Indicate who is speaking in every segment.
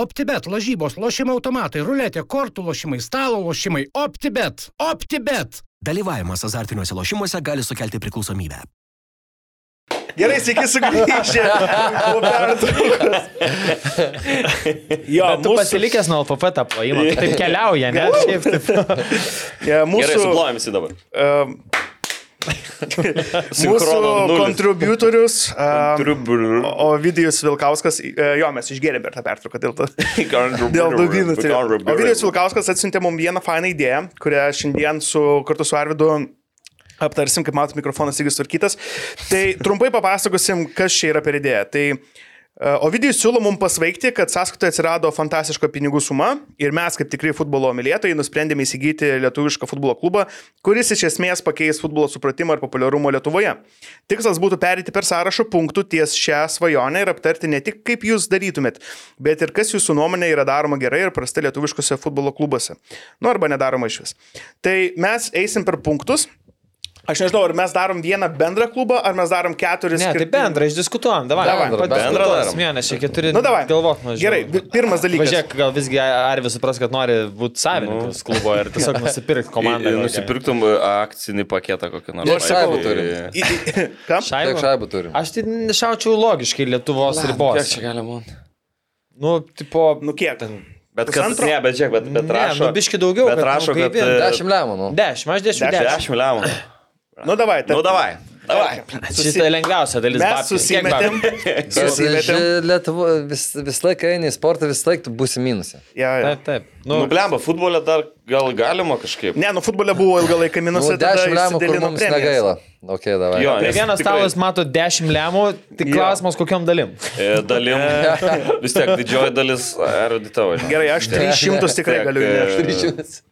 Speaker 1: OptiBet, lažybos, lošimo automatai, ruletė, kortų lošimai, stalo lošimai. OptiBet. OptiBet.
Speaker 2: Dalyvavimas azartiniuose lošimuose gali sukelti priklausomybę.
Speaker 3: Gerai, sveiki sugrįžę. po pertraukos. Jo,
Speaker 4: Bet tu mūsų... pasilikęs nuo LPP tą plojimą, tai taip keliauja, ne? Šiaip taip.
Speaker 3: Ja,
Speaker 5: Gerai,
Speaker 3: e, mūsų
Speaker 5: suplojam visi dabar.
Speaker 3: em, mūsų
Speaker 5: Sinchrono nulis.
Speaker 3: kontributorius. e,
Speaker 5: Kontribu-
Speaker 3: O Vidijus Vilkauskas, e, jo, mes išgėrėme per tą pertrauką dėl to.
Speaker 5: Kontribu-
Speaker 3: Dėl daugynų. tai-
Speaker 5: Kontribu-
Speaker 3: O Vidijus Vilkauskas atsintė mums vieną fainą idėją, kurią šiandien su, kartu su Arvidu aptarsim, kaip matot, mikrofonas irgi sutvarkytas. Tai trumpai papasakosim, kas čia yra per idėją. Tai e, Ovidijus siūlo mums pasveikti, kad sąskaitoje atsirado fantastiška pinigų suma ir mes, kaip tikrai futbolo mylėtojai, nusprendėme įsigyti lietuvišką futbolo klubą, kuris iš esmės pakeis futbolo supratimą ir populiarumą Lietuvoje. Tikslas būtų perėti per sąrašo punktų ties šią svajonę ir aptarti ne tik, kaip jūs darytumėt, bet ir kas jūsų nuomonė yra daroma gerai ir prastai lietuviškose futbolo klubuose. Nu arba nedaroma iš vis. Tai mes eisim per punktus. Aš nežinau, ar mes darom vieną bendrą klubą, ar mes darom keturis.
Speaker 4: Ne, tai
Speaker 3: skirtingus.
Speaker 4: bendra, išdiskutuojam, davai.
Speaker 3: Davai,
Speaker 5: bendrą darom.
Speaker 4: Mėnesį, keturi.
Speaker 3: Nu, davai.
Speaker 4: Galvot, nu,
Speaker 3: Gerai, vi- pirmas dalykas.
Speaker 4: Važiuok, gal visgi Arvi supras, kad nori būti savininkas klubo ir tiesiog nusipirkti komandą.
Speaker 5: Ir
Speaker 4: kokią.
Speaker 5: Nusipirktum e, akcinį paketą kokį nors.
Speaker 6: Ir šaibų turi.
Speaker 3: Į- į- Kam?
Speaker 4: Šaibą?
Speaker 6: Kiek šaibų turi?
Speaker 4: Aš tai šaučiau logiškai Lietuvos
Speaker 6: Kiek
Speaker 4: ribos.
Speaker 6: čia galima?
Speaker 4: Nu, tipo,
Speaker 3: Nu kiek?
Speaker 5: Bet kas,
Speaker 3: Pusantro?
Speaker 5: ne, bet žiūrėk, bet, bet
Speaker 4: Ne,
Speaker 5: rašo.
Speaker 4: nu, biškį daugiau,
Speaker 5: Bet
Speaker 4: kad, nu,
Speaker 5: rašo,
Speaker 4: kai
Speaker 5: kad...
Speaker 4: vien-
Speaker 5: e,
Speaker 6: Dešimt lemų. nu.
Speaker 4: 10, aš 10, 10.
Speaker 5: 10 lemų.
Speaker 3: Nu, davai.
Speaker 5: Nu, davai. Davai.
Speaker 4: Šitą lengviausią dalis.
Speaker 3: Mes
Speaker 4: babkių. Kiek
Speaker 3: susimetėm.
Speaker 4: babkių?
Speaker 3: Susimetėm.
Speaker 6: Lietuvo vis, vis laiką eini į sportą, vis laiką tu būsi minusė.
Speaker 3: Ja, ja.
Speaker 4: Taip, taip. Nu,
Speaker 5: Nu, blemba, futbolė dar gal galima kažkaip.
Speaker 3: Ne, nu futbole buvo ilgą laiką
Speaker 6: Nu,
Speaker 3: minusai. tada
Speaker 6: dešimt lemų, kur
Speaker 3: išsidalino
Speaker 6: mums
Speaker 3: premijas.
Speaker 6: negaila. Ok, davai.
Speaker 5: Jo,
Speaker 4: prie
Speaker 5: nes
Speaker 4: vieno
Speaker 5: tikrai,
Speaker 4: stalas mato 10 lemų, tik
Speaker 3: Jo.
Speaker 4: klausimas kokiam dalim.
Speaker 5: e, Dalim. Vis tiek didžioji dalis eruditavo.
Speaker 3: Gerai, aš 300 tikrai
Speaker 5: Tiek,
Speaker 3: galiu
Speaker 5: e,
Speaker 3: įnešti.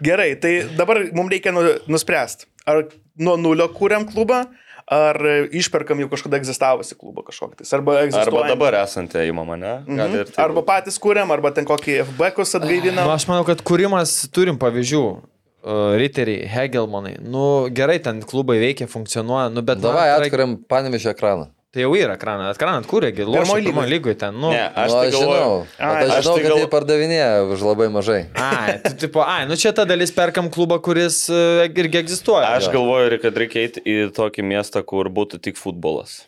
Speaker 3: Gerai, tai dabar mums reikia nu- nuspręsti, ar nuo nulio kūriam klubą, ar išperkam jau kažkada egzistavusi klubą kažkokį. tais, Arba,
Speaker 5: Arba
Speaker 3: egzistuojantį.
Speaker 5: dabar esantį įmamą, ne? Gal
Speaker 3: Mhm.
Speaker 5: ir taip.
Speaker 3: Arba patys kūriam, arba ten kokį FBKus
Speaker 4: Nu,
Speaker 3: atgaivinam.
Speaker 4: aš manau, kad kūrimas turim pavyzdžių. Uh, Riteriai, Hegelmanai. Nu, gerai, ten klubai veikia, funkcionuoja, nu, bet...
Speaker 6: Davai,
Speaker 4: na, tai yra-
Speaker 6: atkuriam panimišio ekraną.
Speaker 4: Tai jau yra ekranas, ekranat kūrė, gilų.
Speaker 3: Pirmoj
Speaker 4: Pirmo
Speaker 3: lygoj.
Speaker 4: lygoj ten, nu...
Speaker 5: Ne, aš
Speaker 6: Nu,
Speaker 5: tai galvoju.
Speaker 6: žinau. bet
Speaker 3: Ai,
Speaker 6: Aš
Speaker 5: aš
Speaker 6: žinau,
Speaker 5: tai
Speaker 6: kad
Speaker 5: gal-
Speaker 6: jie pardavinėja už labai mažai.
Speaker 4: Ai, tu, tipo, ai, nu čia ta dalis perkam klubą, kuris uh, irgi egzistuoja.
Speaker 5: Aš galvoju, kad reikia eiti į tokį miestą, kur būtų tik futbolas.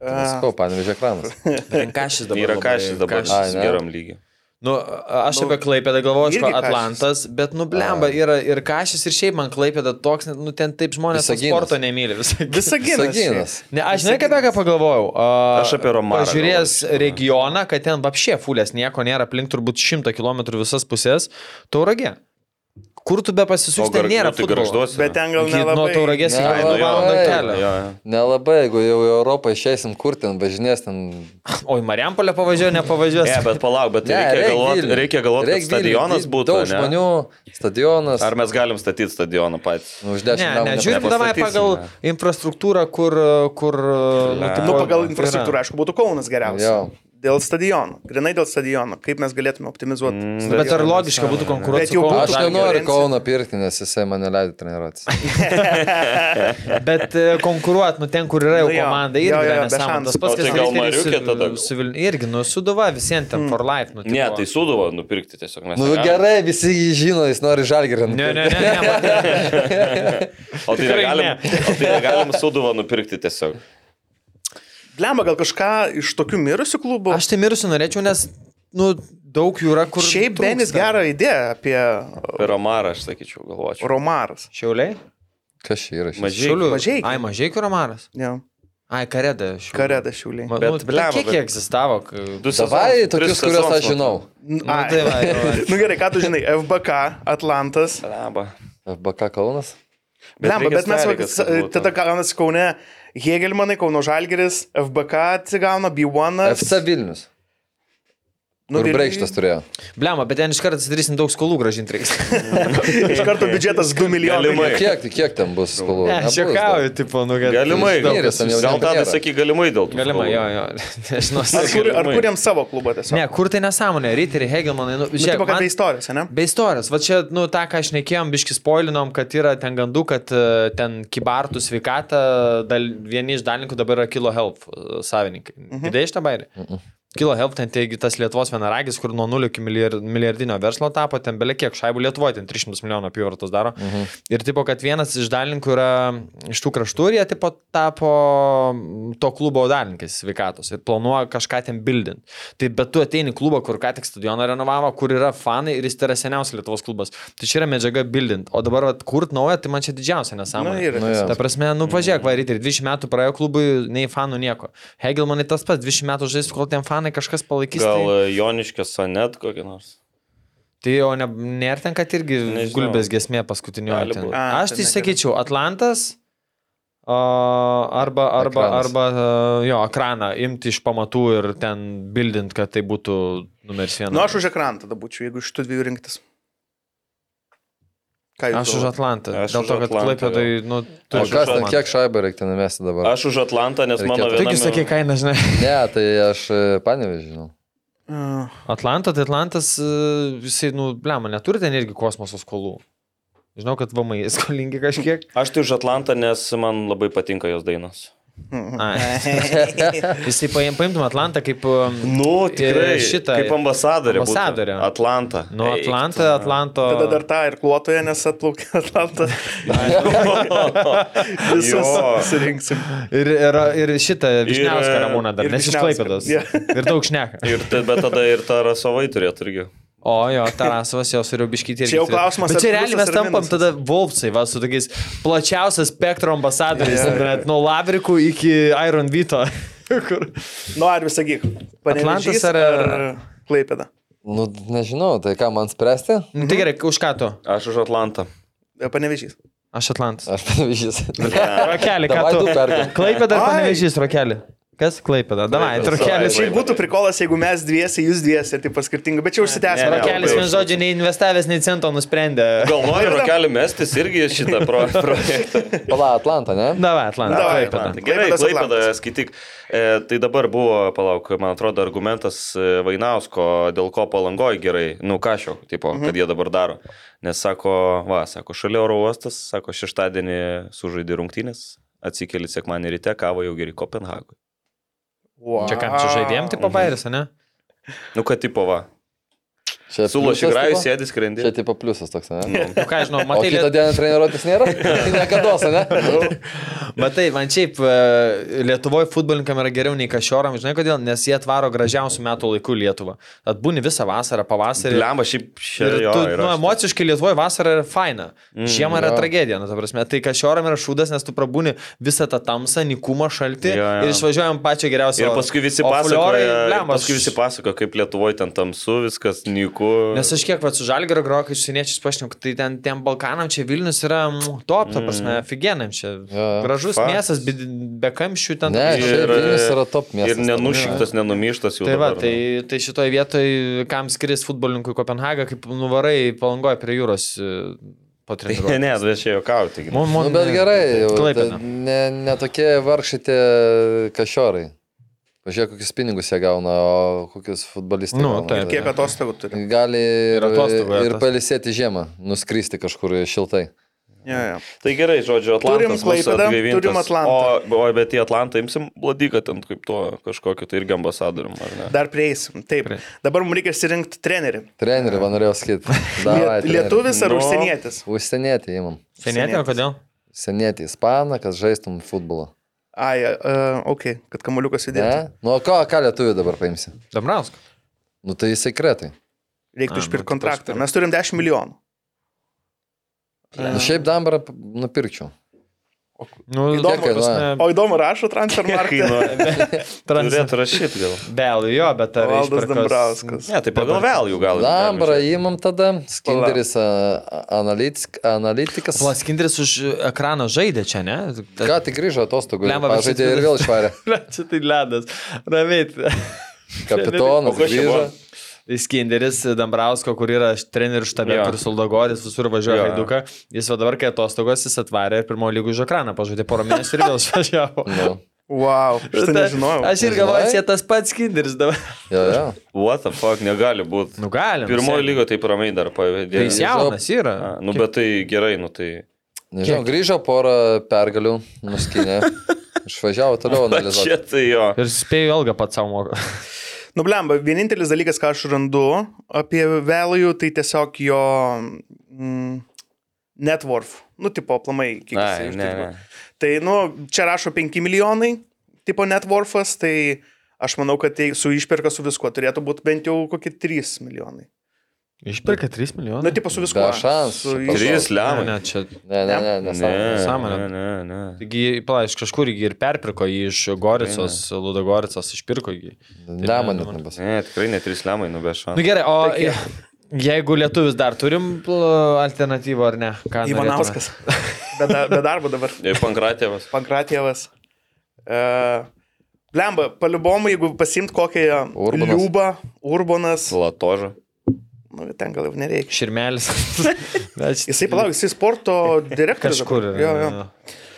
Speaker 6: Sakau, panimišio ekranas.
Speaker 4: galvoju, ką šis Tai dabar.
Speaker 5: Yra
Speaker 4: labai-
Speaker 5: kažkas dabar
Speaker 4: Kašis.
Speaker 6: Ai, ne.
Speaker 5: geram lygiai.
Speaker 4: Nu, a- aš nu, apie Klaipėdą galvoju, aš
Speaker 3: irgi
Speaker 4: apie
Speaker 3: Kašis.
Speaker 4: Atlantas, bet, nu, blemba, yra ir kažkas, ir šiaip man Klaipėda toks, nu, ten taip žmonės to
Speaker 6: Visaginas.
Speaker 4: sporto nemyli. Visai.
Speaker 3: Visą giną.
Speaker 6: Saginas.
Speaker 4: Ne, aš žinai, apie ką pagalvojau. A,
Speaker 5: Aš apie Romarą
Speaker 4: Pažiūrės
Speaker 5: galvoju, iš tikrųjų.
Speaker 4: regioną, kad ten apšė fulės, nieko nėra, aplink turbūt šimtą kilometrų visas pusės, tauragė. Kur tu be pasisuksi, ten nėra.
Speaker 5: tai
Speaker 4: futbolo.
Speaker 5: garžduosi.
Speaker 3: Bet ten gal
Speaker 4: Iki Nuo
Speaker 3: nelabai.
Speaker 4: tauragės
Speaker 6: Ai,
Speaker 4: iki
Speaker 6: nu
Speaker 5: jo,
Speaker 4: valandą
Speaker 6: jo,
Speaker 4: kelio.
Speaker 6: Nelabai, jeigu jau į Europą išeisim, kur ten važinės, ten...
Speaker 4: Oi, Mariampolė pavažiuoja, nepavažiuoja.
Speaker 5: Ne, bet palauk, bet
Speaker 6: Ne,
Speaker 5: Tai reikia galvoti,
Speaker 6: Vilnių.
Speaker 5: reikia galvoti, kad
Speaker 6: Reik Vilnių,
Speaker 5: stadionas
Speaker 6: di-
Speaker 5: būtų.
Speaker 6: Daug
Speaker 5: ne?
Speaker 6: žmonių, stadionas.
Speaker 5: Ar mes galim statyti stadioną patys?
Speaker 6: Nu, už
Speaker 4: Ne,
Speaker 6: dešimt lemų.
Speaker 4: ne,
Speaker 6: nepadarysi.
Speaker 4: žiūrim, davai pagal
Speaker 5: nepastatysime.
Speaker 4: infrastruktūrą, kur... kur uh,
Speaker 5: Ne.
Speaker 4: tipo,
Speaker 3: Nu, pagal
Speaker 4: yra.
Speaker 3: infrastruktūrą, aišku, būtų Kaunas geriausias.
Speaker 6: Jo.
Speaker 3: Dėl stadiono. Grinai dėl stadiono. Kaip mes galėtume optimizuoti. stadioną?
Speaker 4: Mm, Bet ar logiška būtų konkuruoti
Speaker 3: Bet jau
Speaker 4: su Kauno
Speaker 3: būtų
Speaker 6: Aš
Speaker 4: Žalgiriu?
Speaker 6: nenoriu
Speaker 3: konkurencija.
Speaker 6: Kauno pirkti, nes jisai mane leidė treniruotis.
Speaker 4: Bet e, konkuruot, nu ten, kur yra jau
Speaker 3: Nu jo,
Speaker 4: komanda,
Speaker 3: jo,
Speaker 4: irgi
Speaker 3: jo,
Speaker 4: yra
Speaker 3: be
Speaker 4: nesąmonė. Tas
Speaker 3: šansų.
Speaker 4: pats,
Speaker 5: O tai
Speaker 4: kas
Speaker 5: gal
Speaker 4: Riteriui su-
Speaker 5: Mariukė tada?
Speaker 4: su Vilniu. Irgi, nu, suduva visiems
Speaker 3: Hmm.
Speaker 4: ten for life. Nu,
Speaker 5: Ne,
Speaker 4: tipo.
Speaker 5: tai suduvo nupirkti tiesiog. mes
Speaker 6: Nu
Speaker 5: negalim.
Speaker 6: gerai, visi jį žino, jis nori žalgerį.
Speaker 4: Ne, ne, ne, ne, ne.
Speaker 5: O tai
Speaker 4: Tikrai
Speaker 5: negalim,
Speaker 4: ne.
Speaker 5: o tai negalim suduvo nupirkti tiesiog.
Speaker 3: Lemba gal kažką iš tokių mirusių klubų.
Speaker 4: Aš tai mirusiu norėčiau, nes, nu, daug jų yra, kur...
Speaker 3: Šiaip
Speaker 4: trūksta.
Speaker 3: Benis gerą idėją apie uh,
Speaker 5: Per Omarą, aš sakyčiau, galvočiau.
Speaker 3: Romaras.
Speaker 4: Šiauliai?
Speaker 6: Kas čia yra? šitas?
Speaker 5: Mažiai.
Speaker 4: Šiaulių.
Speaker 3: Mažeikiai.
Speaker 4: Ai, mažai kuromaras.
Speaker 3: Ne,
Speaker 4: Ai, kareda. Šiaulių.
Speaker 3: Kareda Šiulė.
Speaker 4: Ma,
Speaker 5: Bet,
Speaker 4: nu,
Speaker 5: blemba,
Speaker 4: bet kiek
Speaker 5: bet-
Speaker 4: jie egzistavo? kai-
Speaker 5: Du
Speaker 6: Davai
Speaker 5: sezonus,
Speaker 6: tokius,
Speaker 5: tris
Speaker 6: kuriuos
Speaker 5: sezonus
Speaker 6: aš žinau.
Speaker 5: matau.
Speaker 4: Nu, tai va, jo, va.
Speaker 3: nu gerai, ką tu žinai, FBK, Atlantas.
Speaker 5: Blemba.
Speaker 6: FBK Kaunas.
Speaker 3: Lemba,
Speaker 5: reikia
Speaker 3: bet mes va,
Speaker 5: sąlygas,
Speaker 3: s-
Speaker 5: kad būtų.
Speaker 3: tada gaunasi Kaune Hegelmanai, Kauno Žalgeris, FBK atsigauna, B1.
Speaker 6: FC Vilnius.
Speaker 3: Nu,
Speaker 6: Nu, kur
Speaker 3: Vilniuj-
Speaker 6: breikštas turėjo.
Speaker 4: Blemba, bet ten iš karto atsidarysim daug skolų gražinti reiks.
Speaker 3: Iš karto biudžetas 2
Speaker 5: Galimai.
Speaker 3: milijonai.
Speaker 6: Kiek, kiek ten bus skolų?
Speaker 4: Ne,
Speaker 6: Nebus
Speaker 4: aš juokauju, tipo, nu, kad...
Speaker 5: Galimai.
Speaker 6: daug. Vyras ten jau
Speaker 5: Gal tada
Speaker 6: nebėra.
Speaker 5: sakyk galimai dėl to.
Speaker 4: Galimai, jo, jo. Nežinau,
Speaker 3: Ar, kur, ar
Speaker 5: Galimai.
Speaker 3: kuriam savo klubą tiesiog?
Speaker 4: Ne, kur tai nesąmonė, Riteriai, Hegelmanai, nu,
Speaker 3: Žiūrėk, nu,
Speaker 4: žiūrėk, man-
Speaker 3: man... tai istorijos, ne?
Speaker 4: Be istorijos, va čia, nu, tą, ką aš nekėjom, biškis spoilinom, kad yra ten gandų, kad e, ten kibartų sveikatą, dal, vieni iš dalininkų dabar yra Kilo Help e, savininkai. Girdėjai mhm. šitą bairį? Mhm. Kilo Help, ten taigi tas Lietuvos vienaragis, kur nuo nulio iki milijar- milijardinio verslo tapo, ten belie kiek šaibų Lietuvoje, ten 300 milijonų apyvartos daro. Mhm. Ir tipo, kad vienas iš dalininkų yra iš tų kraštų ir jie tipo tapo mm, to klubo dalininkais sveikatos ir planuoja kažką ten bildinti. Tai bet tu ateini į klubą, kur ką tik stadioną renovavo, kur yra fanai ir jis tai yra seniausias Lietuvos klubas. Tai čia yra medžiaga bildint. O dabar vat, kurt naują, tai man čia didžiausia nesąmonė.
Speaker 3: Na, yra
Speaker 6: Nu, jo.
Speaker 3: tiesiog.
Speaker 4: Ta prasme, nu pažiūrėk, va, ryte, 20 metų praėjo klubui, nei fanų nieko. Hegelmanai tas pats, 20 metų žais, kol ten fanai kažkas palaikys.
Speaker 5: Gal
Speaker 4: Tai,
Speaker 5: e, Joniškio sonet kokį nors.
Speaker 4: tai o ne, nėra ten, kad irgi
Speaker 5: Nežinau.
Speaker 4: gulbės gesmė paskutinio.
Speaker 5: Gali būt.
Speaker 3: A,
Speaker 4: Aš
Speaker 3: ten
Speaker 4: tai
Speaker 3: negali.
Speaker 4: sakyčiau, Atlantas. a, Arba, arba,
Speaker 6: Ekranas.
Speaker 4: arba a, jo ekraną imti iš pamatų ir ten bildint, kad tai būtų numeris vienas.
Speaker 3: Nu, aš už ekraną tada būčiau, jeigu iš tų dviejų rinktis. Ką jūs
Speaker 4: Aš už
Speaker 3: galvojat?
Speaker 4: Atlantą.
Speaker 5: Aš
Speaker 4: Dėl
Speaker 5: už
Speaker 4: to, kad
Speaker 5: Atlantą,
Speaker 4: Klaipėdai, nu,
Speaker 5: Aš
Speaker 6: O kas
Speaker 5: už
Speaker 6: ten,
Speaker 5: Atlantą.
Speaker 6: kiek šaibą reikia numesti dabar?
Speaker 5: Aš už Atlantą, nes mano
Speaker 6: Reikėtų.
Speaker 5: viena...
Speaker 4: Taigi sakė kainą, žinai.
Speaker 6: Ne, tai aš panevežinau.
Speaker 3: Uh,
Speaker 4: Atlanta, tai Atlantas, e, jisai, nu, blema, neturi ten irgi kosmoso skolų. Žinau, kad vamai skolingi kažkiek.
Speaker 5: Aš tai už Atlantą, nes man labai patinka jos dainos.
Speaker 4: Ai. Jisai paim- paimtum Atlantą kaip... e,
Speaker 5: Nu, tikrai.
Speaker 4: Ir šitą-
Speaker 5: Kaip ambasadorė. būtų.
Speaker 4: ambasadorė.
Speaker 5: Atlantą.
Speaker 4: Nu,
Speaker 5: Eik
Speaker 4: Atlantą, Atlanto...
Speaker 3: tada dar tą irkluotoją, nes atplaukė Atlantą. Visus
Speaker 5: Jo.
Speaker 3: surinksim.
Speaker 4: Ir, ir, ir šitą Višniauską
Speaker 5: Ir, e,
Speaker 4: Ramūną dar,
Speaker 3: ir
Speaker 4: nes iš
Speaker 3: Vyšniauską.
Speaker 4: Klaipėdos.
Speaker 3: Jo.
Speaker 4: Ir daug šneka.
Speaker 5: Ir ta- bet tada ir Tarasovai turėtų irgi.
Speaker 4: O jo, Tarasovas jos ir Ubiškytė.
Speaker 3: Čia jau klausimas,
Speaker 4: Bet čia
Speaker 3: ar
Speaker 4: realiai
Speaker 3: pliusas
Speaker 4: mes
Speaker 3: ar
Speaker 4: tampam
Speaker 3: minusas?
Speaker 4: tada Volpsai, va, su tokiais plačiausias spektro ambasadoriais, yeah. nuo Lavrikų iki Iron Vito. Kur...
Speaker 3: Nu, ar visą gyk. Panevežys
Speaker 4: Atlantas ar-
Speaker 3: ar, ar Klaipėda?
Speaker 6: Nu, nežinau, tai ką man spręsti?
Speaker 4: Nu,
Speaker 3: Mhm.
Speaker 4: tai gerai, už ką tu?
Speaker 5: Aš už Atlantą.
Speaker 3: Panevežys.
Speaker 4: Aš Atlantas.
Speaker 6: Aš panevežys.
Speaker 4: Rokelį, ką
Speaker 6: Davai
Speaker 4: tu?
Speaker 6: du pergam.
Speaker 4: Klaipėda ar
Speaker 3: Ai.
Speaker 4: panevežys, Rokelį? Kas Klaipėda? Davai,
Speaker 5: Klaipėda,
Speaker 4: Rokelis.
Speaker 5: savaitgalį.
Speaker 3: Šiaip būtų prikolas, jeigu mes dviesi, jūs dviesi, tai paskirtingai, bet čia
Speaker 5: Ne, ne,
Speaker 3: užsitęsime.
Speaker 4: Rokelis
Speaker 5: labai
Speaker 4: vien žodžiu neinvestavęs, nei cento nusprendė.
Speaker 5: Gal nori Rokelį mestis irgi šitą pro projektą.
Speaker 6: Pala, Atlanta, ne?
Speaker 4: Davai, Atlantas.
Speaker 3: Davai,
Speaker 4: Klaipėda.
Speaker 3: Atlantas.
Speaker 5: Gerai,
Speaker 3: Klaipėdos
Speaker 5: Klaipėda,
Speaker 3: Atlantas.
Speaker 5: skaityk. E, tai dabar buvo, palauk, man atrodo, argumentas e, Vainausko, dėl ko palangoji gerai, nu kažio, tipo, mhm. kad jie dabar daro. Nes sako, va, sako, šalia oro uostas, sako, šeštadienį sužaidė rungtynės, atsikeli sekmanį ryte, kavo jau geri Kopenhagui.
Speaker 3: Wow.
Speaker 4: Čia kam čia žaidėjom,
Speaker 5: Mhm.
Speaker 4: tai pabairis, ne?
Speaker 5: Nu, kad tipo, va,
Speaker 6: Čia
Speaker 5: suloši
Speaker 6: pliusas,
Speaker 5: grajus,
Speaker 6: tipo?
Speaker 5: sėdi skrendė.
Speaker 6: Čia tipo pliusas toks, ne?
Speaker 5: Nu,
Speaker 4: Nu ką žinau,
Speaker 6: O
Speaker 4: matai,
Speaker 6: kitą
Speaker 4: liet...
Speaker 6: dieną treniruotis nėra? Tai niekada, ne?
Speaker 4: matai, man šiaip e, Lietuvoje futbolininkam yra geriau nei kažioram, žinai kodėl, nes jie atvaro gražiausių metų laikų Lietuvą. Atbūni visą vasarą, pavasarį.
Speaker 5: Tai Lemba šiaip
Speaker 4: Ir
Speaker 5: šiandien.
Speaker 4: tu, nu, emociškai Lietuvoje vasara yra faina. Mm, Žiema yra
Speaker 6: jo.
Speaker 4: tragedija, nu, ta prasme. Tai kažioram yra šūdas, nes tu prabūni visą tą tamsą, nikumą, šaltį
Speaker 5: Jo, jo.
Speaker 4: ir išvažiuojam pačią geriausią.
Speaker 5: Ir
Speaker 4: orą.
Speaker 5: paskui visi
Speaker 4: O
Speaker 5: pasakoja,
Speaker 4: fliorai,
Speaker 5: ir
Speaker 4: blemba,
Speaker 5: paskui visi pasakoja, kaip Lietuvoje ten tamsu, viskas nyku.
Speaker 4: Nes aš kiek pats su žalgerio grokai užsieniečiais pašnekau, tai ten tiem Balkanam čia Vilnius yra mm, top, ta prasme, aфиgenam čia.
Speaker 6: Jo, jo.
Speaker 4: Gražus
Speaker 5: Faktas.
Speaker 4: miestas, bi- be kamščių ten.
Speaker 6: Ne,
Speaker 4: ta prasme.
Speaker 6: šiaip
Speaker 5: Ir-
Speaker 6: Vilnius yra top
Speaker 5: Ir
Speaker 6: miestas.
Speaker 5: nenušyktas, nenumištas jau.
Speaker 4: Tai va,
Speaker 5: dabar, nu.
Speaker 4: tai, tai šitoje vietoje, kam skris futbolininkui Kopenhaga, kaip nuvarai palangoja prie jūros e, po
Speaker 5: Ne,
Speaker 4: treniruotės.
Speaker 5: ne, aš čia juokauju. taigi.
Speaker 4: Mon,
Speaker 6: Nu, bet gerai, jau.
Speaker 4: Klaipėda.
Speaker 6: ta- Ne, ne tokie vargšyti kažiorai. Pažiūrėk, kokius pinigus jie gauna, o kokius futbolistus.
Speaker 4: Nu, taip.
Speaker 3: Kiek atostogų turi?
Speaker 6: Gali ir,
Speaker 4: Ir atostogų,
Speaker 6: ir, ir
Speaker 4: atostogų.
Speaker 6: palisėti žiemą, nuskristi kažkur šiltai.
Speaker 3: Jo, jo.
Speaker 5: Tai gerai, žodžiu,
Speaker 3: Turim
Speaker 5: Atlantas. mūsų
Speaker 3: Klaipėdą,
Speaker 5: atgaivintas.
Speaker 3: turim Atlantą.
Speaker 5: O, o bet į Atlantą imsim bladiką ten kaip to kažkokiu tai irgi ambasadorium, ar ne?
Speaker 3: Dar prieisim. Taip.
Speaker 4: Prie-
Speaker 3: Dabar mums reikia surinkti trenerį.
Speaker 6: Trenerių, man norėjau sakyti. Davai,
Speaker 3: Liet,
Speaker 6: treneri.
Speaker 3: lietuvis ar
Speaker 5: Nu.
Speaker 3: užsienietis?
Speaker 6: Užsienietį įmam.
Speaker 4: Senėtė,
Speaker 3: Senietis.
Speaker 4: kodėl?
Speaker 6: Senietį, ispaną, kad žaistum futbolą.
Speaker 3: Ai, uh, ok, kad kamuliukas judėtų.
Speaker 6: Ne? Nu, o ką, ką lietuvių dabar paimsi?
Speaker 4: Damrauskas.
Speaker 6: Nu, tai jisai kretai.
Speaker 3: Reiktų
Speaker 4: A,
Speaker 3: išpirkti
Speaker 4: nu, tai
Speaker 3: kontraktą.
Speaker 4: paskui.
Speaker 3: Mes turim 10 milijonų.
Speaker 6: Nu, šiaip dambarą p- nupirkčiau.
Speaker 4: Nu,
Speaker 3: Įdomu,
Speaker 4: ta prasme,
Speaker 3: O įdomu, rašo transfer market.
Speaker 4: trans-
Speaker 5: nu, Turėtų rašyti gal.
Speaker 4: Vėl jo, bet ar
Speaker 3: Valdas
Speaker 4: išpirkos-
Speaker 3: Dambrauskas.
Speaker 5: Ne, tai pagal vėl jų gal.
Speaker 6: Dambarą įmam tada, skinderis analitik, analitikas.
Speaker 4: Vlaskindris už ekraną žaidė čia, ne? Ta-
Speaker 6: Ką tik grįžo atostogų?
Speaker 4: Blemba, bet
Speaker 6: Žaidė ir
Speaker 4: šitas-
Speaker 6: vėl išvarė.
Speaker 4: Ble, Čia tai ledas. Ramiai.
Speaker 5: O
Speaker 6: Kapitonas
Speaker 5: kas čia
Speaker 6: grįžo.
Speaker 5: buvo?
Speaker 4: Skinderis Dambrausko, kur yra trenerių štabė,
Speaker 5: Jo.
Speaker 4: kur Soldogoris visur važiuoja
Speaker 5: Jo.
Speaker 4: Haiduką. Jis va dabar, kai atostogos, jis atvarė ir pirmojo lygų už ekraną pažaidė porą mėnesių ir vėl išvažiavo.
Speaker 6: Nu,
Speaker 3: Wow, aš tai
Speaker 4: Ta-
Speaker 3: nežinojau.
Speaker 4: Aš ir galvoju,
Speaker 6: Nežinojai?
Speaker 4: čia tas pats Skinderis dabar.
Speaker 6: jo, jo.
Speaker 5: What the fuck, negali būti.
Speaker 4: Nu galim.
Speaker 5: Pirmojo
Speaker 4: seniai.
Speaker 5: lygo taip ramiai dar
Speaker 4: Tai jis
Speaker 5: pavėdėjo.
Speaker 4: jaunas yra.
Speaker 5: Nu, bet tai gerai, nu tai.
Speaker 6: Nežinau, grįžo porą pergalių, nuskinė. Išvažiavo toliau
Speaker 5: Va Čia
Speaker 6: analizuoti.
Speaker 5: tai jo.
Speaker 4: Ir spėjau ilgą pat savo moką.
Speaker 3: Nublemba, Nu, vienintelis dalykas, ką aš randu apie Value, tai tiesiog jo mm, networth. Nu, tipo, aplamai, kiek
Speaker 5: Ai,
Speaker 3: jis
Speaker 5: ne, ne.
Speaker 3: uždirba. Tai, nu, čia rašo 5 milijonai, tipo networthas, tai aš manau, kad tai su išpirka su viskuo turėtų būti bent jau kokie 3 milijonai.
Speaker 4: Išpirka 3 milijonai.
Speaker 3: Nu, tipo su viskuo.
Speaker 6: Be šansų,
Speaker 3: Su iš-
Speaker 6: čia pagal-
Speaker 5: Trys
Speaker 4: Ne,
Speaker 5: lemai.
Speaker 4: ne, čia.
Speaker 6: Ne, ne, ne,
Speaker 5: Ne,
Speaker 6: nesąmonė.
Speaker 4: nesąmonė.
Speaker 5: ne, ne, ne.
Speaker 4: Taigi, pala, iš kažkur jį ir perpirko jį iš Goricos, Ludogoricos, išpirko jį.
Speaker 6: Lemon net nebus.
Speaker 5: Ne, tikrai ne trys lemai, nu
Speaker 4: Na
Speaker 5: be
Speaker 4: nu,
Speaker 5: šansų.
Speaker 4: gerai, o je- jeigu lietuvis dar turim pl- alternatyvą ar ne? Ką norėtume?
Speaker 3: Ivanauskas. Be, da, be darbo dabar.
Speaker 5: Pankratėvas.
Speaker 3: Pankratėvas. Uh, Lemba, paliubomu, jeigu pasimt kokią
Speaker 6: Urbonas.
Speaker 3: liubą, urbanas,
Speaker 5: Latoža.
Speaker 3: nu, ten gal ir nereikia.
Speaker 4: Širmelis.
Speaker 3: Jisai palauk, jisai sporto direktorius.
Speaker 4: Kažkur.
Speaker 3: dabar.
Speaker 4: yra,
Speaker 3: Jo, jo.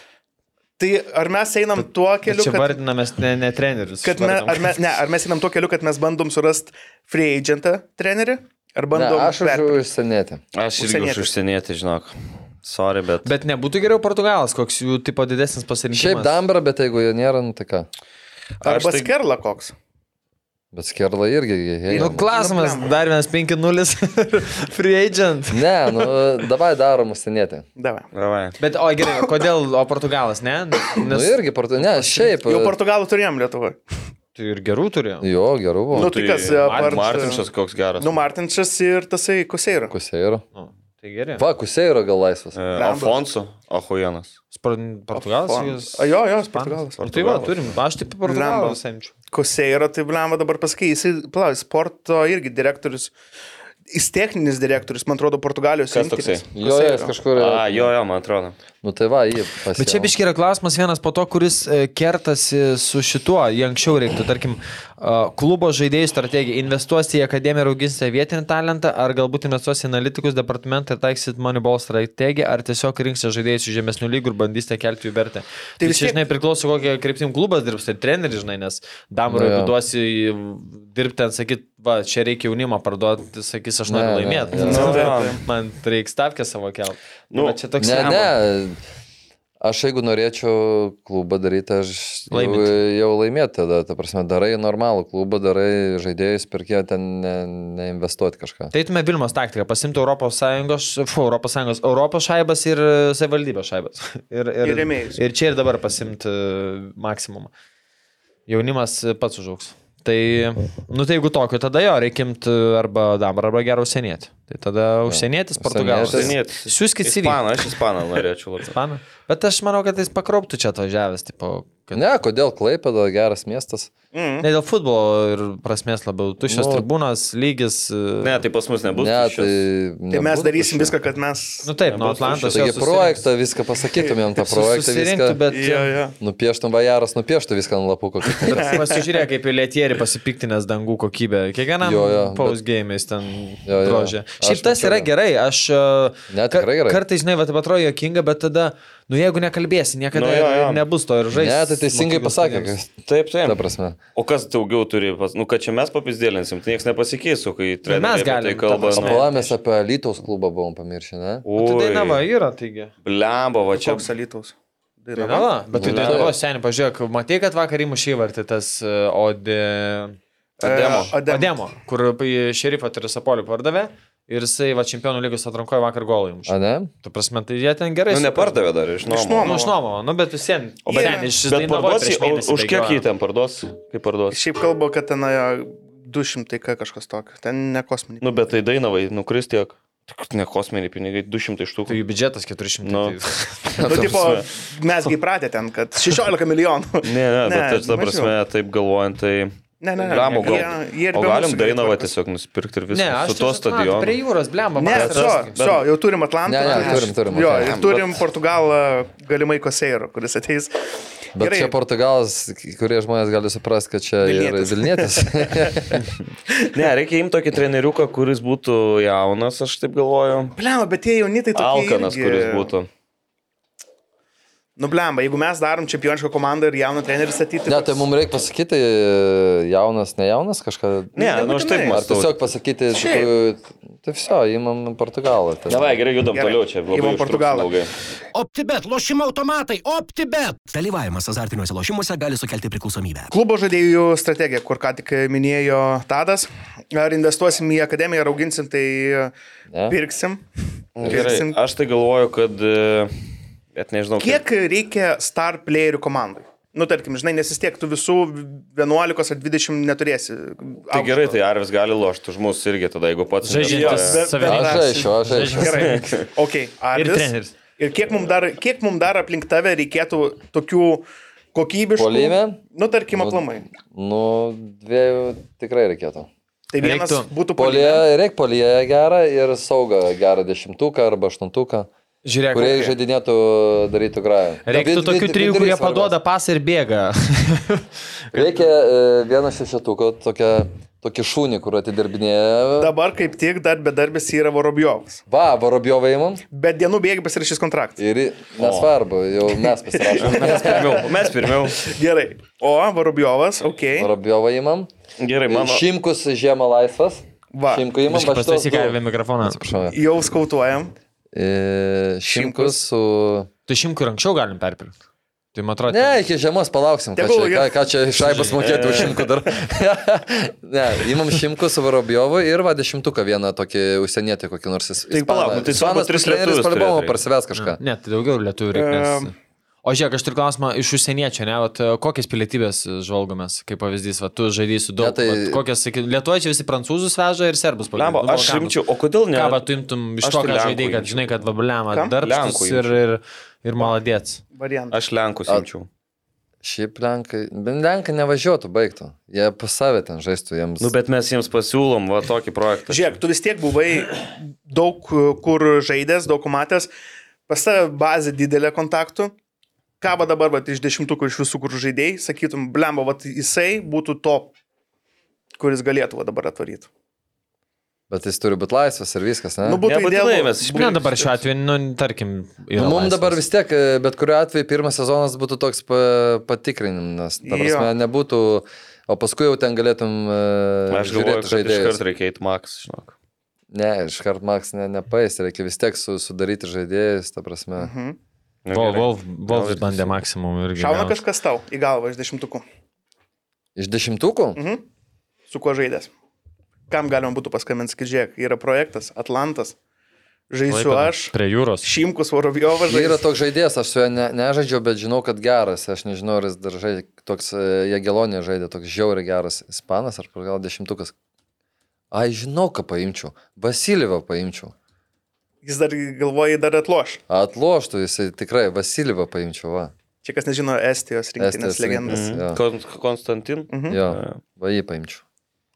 Speaker 3: Tai ar mes einam tuo
Speaker 4: Bet
Speaker 3: keliu,
Speaker 4: Čia
Speaker 3: kad,
Speaker 4: vardinamės ne, ne trenerius.
Speaker 3: kad me, ar, me, ne, ar mes einam tuo keliu, kad mes bandom surasti free agentą trenerį, ar
Speaker 6: Ne,
Speaker 3: bandom...
Speaker 6: aš
Speaker 3: perpirkti?
Speaker 6: už užsienėti.
Speaker 5: Aš irgi už
Speaker 3: Užsienietis.
Speaker 5: užsienietį, žinok. Sorry, bet.
Speaker 4: Bet nebūtų geriau Portugalas, koks jų tipo didesnis pasirinkimas.
Speaker 6: Šiaip Dambra, bet jeigu jo nėra, nu tai ką.
Speaker 3: Arba
Speaker 5: aš tai-
Speaker 3: skerla koks.
Speaker 6: Bet Skerla irgi. hei,
Speaker 4: Nu, klausimas,
Speaker 3: Nu, blemba.
Speaker 4: dar vienas 5-0 free agent.
Speaker 6: Ne, nu, davai darom užsienėti.
Speaker 3: Davai.
Speaker 5: Davai.
Speaker 4: Bet o gerai, kodėl, o Portugalas, ne?
Speaker 6: Nu
Speaker 4: Nes
Speaker 6: irgi, portu... ne, šiaip.
Speaker 3: Jau portugalų turėjom Lietuvoje.
Speaker 4: tai ir gerų turėjo.
Speaker 6: Jo, gerų
Speaker 3: Nu,
Speaker 6: buvo.
Speaker 3: tai kas, apart-
Speaker 5: Martinšas koks geras.
Speaker 3: Nu, Martinčas ir tasai Kuseiro.
Speaker 6: Kuseiro.
Speaker 4: Nu, tai gerai.
Speaker 6: Va, Kuseiro gal laisvas.
Speaker 5: E, Alfonso. Ohujanas.
Speaker 4: Spar- Portugalas.
Speaker 3: Afon-
Speaker 4: jūs-
Speaker 3: A, jo, jo, jis
Speaker 4: Ispanas.
Speaker 3: Portugalas.
Speaker 4: Nu, Tai va, turim. Aš taip Portugalą
Speaker 3: Blemba.
Speaker 4: semčiu.
Speaker 3: Kuseiro, tai Blamą dabar pasakai, jisai, plau, sporto irgi direktorius, jis techninis direktorius, man atrodo, Portugalijos
Speaker 5: Kas
Speaker 3: rinktinės.
Speaker 5: toksai?
Speaker 6: Jo, jis
Speaker 3: Kuseiro.
Speaker 6: kažkur.
Speaker 5: A, jo, jo, man atrodo.
Speaker 6: Nu tai va, jį.
Speaker 4: Bet čia biški yra klausimas vienas po to, kuris e, kertasi su šituo. Jie anksčiau reiktų, tarkim, a, klubo žaidėjų strategiją. Investuosi į akademiją ir auginsite vietinį talentą, ar galbūt investuosi į analitikus departamentą ir taiksit Moneyball strategiją, ar tiesiog rinksite žaidėjus iš žemesnių lygų ir bandysite kelti jų vertę. Tai, tai
Speaker 3: vis
Speaker 4: čia,
Speaker 3: tiek-
Speaker 4: žinai, priklauso, kokie kryptim klubas dirbs, tai treneris, žinai, nes damro,
Speaker 6: Nu,
Speaker 4: jeigu
Speaker 6: jo.
Speaker 4: duosi į- dirbti ten, sakyt, va, čia reikia jaunimą parduoti, sakys, aš noriu
Speaker 6: Ne, ne,
Speaker 4: laimėti.
Speaker 6: jo.
Speaker 5: Nu, jo.
Speaker 4: Man reikia stavkę savo kelti.
Speaker 5: Nu,
Speaker 4: Nu, čia toks
Speaker 6: Ne,
Speaker 4: jam-
Speaker 6: ne. Aš jeigu norėčiau klubą daryti, aš jau,
Speaker 4: Laimit.
Speaker 6: jau laimėti tada, ta prasme, darai normalų klubą, darai žaidėjus, pirkė ten ne, neinvestuoti kažką.
Speaker 4: Tai eitume Vilmos taktiką, pasimti Europos Sąjungos, fu, Europos Sąjungos, Europos šaibas ir e, savivaldybės šaibas. Ir,
Speaker 3: Ir rėmėjus.
Speaker 4: Ir čia ir dabar pasimti e, maksimumą. Jaunimas e, pats užaugs. Tai, nu tai jeigu tokio, tada jo, reikimti arba damar, arba gerą užsienietį. Tai tada užsienietis, portugalas.
Speaker 5: Užsienietis.
Speaker 4: Siūskit CV.
Speaker 5: Ispaną, aš ispaną norėčiau labiau.
Speaker 4: Ispaną. Bet aš manau, kad jis pakroptų čia atvažiavęs, tipo, kad...
Speaker 6: Ne, kodėl Klaipėda geras miestas?
Speaker 3: Mm.
Speaker 4: Ne dėl futbolo ir prasmės labiau, tuščias
Speaker 6: Nu.
Speaker 4: no. tribūnas, lygis. e, Ne.
Speaker 5: Ne, tai pas mus nebus.
Speaker 6: ne, tai,
Speaker 5: tuščios.
Speaker 3: Tai mes
Speaker 6: nebūtų
Speaker 3: darysim
Speaker 6: čia.
Speaker 3: viską, kad mes...
Speaker 4: Nu taip, nu Atlantas. jo
Speaker 6: Taigi
Speaker 4: susirinks.
Speaker 6: projektą viską pasakytumėm, tą projektą
Speaker 4: Susirinktų,
Speaker 6: viską. Bet...
Speaker 4: bet...
Speaker 3: Jo, jo.
Speaker 6: Nupieštum vajaras, nupieštų viską ant lapuko. kad ten-
Speaker 4: Pasižiūrėk, kaip lietierį pasipiktinęs dangų kokybę. Kiekvienam
Speaker 6: Jo, jo,
Speaker 4: pausgėjimais ten
Speaker 6: Jo, jo.
Speaker 4: drožė.
Speaker 6: Aš
Speaker 4: Šiaip tas
Speaker 6: mačiau,
Speaker 4: yra
Speaker 6: jo.
Speaker 4: gerai. Aš e,
Speaker 6: Ne, tai
Speaker 4: ka-
Speaker 6: tikrai gerai.
Speaker 4: kartais, žinai, va, taip atrodo jokinga, bet tada, nu jeigu nekalbėsi, niekada
Speaker 5: Nu, jo, jo.
Speaker 4: ir nebus to ir žaisti.
Speaker 6: Ne, tai teisingai pasakė, kad...
Speaker 5: Taip,
Speaker 6: Ta
Speaker 5: taip.
Speaker 6: prasme.
Speaker 5: O kas daugiau turi, pas... nu, kad čia mes papizdėlinsim, tai niekas nepasikeis, o kai
Speaker 4: mes
Speaker 5: treneriai apie tai
Speaker 4: galim, ta
Speaker 5: kalba.
Speaker 4: prasme.
Speaker 5: Nu,
Speaker 6: Palamės apie Lytaus klubą buvom pamiršę, ne?
Speaker 4: Tai
Speaker 5: oi,
Speaker 4: dainava yra, taigi.
Speaker 5: Blemba, va čia.
Speaker 3: Čia Tai apsalytaus.
Speaker 5: Tai
Speaker 4: Dainava, bet tu
Speaker 6: Nu,
Speaker 4: dainavo
Speaker 6: taip.
Speaker 4: seniai, pažiūrėk, matei, kad vakar įmušė įvartį tas e, Ode...
Speaker 3: E,
Speaker 5: Ademo.
Speaker 4: Ademo, kur šerifą Teresapolių pardavė ir jisai va čempionų lygos atrankoje vakar golą įmušė.
Speaker 6: A ne?
Speaker 4: Tu prasme, tai jie ten gerai.
Speaker 5: Nu,
Speaker 4: supranta.
Speaker 5: nepardavė dar, išnuomo.
Speaker 3: Išnuomo.
Speaker 4: Nu, išnuomo, nu, bet visiems. O
Speaker 3: bet-
Speaker 5: Bet parduosi, o- už kiek jį ten parduos? Kaip parduos?
Speaker 3: Šiaip kalbu, kad ten jo, 200 ką kažkas tokio. Ten ne kosminiai.
Speaker 5: Nu, bet tai dainavai, nukris tiek. Tik Tai Ne kosminiai pinigai, 200
Speaker 4: Tai
Speaker 5: štukų.
Speaker 4: jų biudžetas 400.
Speaker 5: Nu.
Speaker 4: tai-
Speaker 3: Nu, tipo, mesgi įpratę ten, kad 16 milijonų.
Speaker 5: Ne, ne,
Speaker 3: Ne,
Speaker 5: bet aš ta
Speaker 3: mažiau.
Speaker 5: prasme, taip galvojant, tai...
Speaker 3: Ne, ne, ne.
Speaker 5: Gramų gal.
Speaker 3: Jie- jie ir
Speaker 5: O
Speaker 3: be
Speaker 5: galim
Speaker 3: mūsų gerai
Speaker 5: Dainavą
Speaker 3: tvarkosi.
Speaker 5: tiesiog nusipirkti ir
Speaker 4: Ne, aš
Speaker 5: viską
Speaker 4: nu, tai
Speaker 5: su tuo
Speaker 4: čia suprantu,
Speaker 5: stadionu.
Speaker 4: Prie jūros, blemba,
Speaker 3: Ne,
Speaker 5: Bet
Speaker 3: so,
Speaker 5: tas-
Speaker 3: so, jau turim Atlantą.
Speaker 6: Ne, ne,
Speaker 3: Aš-
Speaker 6: turim, turim
Speaker 3: Jo,
Speaker 6: Atlantą,
Speaker 3: ir
Speaker 6: bet-
Speaker 3: turim Portugalą, galimai Koseiro, kuris ateis.
Speaker 6: Bet
Speaker 3: Gerai.
Speaker 6: čia Portugalas, kurie žmonės gali suprasti, kad čia yra
Speaker 3: Vilnietis.
Speaker 6: Vilnietis.
Speaker 5: Ne, reikia imti tokį treneriuką, kuris būtų jaunas, aš taip galvoju.
Speaker 3: Pliau, bet tie jaunitai tokie.
Speaker 5: Alkanas,
Speaker 3: irgi-
Speaker 5: kuris būtų.
Speaker 3: Nublemba, Nu, jeigu mes darom čempionišką komandą ir jauną trenerį statyti.
Speaker 6: Ne, tai mums reikia pasakyti, jaunas, ne jaunas, kažką.
Speaker 5: Ne, nu aš taip
Speaker 3: Nebūtinai.
Speaker 6: Ar
Speaker 5: mąstau.
Speaker 6: tiesiog pasakyti, iš
Speaker 3: Šiaip.
Speaker 6: tikrųjų, tai viso, įmam Portugalą. Tai.
Speaker 5: Davai, gerai, judam
Speaker 3: Gerai.
Speaker 5: toliau čia.
Speaker 3: Imam
Speaker 5: Labai
Speaker 3: Portugalą.
Speaker 5: Portugalą.
Speaker 1: OptiBet, lošimo automatai, OptiBet.
Speaker 2: Dalyvavimas azartiniuose lošimuose gali sukelti priklausomybę.
Speaker 3: Klubo žaidėjų strategija, kur ką tik minėjo Tadas. Ar investuosim į akademiją, ar auginsim, tai
Speaker 6: Ne.
Speaker 3: pirksim.
Speaker 5: Gerai, aš tai galvoju, kad... e, Bet nežinau,
Speaker 3: Kiek reikia star playerių komandai? Nu, tarkim, žinai, nes vis tiek tu visų 11 ar 20 neturėsi.
Speaker 5: Tai gerai, tai Arvis gali lošti už mus irgi tada, jeigu pats...
Speaker 4: Žaidžiantis
Speaker 5: Bet-
Speaker 3: bet-
Speaker 4: save.
Speaker 3: bet-
Speaker 6: Aš žaisiu, aš žaisiu.
Speaker 3: Gerai. Okay,
Speaker 4: Ir treneris.
Speaker 3: Ir kiek mums dar, kiek mum dar aplink tave reikėtų tokių kokybiškų...
Speaker 6: Puolime?
Speaker 3: Nu, tarkim,
Speaker 6: Nu,
Speaker 3: aplamai.
Speaker 6: Nu, dviejų tikrai reikėtų.
Speaker 3: Tai vienas
Speaker 4: reiktų.
Speaker 3: būtų
Speaker 6: Polėje,
Speaker 3: puolime.
Speaker 6: reikia polėje gerą ir saugą gerą dešimtuką arba aštuntuką,
Speaker 4: Žiūrėk,
Speaker 6: kurie žaidinėtų darytų grają.
Speaker 4: Reiktų
Speaker 6: Vid- vid-
Speaker 4: tokių trijų,
Speaker 6: vidurys
Speaker 4: kurie
Speaker 6: svarbiausia.
Speaker 4: paduoda pasą ir bėga.
Speaker 6: Reikia e, vieno šešetuko, tokia, tokį šūnį, kur atidirbinėja.
Speaker 3: Dabar kaip tik dar bedarbis yra Vorobjovas.
Speaker 6: Va, Varobjovai mums.
Speaker 3: Bet dienų bėgi pasirašys kontraktą.
Speaker 6: Ir i- nesvarbu, jau mes pasirašome.
Speaker 5: Mes pirmiau. Mes pirmiau.
Speaker 3: Gerai. O, Vorobjovas, okei. Okay.
Speaker 6: Varobjovai imam. E,
Speaker 5: Gerai, mano.
Speaker 6: Šimkus žiemą laisvas.
Speaker 3: Va.
Speaker 6: Šimku
Speaker 5: Tai
Speaker 6: imam.
Speaker 4: Aš
Speaker 6: va šituos
Speaker 4: pasitaisyk,
Speaker 6: du.
Speaker 4: avė mikrofoną.
Speaker 6: Atsiprašau.
Speaker 3: Jau skautuojam.
Speaker 6: E,
Speaker 3: Šimkus.
Speaker 6: Šimkus su...
Speaker 4: Tai šimkų ir anksčiau galim perpirkti. Tai man atrodo,
Speaker 6: Ne, iki žiemos palauksim, ką
Speaker 3: Tegul,
Speaker 6: čia, ką,
Speaker 3: gerai.
Speaker 6: ką čia šaibas mokėti už šimkų dar. ne, imam šimkų su Varobjovu ir va dešimtuką vieną tokį užsienietį kokį nors.
Speaker 5: Tai palauk, nu tai svarbu, tris lietuvius turėt
Speaker 6: Palibomą
Speaker 5: reikia.
Speaker 6: parsives kažką.
Speaker 4: Ne, tai daugiau lietuvių reikia.
Speaker 3: Em.
Speaker 4: O žiūrėk, aš turiu klausimą iš užsieniečio, ne, vat, e, kokias pilietybės e, žvalgomės, kaip pavyzdys, va, tu žaidysi daug,
Speaker 6: Ne, tai-
Speaker 4: vat, kokias, sakyt, lietuvaičiai visi prancūzus veža ir serbus
Speaker 5: Lemba,
Speaker 4: pagrinde,
Speaker 5: aš
Speaker 4: Balkanus.
Speaker 5: rimčiau, o kodėl ne?
Speaker 4: Ką, va, tu imtum iš
Speaker 5: Aš
Speaker 4: to,
Speaker 5: tai
Speaker 4: ką
Speaker 5: Lenkų
Speaker 4: žaidai, kad
Speaker 5: imčiau.
Speaker 4: žinai, kad vabliama,
Speaker 3: Kam?
Speaker 4: dar
Speaker 5: Lenkų
Speaker 4: ir, ir, ir maladėts.
Speaker 3: Variantas.
Speaker 5: Aš Lenkus
Speaker 6: A-
Speaker 5: imčiau.
Speaker 6: Šiaip Lenkai, bent Lenkai nevažiuotų, baigtų. Jie pas save ten žaistų jiems.
Speaker 5: Nu, bet mes jiems pasiūlom va tokį projektą.
Speaker 3: Žiūrėk, tu vis tiek buvai daug e, kur žaidęs, daug kur matęs, pas tave bazė didelė kontaktų. Ką va dabar, va, iš dešimtukų iš visų, kur žaidėjai, sakytum, blemba, va, jisai būtų top, kuris galėtų va dabar atvaryti.
Speaker 6: Bet jis turi būti laisvas ir viskas, ne?
Speaker 3: Nu,
Speaker 6: Nu,
Speaker 3: būtų
Speaker 5: Nebūtinai
Speaker 3: idealu.
Speaker 5: mes iš
Speaker 4: Ne dabar šiuo atveju, nu, tarkim, yra.
Speaker 6: Mums
Speaker 4: laisvas.
Speaker 6: Nu, dabar vis tiek, e, bet kuriu atveju, pirmas sezonas būtų toks pa, patikrinimas. Ta
Speaker 3: Jo.
Speaker 6: prasme, nebūtų, o paskui jau ten galėtum e,
Speaker 5: Aš galvoju,
Speaker 6: žiūrėti
Speaker 5: kad iš
Speaker 6: žaidėjus.
Speaker 5: karto reikia eiti Max, žinok.
Speaker 6: Ne, iškart Max ne, nepaės, reikia vis tiek su, sudaryti žaidėjus, ta prasme.
Speaker 3: Mhm.
Speaker 5: Nu,
Speaker 4: Vol-
Speaker 5: gerai.
Speaker 4: Vol- Volvis bandė maksimum irgi.
Speaker 3: Šauna
Speaker 4: gavo.
Speaker 3: kažkas tau į galvą iš dešimtukų,
Speaker 6: Iš dešimtukų?
Speaker 3: su kuo žaidės. Kam galima būtų paskambinti, sakyti, žiūrėk, yra projektas Atlantas, žaisiu
Speaker 4: Klaipėda,
Speaker 3: aš,
Speaker 4: Prie jūros.
Speaker 3: Šimkus Vorovjovas
Speaker 6: Yra
Speaker 3: žaidžia.
Speaker 6: toks žaidėjas, aš su juo ne, nežaidžiau, bet žinau, kad geras. Aš nežinau, ar jis dar žaidė, toks Jagelonė žaidė, toks žiauriai geras ispanas, ar gal dešimtukas. Ai, žinau, ką paimčiau. Vasilyvą paimčiau.
Speaker 3: Jis dar galvoja, dar atloš.
Speaker 6: Atloštų jisai tikrai, Vasilyvą paimčiau, va.
Speaker 3: Čia kas nežino, Estijos rinktinės
Speaker 6: Estijos
Speaker 3: legendas.
Speaker 6: rinktinės. Jo.
Speaker 5: Mhm. Kon- Konstantin.
Speaker 3: Mhm.
Speaker 6: Jo, va jį paimčiau.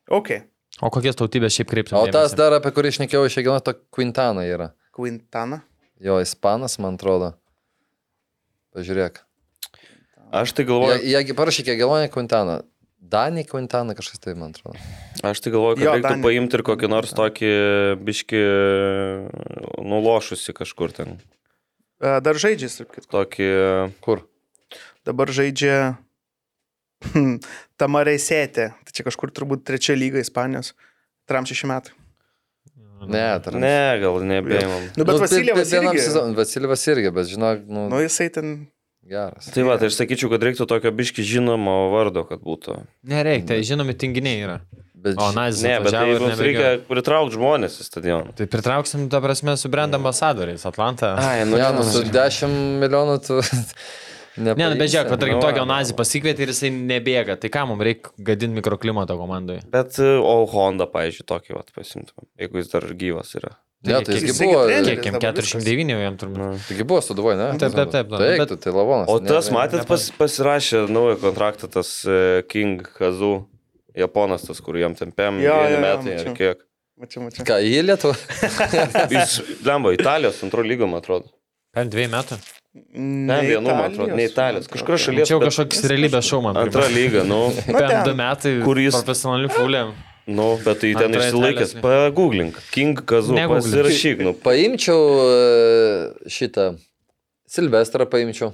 Speaker 3: Ok,
Speaker 4: O kokias tautybės šiaip kreiptum?
Speaker 6: O tas
Speaker 4: dėmesį?
Speaker 6: dar, apie kurį išnekėjau iš Jagelonė, to Quintana yra.
Speaker 3: Quintana.
Speaker 6: Jo, ispanas, man atrodo. Pažiūrėk.
Speaker 5: Aš tai
Speaker 6: Ja,
Speaker 5: galvoju,
Speaker 6: ja, parašyk Jagelonė Quintana. Danį Quintana kažkas tai, man atrodo.
Speaker 5: aš tai galvoju, kad
Speaker 3: Jo,
Speaker 5: reiktų
Speaker 3: Danija.
Speaker 5: paimti ir kokį nors tokį biški nulošusi kažkur ten.
Speaker 3: E, Dar žaidžia, tarp kitko.
Speaker 5: Tokį...
Speaker 6: Kur?
Speaker 3: Dabar žaidžia Tamarei Sėtė. Tai čia kažkur turbūt trečia lyga Ispanijos. Tram šeši metai.
Speaker 6: Ne, tai
Speaker 5: Ne, gal nebėjom.
Speaker 3: Nu, bet Vasilijevas irgi.
Speaker 6: Vasilyvas irgi, bet žinok, nu,
Speaker 3: Nu, jisai ten.
Speaker 6: geras.
Speaker 5: Tai va, tai aš sakyčiau, kad reiktų tokio biški žinomo vardo, kad būtų.
Speaker 4: Nereikia, tai žinomi tinginiai yra.
Speaker 6: Bet,
Speaker 4: O, na, jis
Speaker 5: Ne, bet tai
Speaker 4: atvažiavo ir
Speaker 5: mums
Speaker 4: nebėgiojo.
Speaker 5: reikia pritraukti žmonės į stadioną.
Speaker 4: Tai pritrauksim, ta prasme, su brand ambasadoriais Atlantą.
Speaker 5: Ai,
Speaker 6: nu,
Speaker 5: nu,
Speaker 6: ja,
Speaker 5: žinoma.
Speaker 6: nu, su 10 milijonų tu...
Speaker 4: Ne, nu, bet žiūrėk, kad tarkim
Speaker 5: Nu,
Speaker 4: tokio
Speaker 5: va.
Speaker 4: nazį pasikvietė ir jisai nebėga. Tai ką mums reikia gadinti mikroklimato komandai?
Speaker 5: Bet, e, o Honda, pavyzdžiui, tokį vat pasimtumėm, jeigu jis dar gyvas yra.
Speaker 6: Ne, tai jisgi
Speaker 3: Jisai
Speaker 6: buvo,
Speaker 3: gi treneris.
Speaker 4: Kiek jam
Speaker 3: dabar viskas.
Speaker 4: 409 jau jam turbūt.
Speaker 6: taigi buvo suduvoj, ne?
Speaker 4: Taip, taip, taip,
Speaker 6: Taip,
Speaker 4: bet-
Speaker 6: bet... tai lavonas.
Speaker 5: O tas, matėt, pas, pasirašė naują kontraktą, tas e, King Kazu, japonas tas, kur jam ten pėm,
Speaker 3: Jo, jo, jo,
Speaker 5: metai ar
Speaker 3: mačiau.
Speaker 5: kiek.
Speaker 3: Mačiau, mačiau.
Speaker 6: Ką, į Lietuvą?
Speaker 5: Jis, lemba, Italijos antro lygo, man atrodo.
Speaker 4: Per dviejų metų.
Speaker 5: Ne, vienu, man atrodo, ne Italijos, kažkur šalies.
Speaker 4: Čia jau
Speaker 5: bet
Speaker 4: kažkoks realybės šou man.
Speaker 5: Antra lyga, nu,
Speaker 4: Per
Speaker 3: ten.
Speaker 4: du metai.
Speaker 5: Kur jis-
Speaker 4: Profesionalių fulėm.
Speaker 5: nu, bet tai ten
Speaker 4: Antra Italijos
Speaker 5: išsilaikęs.
Speaker 4: lyga.
Speaker 5: Pagūglink, King Kazu,
Speaker 4: Negūglink.
Speaker 5: pasirašyk, nu.
Speaker 6: Paimčiau e, šitą Silvestrą paimčiau.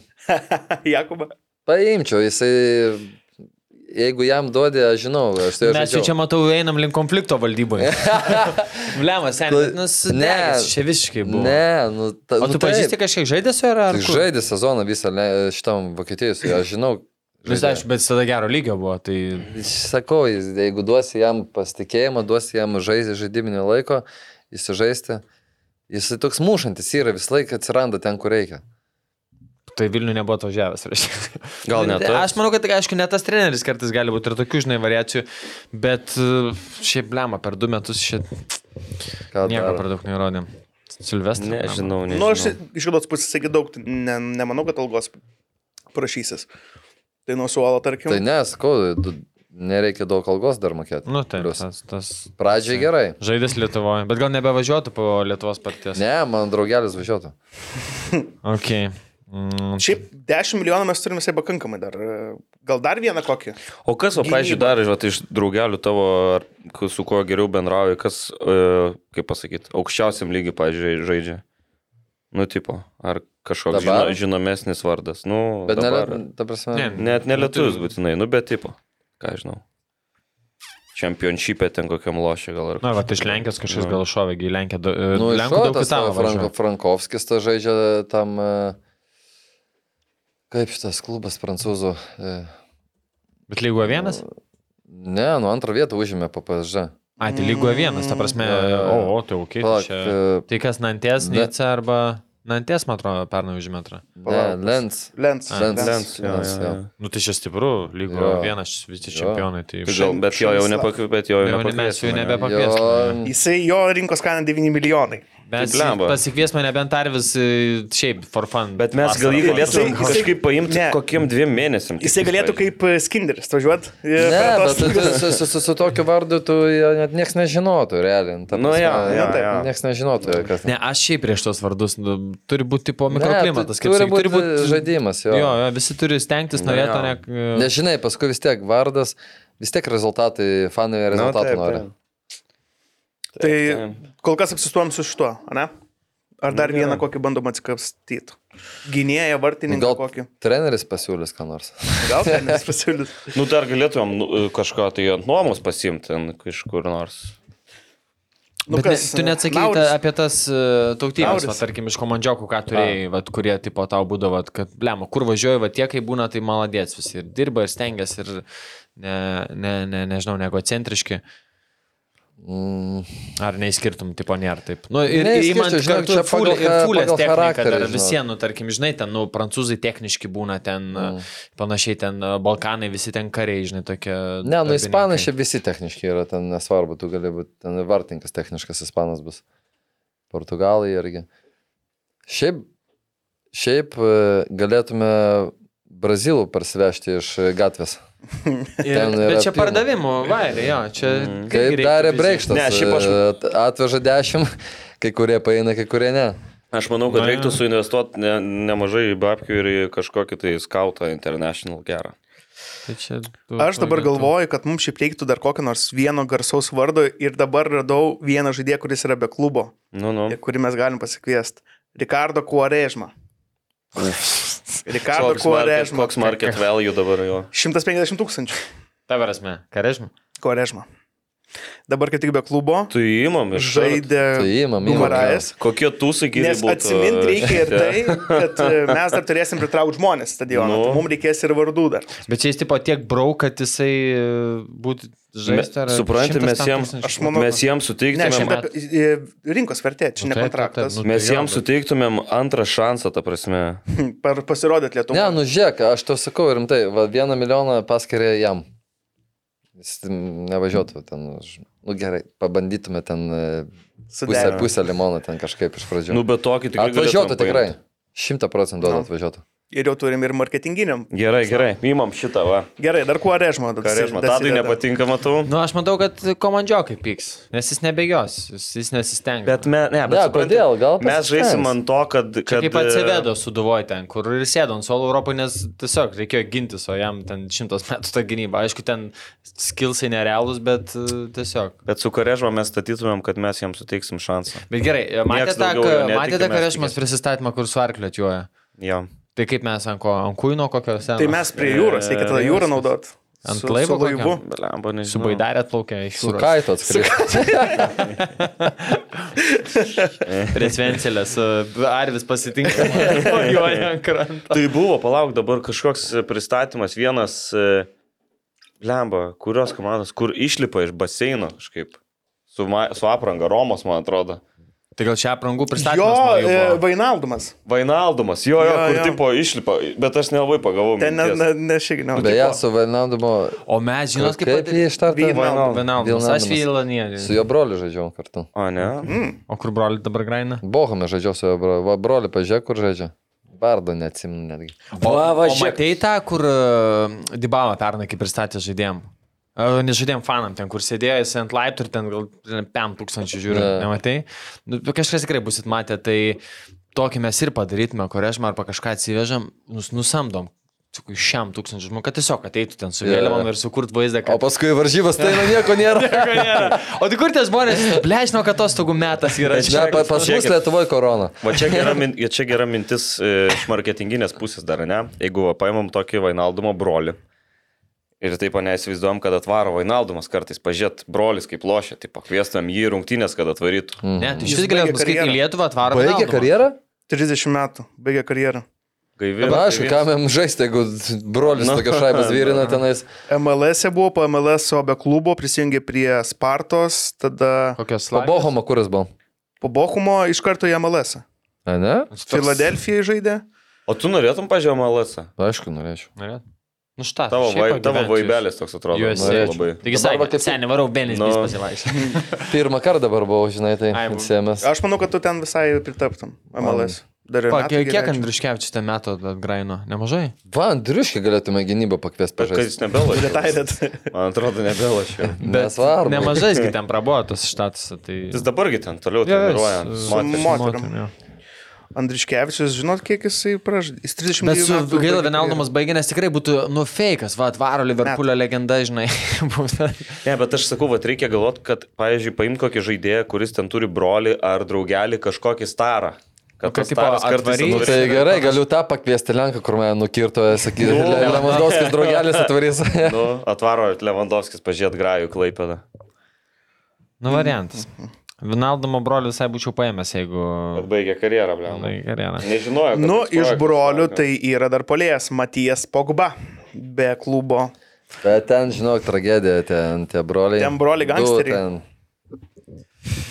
Speaker 3: Jakubą.
Speaker 6: Paimčiau, jisai, jeigu jam duodė, aš žinau, aš tai
Speaker 4: Mes jau čia
Speaker 6: žaidžiau.
Speaker 4: matau, einam link konflikto valdyboje. Blemas,
Speaker 6: Tu-
Speaker 4: seniai, nes
Speaker 6: Ne.
Speaker 4: ne, čia visiškai buvo.
Speaker 6: Ne, nu, ta,
Speaker 4: O
Speaker 6: nu,
Speaker 4: tu pažįsti kažkiek žaidėsi ar ar?
Speaker 6: Tik
Speaker 4: kur?
Speaker 6: žaidė sezoną visą le- šitam Vokietijos, aš žinau.
Speaker 4: Vis
Speaker 6: žaidė.
Speaker 4: aišku, Nu, tai bet visada gero lygio buvo. Tai...
Speaker 6: Sakau, jis- jeigu duosi jam pasitikėjimą, duosi jam žaisti žaidiminį laiko, įsižaisti, jis toks mušantis yra, visą laiką atsiranda ten, kur reikia.
Speaker 4: Tai Vilnių nebuvo atvažiavęs. reiškia.
Speaker 5: Gal ne tu?
Speaker 4: Aš manau, kad aišku, net tas treneris kartais gali būti ir tokių, žinai, variacijų, bet e, šiaip blema, per du metus šiaip
Speaker 6: Ką
Speaker 4: nieko
Speaker 6: daro.
Speaker 4: per daug neįrodėm. Silvestras.
Speaker 5: Nežinau,
Speaker 3: Na, nu, aš
Speaker 5: nežinau.
Speaker 3: iš kitos pusės, sakyk, daug ne, nemanau, kad algos prašysis. Tai nuo suolo, tarkim.
Speaker 6: Tai ne, sakau, du- nereikia daug algos dar mokėti.
Speaker 4: Nu, tai
Speaker 6: Plius.
Speaker 4: tas, tas.
Speaker 6: Pradžiai gerai.
Speaker 4: Žaidės Lietuvoje, bet gal nebevažiuotų po Lietuvos parties.
Speaker 6: Ne, mano draugelis važiuotų.
Speaker 4: Okay. Mm.
Speaker 3: Šiaip 10 milijonų mes turime visai pakankamai dar. E, Gal dar vieną kokį?
Speaker 5: O kas, o, pažiūrėjau, dar vat, iš draugelių tavo, ar ku- su kuo geriau bendrauji, kas, e, kaip pasakyti, aukščiausiam lygiui, pažiūrėjau, žaidžia. Nu, tipo, ar kažkoks žino,
Speaker 6: Dabar?
Speaker 5: žinomesnis vardas. Nu,
Speaker 6: Bet
Speaker 5: dabar,
Speaker 6: ne, ta prasme.
Speaker 4: Ne,
Speaker 5: net nelietuvis būtinai, nu, bet tipo, ką aš žinau. Čempionšypė ten kokiam lošia gal ar... Nu.
Speaker 4: Na, va, iš Lenkijos kažkas gal šovė, į Lenkiją. da- e,
Speaker 6: Nu,
Speaker 4: Lenkų daug
Speaker 6: iššotas
Speaker 4: kitavo.
Speaker 6: Franko,
Speaker 4: važiuoja.
Speaker 6: Frankovskis to žaidžia tam. e, Kaip šitas klubas prancūzų? e,
Speaker 4: Bet lygoje vienas?
Speaker 6: Ne, nu antrą vietą užėmė PPSŽ.
Speaker 4: A, tai lygoje vienas, ta prasme,
Speaker 6: Jo, jo, jo.
Speaker 4: o, o, tai ok.
Speaker 6: Palauk,
Speaker 4: Čia...
Speaker 6: e,
Speaker 4: Tai kas Nantes,
Speaker 6: Ne.
Speaker 4: Nica arba Nantes, man atrodo, pernai užėmė antrą.
Speaker 6: Ne,
Speaker 3: Palauk.
Speaker 6: Lens.
Speaker 3: Lens.
Speaker 4: A,
Speaker 6: Lens.
Speaker 5: Lens, jo,
Speaker 6: Lens,
Speaker 5: jo, jo.
Speaker 6: jo.
Speaker 4: Nu tai čia stipru, lygoje
Speaker 6: Jo.
Speaker 4: vienas, visi
Speaker 6: Jo.
Speaker 4: čempionai. Tai
Speaker 5: Tai Gal, bet jo jau
Speaker 3: Šunislav.
Speaker 5: nepakvietė, jo
Speaker 4: Jau
Speaker 5: jau
Speaker 4: ne-
Speaker 5: nepakvietė.
Speaker 4: mes jų
Speaker 6: Jo,
Speaker 4: nebepakviesime.
Speaker 3: Jisai jo rinkos kaina 9 milijonai.
Speaker 4: Mes
Speaker 5: tai blemba.
Speaker 4: pasikviesime nebent Arvis e, šiaip for fun.
Speaker 5: Bet mes gal jį
Speaker 4: vasarą.
Speaker 5: galėtum
Speaker 3: Jisai- jisai-
Speaker 5: kažkaip paimti
Speaker 3: ne.
Speaker 5: kokiem dviem mėnesiam.
Speaker 3: Jisai galėtų kaip e, skinderis e, važiuoti.
Speaker 6: Ne, bet tu- tu- su, su, su, su tokiu vardu tu jo net niekas nežinotų, realiai. Ta
Speaker 5: Nu,
Speaker 6: prasme,
Speaker 5: jo, jo, jo.
Speaker 6: Niekas nežinotų, kas
Speaker 4: Ne, aš šiaip prieš tos vardus, nu, turi būti tipo
Speaker 6: Ne,
Speaker 4: mikroklimatas,
Speaker 6: tu-
Speaker 4: kaip
Speaker 6: turi
Speaker 4: sakyt,
Speaker 6: būti žaidimas, jo.
Speaker 4: Jo, jo, visi turi stengtis,
Speaker 5: Nu,
Speaker 4: norėtų,
Speaker 5: jo.
Speaker 4: ne... e,
Speaker 6: Nežinai, paskui vis tiek vardas, vis tiek rezultatai, fanai rezultatų nori.
Speaker 3: Tai
Speaker 5: taip.
Speaker 3: kol kas apsistuom su šituo, ne? Ar dar vieną kokį bandom atsikapstyti? Gynėją, vartininką
Speaker 6: Gal
Speaker 3: gal... kokį.
Speaker 6: treneris pasiūlys, ką nors.
Speaker 3: Gal tai nespasiūlys.
Speaker 5: Nu, dar galėtumėm nu, kažką tai ant nuomos pasimti ten iš kur nors.
Speaker 6: Nu,
Speaker 4: Bet ne,
Speaker 6: e,
Speaker 4: tu neatsakai ta, apie tas uh, tautybės,
Speaker 3: Lauris.
Speaker 4: va, tarkim, iš komandžiokų, ką turėjai, va, kurie tipo tau būdavo, vat, kad, blemo, kur važiuoji, va tie, kai būna, tai maladėts visi ir dirba, ir stengiasi, ir, ne, ne, ne, nežinau, negu centriški.
Speaker 6: Mm,
Speaker 4: Ar neįskirtum, tipo, nėra taip. Nu, ir
Speaker 6: Neišskirčiau,
Speaker 4: įmant,
Speaker 6: žinok,
Speaker 4: žinai, čia
Speaker 6: čia
Speaker 4: fulė,
Speaker 6: pagal
Speaker 4: ir
Speaker 6: cha-
Speaker 4: fulės
Speaker 6: pagal
Speaker 4: technika,
Speaker 6: charakterį,
Speaker 4: dar
Speaker 6: žinok.
Speaker 4: visienų, tarkim, žinai, ten, nu, prancūzai techniški būna, ten mm. panašiai, ten e, Balkanai, visi ten kariai, žinai, tokie.
Speaker 6: ne, nu,
Speaker 4: darbininkai.
Speaker 6: ispanai šiaip visi techniški yra, ten nesvarbu, tu gali būti, ten ir vartininkas techniškas ispanas bus. Portugalai irgi. Šiaip, šiaip e, galėtume brazilų parsivežti iš e, gatvės.
Speaker 4: Ir,
Speaker 6: ten
Speaker 4: bet
Speaker 6: yra
Speaker 4: čia
Speaker 6: pilna.
Speaker 4: pardavimo, vairė, jo, čia.
Speaker 5: Mm.
Speaker 4: irgi
Speaker 5: Tai
Speaker 6: Kaip
Speaker 4: reiktų
Speaker 6: darė
Speaker 4: visi-
Speaker 6: Breikštas.
Speaker 5: Ne, šiaip aš-
Speaker 6: e, Atveža dešimt, kai kurie paeina, kai kurie ne.
Speaker 5: Aš manau, kad
Speaker 4: Na,
Speaker 5: Na, reiktų
Speaker 4: jo.
Speaker 5: suinvestuoti ne, nemažai į babkių ir į kažkokį tai skautą international gerą.
Speaker 4: Tai čia tu-
Speaker 3: Aš dabar
Speaker 4: tu- tu-
Speaker 3: galvoju, kad mums šiaip reiktų dar kokio nors vieno garsaus vardo ir dabar radau vieną žaidėją, kuris yra be klubo
Speaker 5: Nu, nu.
Speaker 3: Mhm. ir kurį mes galim pasikviesti. Ricardo Kuarežma. Ricardo
Speaker 5: Koks market,
Speaker 3: Kuarežma.
Speaker 5: koks market value dabar jo.
Speaker 3: 150 tūkstančių.
Speaker 4: Ta prasme, karežmė.
Speaker 3: Kuarežma. Dabar kaip tik be klubo
Speaker 5: Tu jį imam iš žaidimų.
Speaker 6: Tai
Speaker 3: žaidė
Speaker 6: įimam, įimam.
Speaker 3: Gumarajas.
Speaker 5: Kokie tu e, sakytum?
Speaker 3: Nes atsiminti reikia ir tai, kad e, mes dar turėsim pritraukti žmonės stadioną.
Speaker 5: Nu.
Speaker 3: Nu. Mums reikės ir vardų dar.
Speaker 4: Bet čia jis tipo tiek brauk, kad jisai e, būtų žaistų ar...
Speaker 5: Suprantate, mes jiems,
Speaker 3: Aš manau-
Speaker 5: mes jiems
Speaker 3: Ne,
Speaker 5: suteiktumėm,
Speaker 3: šiandien
Speaker 4: mat-
Speaker 3: apie e, rinkos vertė, čia
Speaker 4: Nu,
Speaker 3: ne
Speaker 4: taip, taip,
Speaker 3: kontraktas.
Speaker 4: taip, nu.
Speaker 5: mes
Speaker 4: tai jo,
Speaker 5: jiems
Speaker 4: bet-
Speaker 5: suteiktumėm antrą šansą, ta prasme.
Speaker 3: Per pasirodėt
Speaker 6: Ne,
Speaker 3: Lietuvą.
Speaker 6: nu žiek, aš to sakau rimtai, va, vieną milijoną paskiria jam. Jis ten nevažiuotų ten, už- nu gerai, pabandytume ten e, pusę,
Speaker 3: Suderinti.
Speaker 6: pusę limoną ten kažkaip iš pradžių.
Speaker 5: Nu, bet tokį tikrai.
Speaker 6: atvažiuotų
Speaker 5: galėtumėm
Speaker 6: tikrai.
Speaker 5: paimt.
Speaker 6: Šimtą procentų
Speaker 3: Nu.
Speaker 6: atvažiuotų.
Speaker 3: Ir jau turim ir marketinginiam.
Speaker 5: Gerai, gerai, imam šitą, va.
Speaker 3: Gerai, dar kuo režmo dar.
Speaker 5: Karežma,
Speaker 3: dar
Speaker 5: tadai
Speaker 3: įdeda.
Speaker 5: nepatinka, matau.
Speaker 4: Nu, aš matau, kad komandžiokai pyks, nes jis nebėgios, jis, jis nesistengia.
Speaker 5: Bet me, ne, bet
Speaker 6: Ne,
Speaker 5: supranti,
Speaker 6: kodėl? Gal
Speaker 5: mes
Speaker 6: pasistengs.
Speaker 5: žaisim ant to, kad...
Speaker 4: Čia
Speaker 5: kad e-
Speaker 4: kaip atsivedo suduvoj ten, kur ir sėdo ant suolo Europoje, nes tiesiog reikėjo gintis, o jam ten šimtas metų ta gynyba. Aišku, ten skilsai nerealūs, bet e, tiesiog.
Speaker 5: Bet su Karežma mes statytumėm, kad mes jiems suteiksim šansą.
Speaker 4: Bet gerai, e, matėte tą,
Speaker 5: Nieks daugiau jo netiki,
Speaker 4: matė tą
Speaker 5: mes
Speaker 4: karešmas
Speaker 5: tikėsim.
Speaker 4: prisistatymą, kur su arkliu atjuoja.
Speaker 5: Jo.
Speaker 4: Tai kaip mes ant, ko, ant kūno kokio seno?
Speaker 3: Tai mes prie jūros, reikia tada jūrą naudot.
Speaker 4: e, Ant
Speaker 3: Su-
Speaker 4: laivo
Speaker 3: Su laivu.
Speaker 4: kokio?
Speaker 5: Blemba, nežinau.
Speaker 4: Su baidarė atplaukė iš
Speaker 6: Su
Speaker 4: jūros.
Speaker 6: kaito atskristi.
Speaker 4: Prie svencelės. Arvis pasitinka. Mojuoja ant krantą.
Speaker 5: Tai buvo, palauk, dabar kažkoks pristatymas, vienas, e, blemba, kurios komandos, kur išlipa iš baseino kažkaip. Su, ma, su apranga, Romos, man atrodo.
Speaker 4: Tai gal čia aprangų
Speaker 3: Jo,
Speaker 4: pristatymas?
Speaker 3: e,
Speaker 4: Jo,
Speaker 3: Vainaldumas.
Speaker 5: Vainaldumas, jo,
Speaker 3: Jo,
Speaker 5: jo, jo kur
Speaker 3: jo.
Speaker 5: jo. tipo išlipa, bet aš nelabai pagavau.
Speaker 3: Ten ne,
Speaker 5: minties.
Speaker 3: ne, ne šiaip, ne.
Speaker 6: Beje, su Vainandumo.
Speaker 4: o mes, žinot, kaip...
Speaker 6: Kaip jį ištarti?
Speaker 3: Vyna-
Speaker 4: Vienam. Aš
Speaker 6: Vilnandamas. Su
Speaker 4: Vylanėlis.
Speaker 6: jo broliu žaidžiau kartu.
Speaker 5: O ne?
Speaker 4: O kur broli dabar graina?
Speaker 6: Bohame žaidžiau su jo broliu. Va, broliu, pažiūrėk, kur žaidžia. Bardo neatsimenu netgi.
Speaker 4: O, o matei tą, kur e, Dybala pernai kaip pristatė žaidėjim. Nežaidėjom E, fanam ten, kur sėdėjo jis ant laiptų ir ten gal 5000 žiūri,
Speaker 6: Ne.
Speaker 4: yeah. nematai. Nu, tu kažkas tikrai busit matę, tai tokį mes ir padarytume, korežmą arba kažką atsivežam, nus, nusamdom. Sakau, Šiam tūkstančiu žmonių, kad tiesiog ateitų ten su
Speaker 6: Jo, jo.
Speaker 4: vėliavom yeah. ir sukurt vaizdą,
Speaker 6: O
Speaker 4: kad...
Speaker 6: paskui varžybas, tai na nieko nėra.
Speaker 4: Nieko nėra. O tai kur tie žmonės, bležino, kad atostogų metas yra
Speaker 6: Ne,
Speaker 4: čia.
Speaker 6: pa, pas mus
Speaker 5: žiūrėkit.
Speaker 6: Lietuvoje korona.
Speaker 5: Va čia gera, min, čia gera mintis e, iš marketinginės pusės dar, ne? Jeigu va, paimam tokį Vainaldumo brolį. Ir taip neįsivaizduom, kad atvaro Vainaldumas kartais, pažiūrėt, brolis kaip lošia, tai pakviestam jį į rungtynės, kad atvarytų.
Speaker 4: Ne, tai
Speaker 3: Jis
Speaker 4: šis galėtum
Speaker 3: baigė
Speaker 4: skaityti
Speaker 3: karjerą.
Speaker 4: Lietuvą, atvarom.
Speaker 6: Mhm. Baigė karjerą?
Speaker 3: 30 metų, baigė karjerą.
Speaker 5: Gaivi.
Speaker 6: Na, aišku, kam jam žaisti, jeigu brolis
Speaker 4: Nu.
Speaker 5: Na,
Speaker 6: tokia šaibas vyrina nu, tenais.
Speaker 3: MLS e buvo, po MLS o be klubo prisijungė prie Spartos, tada
Speaker 4: Kokios
Speaker 6: Po
Speaker 4: slaptos.
Speaker 6: Bohomo kuras buvo.
Speaker 3: po Bochumo iš karto į MLS. -ą.
Speaker 6: A, ne?
Speaker 3: Filadelfijai žaidė.
Speaker 5: O tu norėtum pažiūrėti Malasą?
Speaker 6: Aišku, norėčiau.
Speaker 4: Norėt? Nu štai.
Speaker 5: Tavo, vai, tavo vaibelis toks atrodo.
Speaker 4: Juos
Speaker 5: man
Speaker 6: norėčiau.
Speaker 5: labai.
Speaker 4: Taigi,
Speaker 6: Dabar va
Speaker 4: sakė,
Speaker 6: kaip-
Speaker 4: kaip seniai varau Benis,
Speaker 5: Nu.
Speaker 4: no. pasivaikščiai.
Speaker 6: Pirmą kartą dabar buvau, žinai, tai
Speaker 4: Ai, bu-
Speaker 6: atsėmęs.
Speaker 3: Aš manau, kad tu ten visai pritaptum MLS. Dar ir metų
Speaker 4: Kiek
Speaker 3: gerai.
Speaker 4: Andriuškevičius ten metų atgraino? Nemažai?
Speaker 6: Van, driuškiai galėtume gynybą pakviesti
Speaker 5: Bet kad
Speaker 6: pažaisti.
Speaker 5: jis nebelašė.
Speaker 3: Retired.
Speaker 5: Man atrodo, nebelašė.
Speaker 6: Nesvarbu.
Speaker 4: Nemažaisgi ten prabuvo tas štatas. Tai...
Speaker 5: Jis dabargi ten toliau
Speaker 4: Jo, jo,
Speaker 5: treniruoja.
Speaker 4: jis-
Speaker 5: Moteris.
Speaker 3: Mo-
Speaker 4: moterim,
Speaker 3: moterim.
Speaker 4: jo.
Speaker 3: Andriškevičius, žinot, kiek jisai pražudė? Jis 30
Speaker 4: Bet
Speaker 3: metų.
Speaker 4: su gaila vienaldomas baigė, nes tikrai būtų nu fejkas, va, atvaro Liverpoolio legenda, žinai. būtų.
Speaker 5: Ne, bet aš sakau, vat, reikia galvoti, kad, pavyzdžiui, paimk kokį žaidėją, kuris ten turi brolį ar draugelį kažkokį starą.
Speaker 4: Nu,
Speaker 5: Kad
Speaker 4: kad,
Speaker 5: tas
Speaker 4: tipo,
Speaker 5: staras kartais
Speaker 4: atvaryt.
Speaker 6: Nu, tai gerai, galiu tą pakviesti Lenką, kur mane nukirto, sakyti,
Speaker 5: Nu.
Speaker 6: Lemasdovskis draugelis atvarys.
Speaker 5: Nu, atvaro Levandovskis, pažiūrėt, grajų klaipėdą.
Speaker 4: Nu, variantas. Vinaldomo broliu visai būčiau paėmęs, jeigu...
Speaker 5: Bet baigė karjerą, blem.
Speaker 4: Tai gerai.
Speaker 5: Nežinojau. kad
Speaker 3: Nu,
Speaker 5: toks
Speaker 3: iš
Speaker 5: projektas
Speaker 3: brolių
Speaker 5: laukia.
Speaker 3: tai yra dar polėjas Matijas Pogba. Be klubo.
Speaker 6: Bet ten, žinok, tragedija, ten tie broliai.
Speaker 3: Ten broliai
Speaker 6: Du
Speaker 3: gangsteriai.
Speaker 6: ten.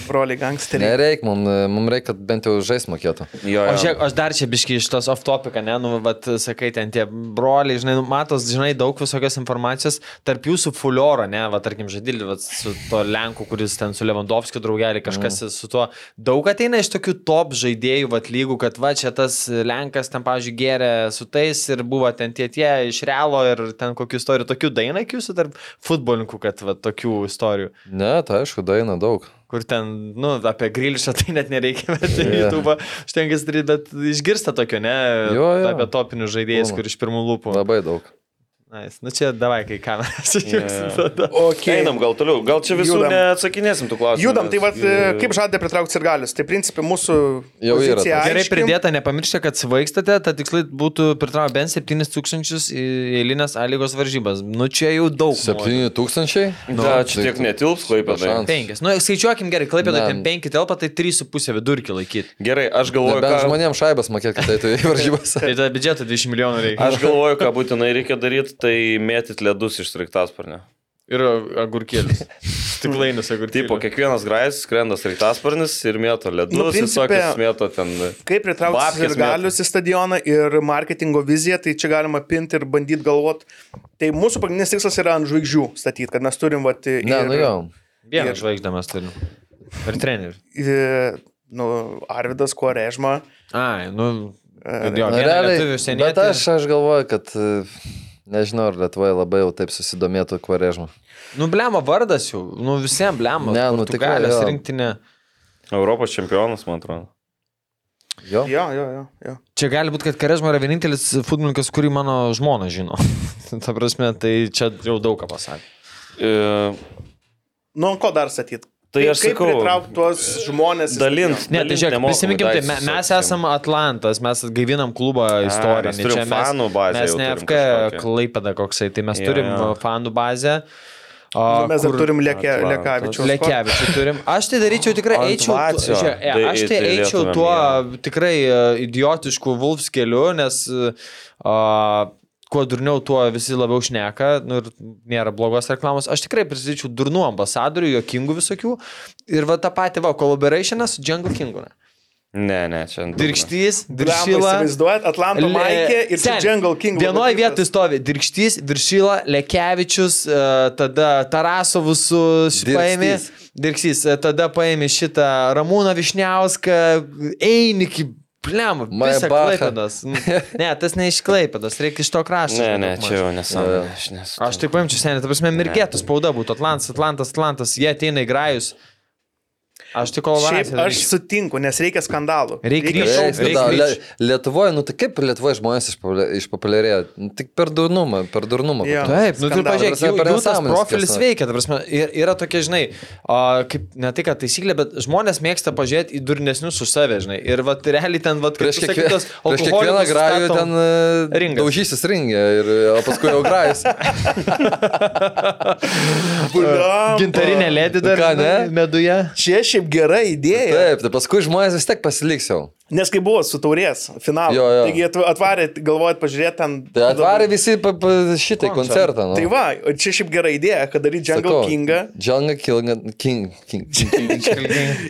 Speaker 3: Broliai gangsteriai.
Speaker 6: Nereik, mums mum reikia, kad bent jau žais mokėtų.
Speaker 5: Jo,
Speaker 4: O
Speaker 5: jo.
Speaker 4: žiūrėk, aš dar čia biškai iš tos off topika, ne, nu, vat, sakai, ten tie broliai, žinai, nu, matos, žinai, daug visokios informacijos, tarp jūsų fulioro, ne, va, tarkim, žadėlį, va, su to Lenku, kuris ten su Levandovskiu draugelį, kažkas
Speaker 5: Mhm.
Speaker 4: mm. su tuo, daug ateina iš tokių top žaidėjų, va, lygų, kad va, čia tas Lenkas ten, pavyzdžiui, geria su tais ir buvo ten tie tie iš realo ir ten kokių istorijų, tokių dainaikių su tarp futbolininkų, kad va, tokių istorijų
Speaker 6: Ne, tai aišku, daina daug.
Speaker 4: kur ten, nu, apie grilišą tai net nereikia, bet yeah.
Speaker 6: Jo.
Speaker 4: YouTube užtenkas daryti, bet išgirsta tokio, ne,
Speaker 6: Jo, jo.
Speaker 4: apie topinius žaidėjus,
Speaker 6: Būna.
Speaker 4: kur iš pirmų lūpų.
Speaker 6: Labai daug.
Speaker 4: Nice. Nu čia davai, kai ką mes išgirsim
Speaker 5: Jo.
Speaker 4: tada.
Speaker 3: Okay.
Speaker 5: Einam gal toliau, gal čia visų
Speaker 3: Judam.
Speaker 5: neatsakinėsim tų klausimų.
Speaker 3: Judam,
Speaker 5: nes- e,
Speaker 3: tai vad, kaip žadė pritraukti ir galius. Tai principai mūsų
Speaker 6: Jau
Speaker 3: pozicija
Speaker 6: yra tas.
Speaker 4: Gerai
Speaker 3: aiški.
Speaker 4: pridėta, nepamirškite, kad svaigstate, ta tikslai būtų pritraukti bent 7000 į eilinės A lygos varžybas. Nu čia jau daug.
Speaker 6: 7000?
Speaker 3: Nu,
Speaker 5: Na, čia tiek netilps, klaipėdai.
Speaker 6: Šansas.
Speaker 4: 5. Nu, skaičiuokim gerai, klaipėdai
Speaker 6: Ne.
Speaker 4: ten 5 telpa, tai 3,5 vidurkį laikyti.
Speaker 5: Gerai, aš galvoju,
Speaker 6: Bent
Speaker 5: ką,
Speaker 6: žmonėms šaibas mokėti, kad eitų į varžybas.
Speaker 4: Tai tada biudžeto 20 milijonų reikia.
Speaker 5: aš galvoju, ką būtinai reikia daryti, tai mėtyti ledus iš sraigtasparnio.
Speaker 4: Ir agurkėlis. Stiklainis agurkėlis.
Speaker 5: Taip, po kiekvienas grajus skrenda sraigtasparnis ir mėto ledus,
Speaker 3: Nu,
Speaker 5: nu,
Speaker 3: principe-
Speaker 5: visokius mėto ten.
Speaker 3: Kaip pritraukti
Speaker 5: Babkes
Speaker 3: ir galius į stadioną ir marketingo viziją, tai čia galima pinti ir bandyti galvot. Tai mūsų pagrindinis tikslas yra ant žvaigždžių statyti, kad mes turim vat, e, ir,
Speaker 6: Ne, nu jau.
Speaker 4: Vieną
Speaker 3: Ir-
Speaker 4: žvaigždę mes turim. Ir trenerį.
Speaker 3: ir, nu, E, Arvidas Kuorežma.
Speaker 4: Ai, nu. kad Jo, vieną
Speaker 6: Nu,
Speaker 4: lietuvių
Speaker 6: realiai,
Speaker 4: užsienietį.
Speaker 6: bet aš, aš galvoju, kad e, nežinau, ar Lietuvoje labai jau taip susidomėtų kvarežmu.
Speaker 4: Nu, blemo vardas jau. Nu, visiems blemo.
Speaker 6: Ne, nu, tikrai,
Speaker 4: Galės
Speaker 6: jo.
Speaker 4: rinktinė.
Speaker 5: Europos čempionas, man atrodo.
Speaker 6: Jo.
Speaker 3: Jo, jo, jo. jo.
Speaker 4: Čia gali būti, kad Karežmo yra vienintelis futbolininkas, kurį mano žmona žino. Ta prasme, tai čia jau daug ką pasakė.
Speaker 5: E,
Speaker 3: Nu, ant ko dar statyti?
Speaker 5: Tai
Speaker 3: Kaip,
Speaker 5: aš
Speaker 3: kaip
Speaker 5: sakau,
Speaker 3: pritraukti tuos žmonės?
Speaker 5: dalint.
Speaker 4: Ne, tai
Speaker 5: dalint
Speaker 4: žiūrėk,
Speaker 5: nemokamai
Speaker 4: prisiminkim, tai
Speaker 5: daiktus
Speaker 4: me- mes
Speaker 5: visiems.
Speaker 4: esame Atlantas, mes gaivinam klubą istoriją.
Speaker 5: mes turim fanų bazę
Speaker 4: Mes
Speaker 5: jau
Speaker 4: ne
Speaker 5: turim
Speaker 4: FK
Speaker 5: kažkokią.
Speaker 4: klaipeda koksai, tai mes
Speaker 5: Jo,
Speaker 4: turim
Speaker 5: jo.
Speaker 4: uh, fanų bazę.
Speaker 3: Nu, mes dar turim Leke,
Speaker 5: Atlantas.
Speaker 3: Lekavičiaus.
Speaker 4: Lekevičių turim. Aš tai daryčiau tikrai,
Speaker 5: Ant
Speaker 4: eičiau,
Speaker 5: Vacio.
Speaker 4: žiūrėk, e,
Speaker 5: Tai-
Speaker 4: aš tai
Speaker 5: tai
Speaker 4: eičiau
Speaker 5: lietumėm,
Speaker 4: tuo
Speaker 5: jo.
Speaker 4: tikrai e, idiotišku Vulfs keliu, nes a, kuo durniau, tuo visi labiau šneka nu, ir nėra blogos reklamos. Aš tikrai prisidyčiau durnų ambasadorių, jokingų visokių. Ir va tą patį, va, collaborationą su Jungle Kingu. ne.
Speaker 5: Ne, ne, čia.
Speaker 4: Dirkštys,
Speaker 3: Diršyla.
Speaker 4: diršyla.
Speaker 3: Įsivaizduojat, Atlanto Maikė ir
Speaker 4: Sen,
Speaker 3: Jungle King.
Speaker 4: Vienoje vietoje stovi Dirkštys, Diršyla, Lekevičius, e, tada Tarasovus su
Speaker 6: Dirkštys.
Speaker 4: paėmė. Dirksys, e, tada paėmė šitą Ramūną Višniauską, Einikį, Plem, visą
Speaker 6: Maibachą.
Speaker 4: Klaipėdas. Ne, tas ne iš Klaipėdas, reikia iš to krašto.
Speaker 5: Ne, ne,
Speaker 4: daugmaž.
Speaker 5: čia jau nesąmonė. Aš nesu.
Speaker 4: Aš tik paimčiau seniai, ta prasme, mirgėtų spauda būtų Atlantas, Atlantas, Atlantas, jie ateina į grajus. Aš tik kol
Speaker 3: Šiaip aš sutinku, nes reikia skandalų.
Speaker 4: Reik ryšio,
Speaker 6: Taip,
Speaker 4: Reik-
Speaker 6: bet
Speaker 4: reik
Speaker 6: da,
Speaker 4: grįžt.
Speaker 6: Le- Lietuvoje, nu tai kaip Lietuvoje žmonės išpopulia- išpopuliarėjo? Nu, Tik per durnumą, per durnumą.
Speaker 3: Jo.
Speaker 6: kokią.
Speaker 4: Taip, nu tai
Speaker 3: Skandalas.
Speaker 4: pažiūrėk,
Speaker 6: Ta prasme,
Speaker 4: jų,
Speaker 6: per
Speaker 4: jų tas
Speaker 6: nesąmones
Speaker 4: profilis
Speaker 6: tiesiog.
Speaker 4: veikia, ta prasme, ir- yra tokie, žinai, a, kaip ne tai, kad taisyklė, bet žmonės mėgsta pažiūrėti į durnesnius už save, žinai, ir va, realiai ten, va,
Speaker 6: Prieš, kiekvie... prieš kiekvieną grajų ten e,
Speaker 4: ringas.
Speaker 6: daužysis ringė, ir, e, o paskui jau grajus.
Speaker 3: Bulio.
Speaker 4: Gintarinė lėdė dar,
Speaker 6: Nu Ką,
Speaker 4: žinai,
Speaker 6: ne?
Speaker 4: meduje.
Speaker 3: Čia šiaip gera idėja.
Speaker 6: Taip, tai paskui žmonės vis tiek pasiliks jau.
Speaker 3: Nes kai buvo su taurės finalu,
Speaker 6: Jo, jo.
Speaker 3: taigi atv- atvarėt, galvojat, pažiūrėt ten.
Speaker 6: Tai atvarė visi pa- pa- šitai koncertą. Nu.
Speaker 3: Tai va, čia šiaip gera idėja, kad daryti Jungle Kingą.
Speaker 6: Džanga Kinga. King. King. King.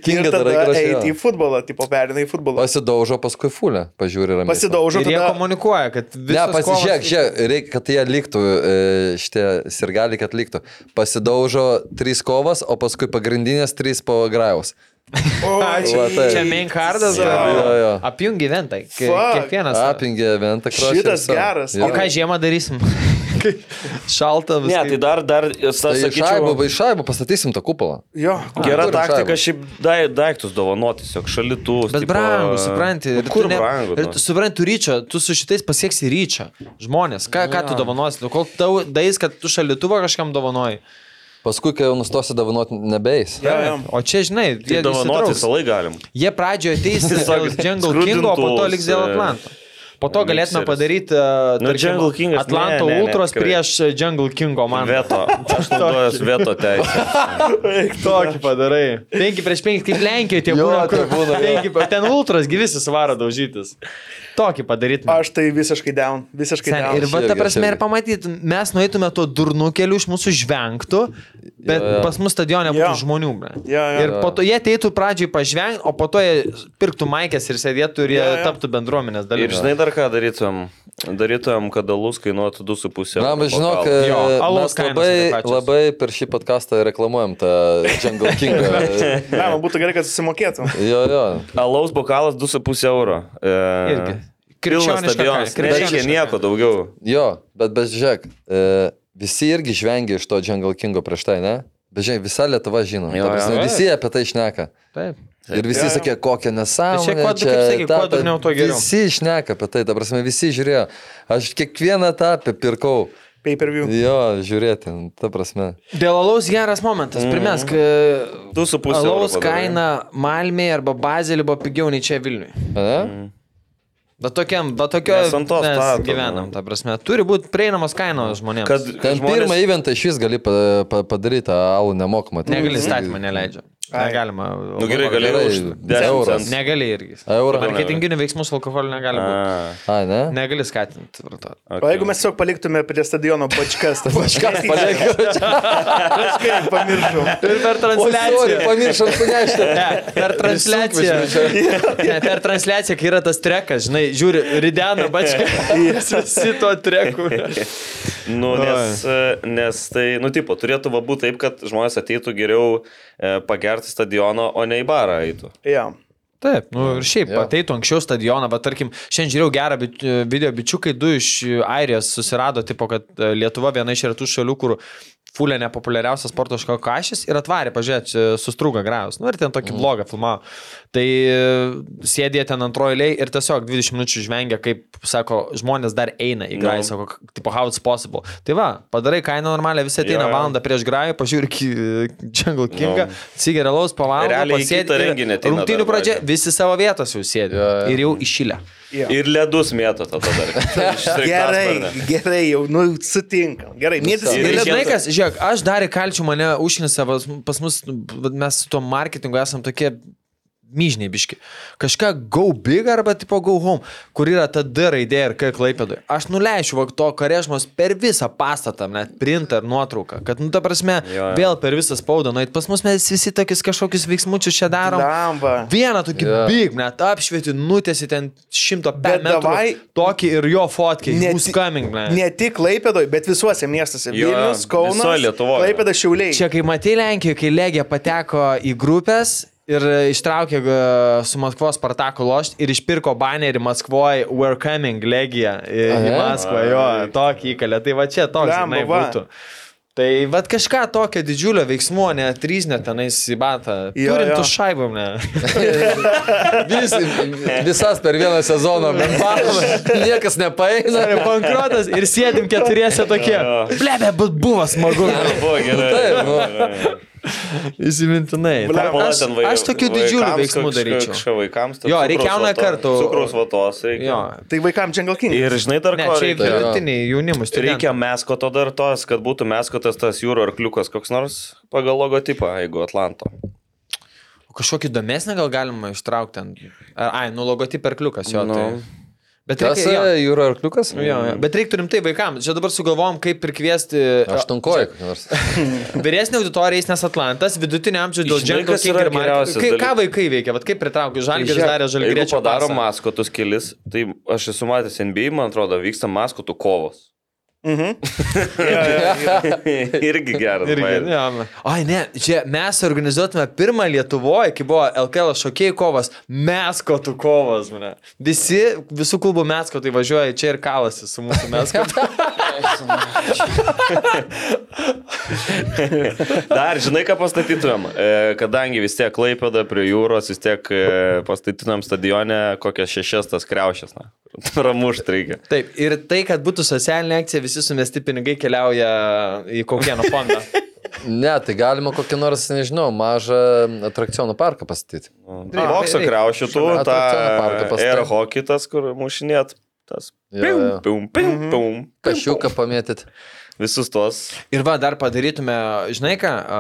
Speaker 6: Kinga
Speaker 3: ir
Speaker 6: dar
Speaker 3: tada eiti į
Speaker 6: gražiai.
Speaker 3: futbolą, tipo perina į futbolą.
Speaker 6: Pasidaužo paskui fulę, pažiūri ramiai.
Speaker 3: Pasidaužo,
Speaker 4: Ir jie
Speaker 3: tada
Speaker 4: komunikuoja, kad
Speaker 6: Ne,
Speaker 4: viskas.
Speaker 6: pasižiūrėk, žiūrėk, reikia, kad jie liktų, e, šitie sirgaliai, kad liktų. Pasidaužo trys kovas, o paskui pagrindinės trys po grajaus.
Speaker 4: Ačiū.
Speaker 6: Va, taip.
Speaker 4: Čia main cardas,
Speaker 3: Jo,
Speaker 6: jo, jo.
Speaker 4: apjungi ventą,
Speaker 3: Fuck.
Speaker 4: kiekvienas.
Speaker 6: Apingė ventą krosnį.
Speaker 3: Šitas geras.
Speaker 4: O ką žiemą darysim? Kai Šalta
Speaker 5: Ne,
Speaker 4: viskas.
Speaker 5: tai dar, dar, aš
Speaker 6: Tai iš šaibų,
Speaker 5: sakyčiau,
Speaker 6: iš šaibų pastatysim tą kupolą.
Speaker 3: jo.
Speaker 5: gera
Speaker 6: turim
Speaker 5: taktika
Speaker 6: šaibą.
Speaker 5: šiaip dai- daiktus dovanoti, tiesiog šalitų.
Speaker 4: Bet brangu, supranti. ir tu
Speaker 5: Kur
Speaker 4: ne-
Speaker 5: brangu?
Speaker 4: Ir
Speaker 5: nu?
Speaker 4: tu supranti, tu ryčio, tu su šitais pasieksi ryčio. Žmonės, ką, ką tu dovanosi, nu, kol tau dais, kad tu šalituvą kažkam dovanoji.
Speaker 6: Paskui, kai jau nustosi davinuoti, nebeis.
Speaker 3: Jo, jo.
Speaker 4: O čia, žinai, jie
Speaker 5: Tai dovanoti
Speaker 4: dovanoti.
Speaker 5: visą laiką galim.
Speaker 4: Jie pradžioje ateis dėl
Speaker 5: Tiesiog
Speaker 4: Jungle Kingo, o po to
Speaker 5: skrudintuvus,
Speaker 4: liks dėl
Speaker 5: e,
Speaker 4: Atlanto. Po to galėtume
Speaker 5: mikseris.
Speaker 4: padaryti uh,
Speaker 5: Nu,
Speaker 4: tarkim,
Speaker 5: Jungle Kingas, ne,
Speaker 4: Atlanto
Speaker 5: ne, ne,
Speaker 4: Ultros
Speaker 5: tikrai.
Speaker 4: prieš e, Jungle Kingo man.
Speaker 5: Veto. Aš naudojuosi veto teisę.
Speaker 4: Tokį padarai. 5 prieš 5, kaip Lenkijoje tie
Speaker 6: Jo,
Speaker 4: būna. kur
Speaker 6: tai būna, jo.
Speaker 4: penki pa- Ten Ultros gyvisi svaro daužytis. Tokį padarytume.
Speaker 3: Aš tai visiškai down, visiškai
Speaker 4: Sen,
Speaker 3: down.
Speaker 4: ir va,
Speaker 6: irgi,
Speaker 4: ta
Speaker 6: aš
Speaker 4: prasme, ir
Speaker 6: irgi.
Speaker 4: pamatytum, mes nueitume tuo durnu keliu, iš mūsų žvengtų, bet jo,
Speaker 6: Jo,
Speaker 4: jo.
Speaker 6: jo.
Speaker 4: pas mus stadione būtų
Speaker 3: Jo.
Speaker 4: žmonių. ble.
Speaker 3: Jo, jo.
Speaker 4: ir po to jie ateitų pradžiai pažvengti, o po to jie pirktų maikės ir sėdėtų ir jie
Speaker 3: Jo, jo.
Speaker 4: taptų bendruomenės
Speaker 5: Ir
Speaker 4: dalimi.
Speaker 5: žinai dar ką darytum? Darytum, kad alus kainuotų 2,5.
Speaker 6: Na, bet žinok,
Speaker 5: bokalą.
Speaker 6: e,
Speaker 4: Jo, alaus
Speaker 6: mes
Speaker 4: kainos
Speaker 6: labai,
Speaker 4: yra pačios.
Speaker 6: labai per šį podcastą reklamuojam tą Jungle Kingą.
Speaker 3: Ne, man būtų gerai, kad susimokėtum.
Speaker 6: Jo, jo.
Speaker 5: Alaus bokalas 2,5 euro. E,
Speaker 4: Irgi.
Speaker 5: Pilnas
Speaker 4: Krikščioniška
Speaker 5: stadionas.
Speaker 4: kaina,
Speaker 5: Nereikia
Speaker 4: krikščioniška
Speaker 5: nieko daugiau.
Speaker 6: Jo, bet bet žiūrėk, e, visi irgi žvengia iš to Jungle Kingo prieš tai, ne? Bet žiūrėk, visa Lietuva žino.
Speaker 5: Jo,
Speaker 6: Ta prasme,
Speaker 5: jo.
Speaker 6: Visi apie tai išneka.
Speaker 4: Taip.
Speaker 6: Ir visi
Speaker 3: Jo, jo.
Speaker 6: sakė, kokią nesąmonę.
Speaker 4: Tai čia kuo- kaip sakei,
Speaker 6: tą-
Speaker 4: kuo
Speaker 6: tą-
Speaker 4: durniau, tuo geriau.
Speaker 6: Visi išneka apie tai, ta prasme, visi žiūrėjo. Aš kiekvieną etapą pirkau.
Speaker 3: Pay per view.
Speaker 6: Jo, žiūrėti, ta prasme.
Speaker 4: Dėl alaus geras momentas. Primesk, mm.
Speaker 5: 2,5 Mhm. euro.
Speaker 4: alaus
Speaker 5: padarai.
Speaker 4: kaina Malmėje arba Bazelį buvo pigiau nei čia Vilniuje. Mhm.
Speaker 6: Ne?
Speaker 4: Bet tokiam, bet tokio
Speaker 5: Nes ant to
Speaker 4: mes
Speaker 5: stato,
Speaker 4: gyvenam,
Speaker 5: nu.
Speaker 4: ta prasme. Turi būti prieinamos kainos žmonėms.
Speaker 5: Kad
Speaker 6: Ten žmonės... pirmą įventą iš vis gali pa, pa, padaryti alų nemokamą. Tai-
Speaker 4: Negali statymą neleidžia.
Speaker 3: Ai.
Speaker 4: Negalima.
Speaker 5: Nu gerai,
Speaker 6: Gerai,
Speaker 5: galėjau už 10
Speaker 6: euras.
Speaker 5: eurų.
Speaker 4: Negali irgi.
Speaker 6: Eurą.
Speaker 4: Marketinginių veiksmų su alkoholiu negali būti.
Speaker 6: A, ne? ne.
Speaker 4: Negali skatinti vartoti.
Speaker 3: O jeigu mes tiesiog paliktume prie stadiono bačkas, tas bačkas kažkaip pamiršau.
Speaker 4: Ir Tai per
Speaker 6: Sorry,
Speaker 4: transliaciją.
Speaker 6: pamiršom sunešti.
Speaker 4: Ne, per transliaciją. Ne, per transliaciją, kai yra tas trekas, žinai, žiūri, ridena bačka. Jis visi to treku.
Speaker 5: Nu, nes, e, nes tai, nu, tipo, turėtų va būti taip, kad žmonės ateitų geriau e, pagerti stadiono, o ne į barą eitų.
Speaker 3: Jo.
Speaker 4: Taip, nu ir šiaip,
Speaker 6: Jo.
Speaker 4: ateitų anksčiau stadioną, bet tarkim, šiandien žiūrėjau gerą bit- e, video bičiukai, du iš Airijos susirado, tipo, kad e, Lietuva viena iš retų šalių, kur fulė nepopuliariausias sporto šaka kažkas ir atvarė, pažiūrėk, sustrūga grajus. Nu ir ten tokį blogą filmavo. Tai e, sėdė ten antroji eilė ir tiesiog 20 minučių žvengia, kaip sako, žmonės dar eina į grajų,
Speaker 5: Nu.
Speaker 4: sako, k- tipo, how it's possible. Tai va, padarai kainą normalią, visi ateina
Speaker 5: Jo, jo.
Speaker 4: valandą prieš grajų, pažiūri ki- e, Jungle Kingą,
Speaker 5: Nu.
Speaker 4: cigarelaus pavalgo,
Speaker 5: Realiai į
Speaker 4: pasėdi.
Speaker 5: kitą
Speaker 4: ir
Speaker 5: renginį ateina
Speaker 4: Rungtynių
Speaker 5: dar
Speaker 4: pradžia,
Speaker 5: valgę.
Speaker 4: visi savo vietos jau sėdi
Speaker 6: Jo, jo.
Speaker 4: ir jau išilę.
Speaker 5: Ir ledus mėto tada dar. Iš
Speaker 3: Gerai,
Speaker 5: sraigtasparnio.
Speaker 3: gerai, jau, nu, sutinkam. Gerai, mėtis
Speaker 5: Ir
Speaker 4: Ir
Speaker 5: reikėtų-
Speaker 4: žinai kas, žiūrėk, aš dar įkalčiau mane užnisa, pas, pas mus, vat mes su tuo marketingu esam tokie myžniai biški. Kažką go big arba tipo go home, kur yra ta D raidė ir K klaipėdui. Aš nuleisiu va to karežmos per visą pastatą, net printą ar nuotrauką. Kad, nu, ta prasme, jo,
Speaker 5: Jo,
Speaker 4: jo.
Speaker 5: jo.
Speaker 4: vėl per visą spaudą, nu, eit pas mus mes visi tokius kažkokius veiksmučius čia darom.
Speaker 3: Lamba.
Speaker 4: Vieną tokį
Speaker 6: Jo.
Speaker 4: yeah. big, net apšvieti, nutesi ten šimto
Speaker 3: Bet
Speaker 4: metrų. Davai,
Speaker 3: davai-
Speaker 4: tokį ir jo fotkį.
Speaker 3: Ne
Speaker 4: Who's
Speaker 3: ti-
Speaker 4: coming, man.
Speaker 3: Ne tik Laipėdoje, bet visuose miestuose.
Speaker 5: Jo,
Speaker 3: Vilnius, Kaunas,
Speaker 5: visoj Lietuvoj.
Speaker 3: Laipėda Šiauliai.
Speaker 4: Čia kai matai Lenkiją, kai Legija pateko į grupės ir ištraukė e, su Maskvos Spartaku lošti ir išpirko banerį Maskvoje We're Coming Legija į, į
Speaker 6: Aha.
Speaker 4: Maskvą, jo, tokį įkalę. Tai va čia toks,
Speaker 3: Blemba,
Speaker 4: žinai,
Speaker 3: va.
Speaker 4: būtų. Tai vad kažką tokio didžiulio veiksmo, ne tryznio tenais į batą.
Speaker 3: Jo,
Speaker 4: Turim
Speaker 3: jo.
Speaker 4: tu šaibom, ne?
Speaker 6: Vis, visas per vieną sezoną, bet man niekas nepaeina.
Speaker 4: Tai Bankrotas ir sėdim keturiese tokie. Blebe, bet buvo smagu.
Speaker 5: Buvo gerai.
Speaker 6: Taip, nu.
Speaker 4: Įsimintinai.
Speaker 5: Blemba,
Speaker 4: Aš-
Speaker 5: ten vai-
Speaker 4: Aš tokių didžiulių
Speaker 5: vaikams
Speaker 4: veiksmų
Speaker 5: kažką-
Speaker 4: daryčiau.
Speaker 5: Kažką vaikams. ten
Speaker 4: Jo,
Speaker 5: cukraus
Speaker 4: reikia jauną
Speaker 5: vatos-
Speaker 4: kartą-
Speaker 5: Cukraus vatos reikia.
Speaker 4: Jo.
Speaker 3: Tai vaikams Jungle King.
Speaker 5: Ir žinai dar
Speaker 4: Ne,
Speaker 5: ko
Speaker 4: čia
Speaker 6: Tai
Speaker 5: reikia.
Speaker 4: vidutiniai jaunimus.
Speaker 5: Reikia meskoto dar tos, kad būtų meskotas tas jūro arkliukas koks nors pagal logotipą, jeigu Atlanto.
Speaker 4: Kažkokį įdomesnį gal galima ištraukti ant... Ar, ai, nu logotipą perkliukas jo.
Speaker 5: Nu.
Speaker 4: Tai. Bet
Speaker 6: Tas
Speaker 4: reikia...
Speaker 6: e,
Speaker 4: Jo.
Speaker 6: jūra arkliukas?
Speaker 4: Jo, jo. Bet reikia rimtai vaikams. Čia dabar sugalvom, kaip prikviesti...
Speaker 6: Aštunkojai, kokį nors.
Speaker 4: Vyresnė auditorija eis nes Atlantas, vidutinė amžiaus dėl
Speaker 5: Žinai,
Speaker 4: džentlų
Speaker 5: kas
Speaker 4: kiek
Speaker 5: yra
Speaker 4: ir marketingo.
Speaker 5: geriausias
Speaker 4: Kai- Ką
Speaker 5: dalykas?
Speaker 4: vaikai veikia, vad kaip pritraukiu, žalgeris
Speaker 5: Žiūrėk,
Speaker 4: darė
Speaker 5: Jeigu
Speaker 4: žalgeriečio
Speaker 5: padaro
Speaker 4: pasą.
Speaker 5: maskotus kelis, tai aš esu matęs NBA, man atrodo, vyksta maskotų kovos.
Speaker 3: Mhm.
Speaker 5: Irgi geras.
Speaker 4: Irgi,
Speaker 5: bajeris.
Speaker 4: jo. Ai, ne, čia mes organizuotume pirmą Lietuvoje, kai buvo LKL šokėjų kovas, meskotų kovas, mane. Visi, visų klubų meskotai važiuoja čia ir kalasi su mūsų meskotu.
Speaker 5: Dar žinai, ką pastatytumėm, E, kadangi vis tiek laipėda prie jūros, vis tiek e, pastatytumėm stadione kokias šešias tas kreušės. na. Ramušt reikia.
Speaker 4: Taip, ir tai, kad būtų socialinė akcija, visi sumesti pinigai keliauja į kokieno fondą.
Speaker 6: Ne, tai galima kokį nors, nežinau, mažą atrakcionų parką pastatyti.
Speaker 5: Nu, tai Bokso
Speaker 4: reikia.
Speaker 5: kreušių, tu
Speaker 6: Šalia
Speaker 5: tą
Speaker 6: atrakcionų parką pastatai.
Speaker 5: air hockey tas, kur mušinėt. Tas.
Speaker 6: Jo, jo. Mhm.
Speaker 5: Pum, pum, pum, pum.
Speaker 6: Kašiuką pamėtyti.
Speaker 5: Visus tos.
Speaker 4: Ir va, dar padarytume, žinai ką, a,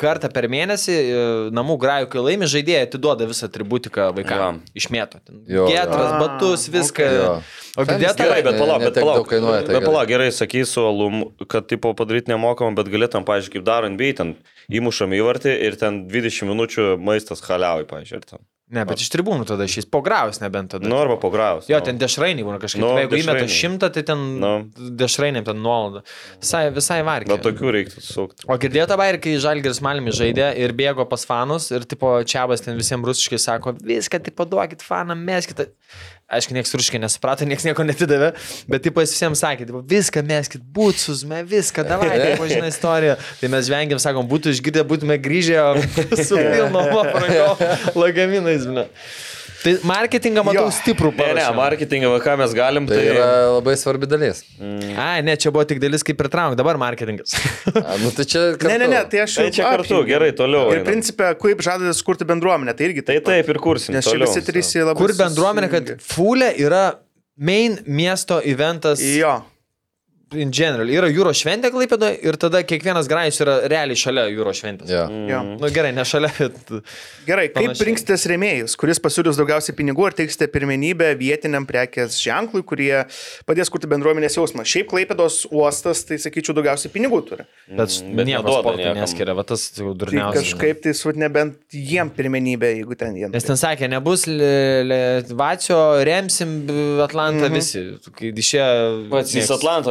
Speaker 4: kartą per mėnesį a, namų grajų, kai laimi žaidėjai, atiduoda visą tributiką vaikams. Ja. Išmėto. ten
Speaker 6: Jo, jo.
Speaker 4: Getras,
Speaker 3: Ah,
Speaker 4: batus, viską.
Speaker 6: Jo.
Speaker 4: O
Speaker 6: Ten
Speaker 4: girdėt,
Speaker 6: vis
Speaker 5: Gerai, bet
Speaker 6: Ne-
Speaker 5: palauk,
Speaker 6: ne
Speaker 5: bet
Speaker 6: tiek
Speaker 5: palauk.
Speaker 6: daug kainuoja, tai
Speaker 5: bet
Speaker 6: gerai.
Speaker 5: palauk, gerai, sakysiu, alum, kad tipo padaryti nemokamą, bet galėtum, pažiūrėk, kaip daro NBA, ten įmušam įvartį ir ten 20 minučių maistas haliauji, pažiūrėk.
Speaker 4: Ne, bet iš tribūnų tada išės pograus nebent tada.
Speaker 5: Nu, arba pograusi.
Speaker 4: Jo, ten dešrainiai būna kažkaip.
Speaker 5: Nu,
Speaker 4: Nu, jeigu įmeta
Speaker 5: dešrainiai.
Speaker 4: šimtą, tai ten nu.
Speaker 5: Nu.
Speaker 4: dešrainiam ten nuolaida. Visai, visai vargiai.
Speaker 5: Na, tokių reiktų sukti.
Speaker 4: O girdėjote bairį, kai Žalgiris Malmi žaidė ir bėgo pas fanus ir tipo Čiabas ten visiems rusiškai sako, viską tipo duokit fanam, meskit. Aišku, nieks rusiškai nesuprato, nieks nieko netidavė, bet tipo jis visiems sakė, tipo, viską meskit, būt susme, viską, davai, tipo, žinai istoriją. Tai mes žvengiam, sakom, būtų išgirdę, būtume grįžę su pilno aprangos lagaminais. žinai. Tai marketingą matau
Speaker 3: Jo.
Speaker 4: stiprų
Speaker 5: Ne, ne,
Speaker 4: paruošimą.
Speaker 5: marketingą, ką mes galim,
Speaker 6: Tai
Speaker 5: tai,
Speaker 6: yra labai svarbi dalis.
Speaker 4: Ai, ne, čia buvo tik dalis kaip pritraukti, dabar marketingas.
Speaker 6: A, nu, tai čia
Speaker 3: Ne, ne, ne,
Speaker 6: kartu.
Speaker 3: tai aš
Speaker 5: Tai
Speaker 3: jau
Speaker 5: čia kartu,
Speaker 3: apjungiau.
Speaker 5: gerai, toliau.
Speaker 3: Ir
Speaker 5: einam.
Speaker 3: principė, kaip žadate sukurti bendruomenę, tai irgi
Speaker 5: Tai
Speaker 3: taip.
Speaker 5: taip ir kursim.
Speaker 3: Nes čia
Speaker 5: toliau.
Speaker 3: visi trys jie labai.
Speaker 4: Kur bendruomenė, kad
Speaker 3: susijungia.
Speaker 4: Fulė yra main miesto eventas
Speaker 3: Jo.
Speaker 4: in general. Yra jūros šventė Klaipėdo ir tada kiekvienas grajus yra realiai šalia jūros šventės.
Speaker 6: Jo.
Speaker 3: jo.
Speaker 4: Na nu, gerai, ne šalia, bet...
Speaker 3: Gerai, kaip
Speaker 4: Panašiai.
Speaker 3: rinksitės rėmėjus, kuris pasiūlys daugiausiai pinigų ir teiksite pirmenybę vietiniam prekės ženklui, kurie padės kurti bendruomenės jausmą. Šiaip Klaipėdos uostas, tai sakyčiau, daugiausiai pinigų turi.
Speaker 4: Bet,
Speaker 5: Mm, bet
Speaker 4: bet nieko
Speaker 5: neduoda
Speaker 4: sportui
Speaker 5: niekam.
Speaker 4: neskiria, va tas jau
Speaker 3: Tai
Speaker 4: durniausias.
Speaker 3: kažkaip tai su nebent jiem pirmenybė, jeigu ten tai- jie.
Speaker 4: Nes ten sakė, nebus li-
Speaker 3: Mhm.
Speaker 4: li- Vacio, remsim b- Atlantą mm -hmm. visi. Kai išėjo...
Speaker 5: Pats jis Atlanto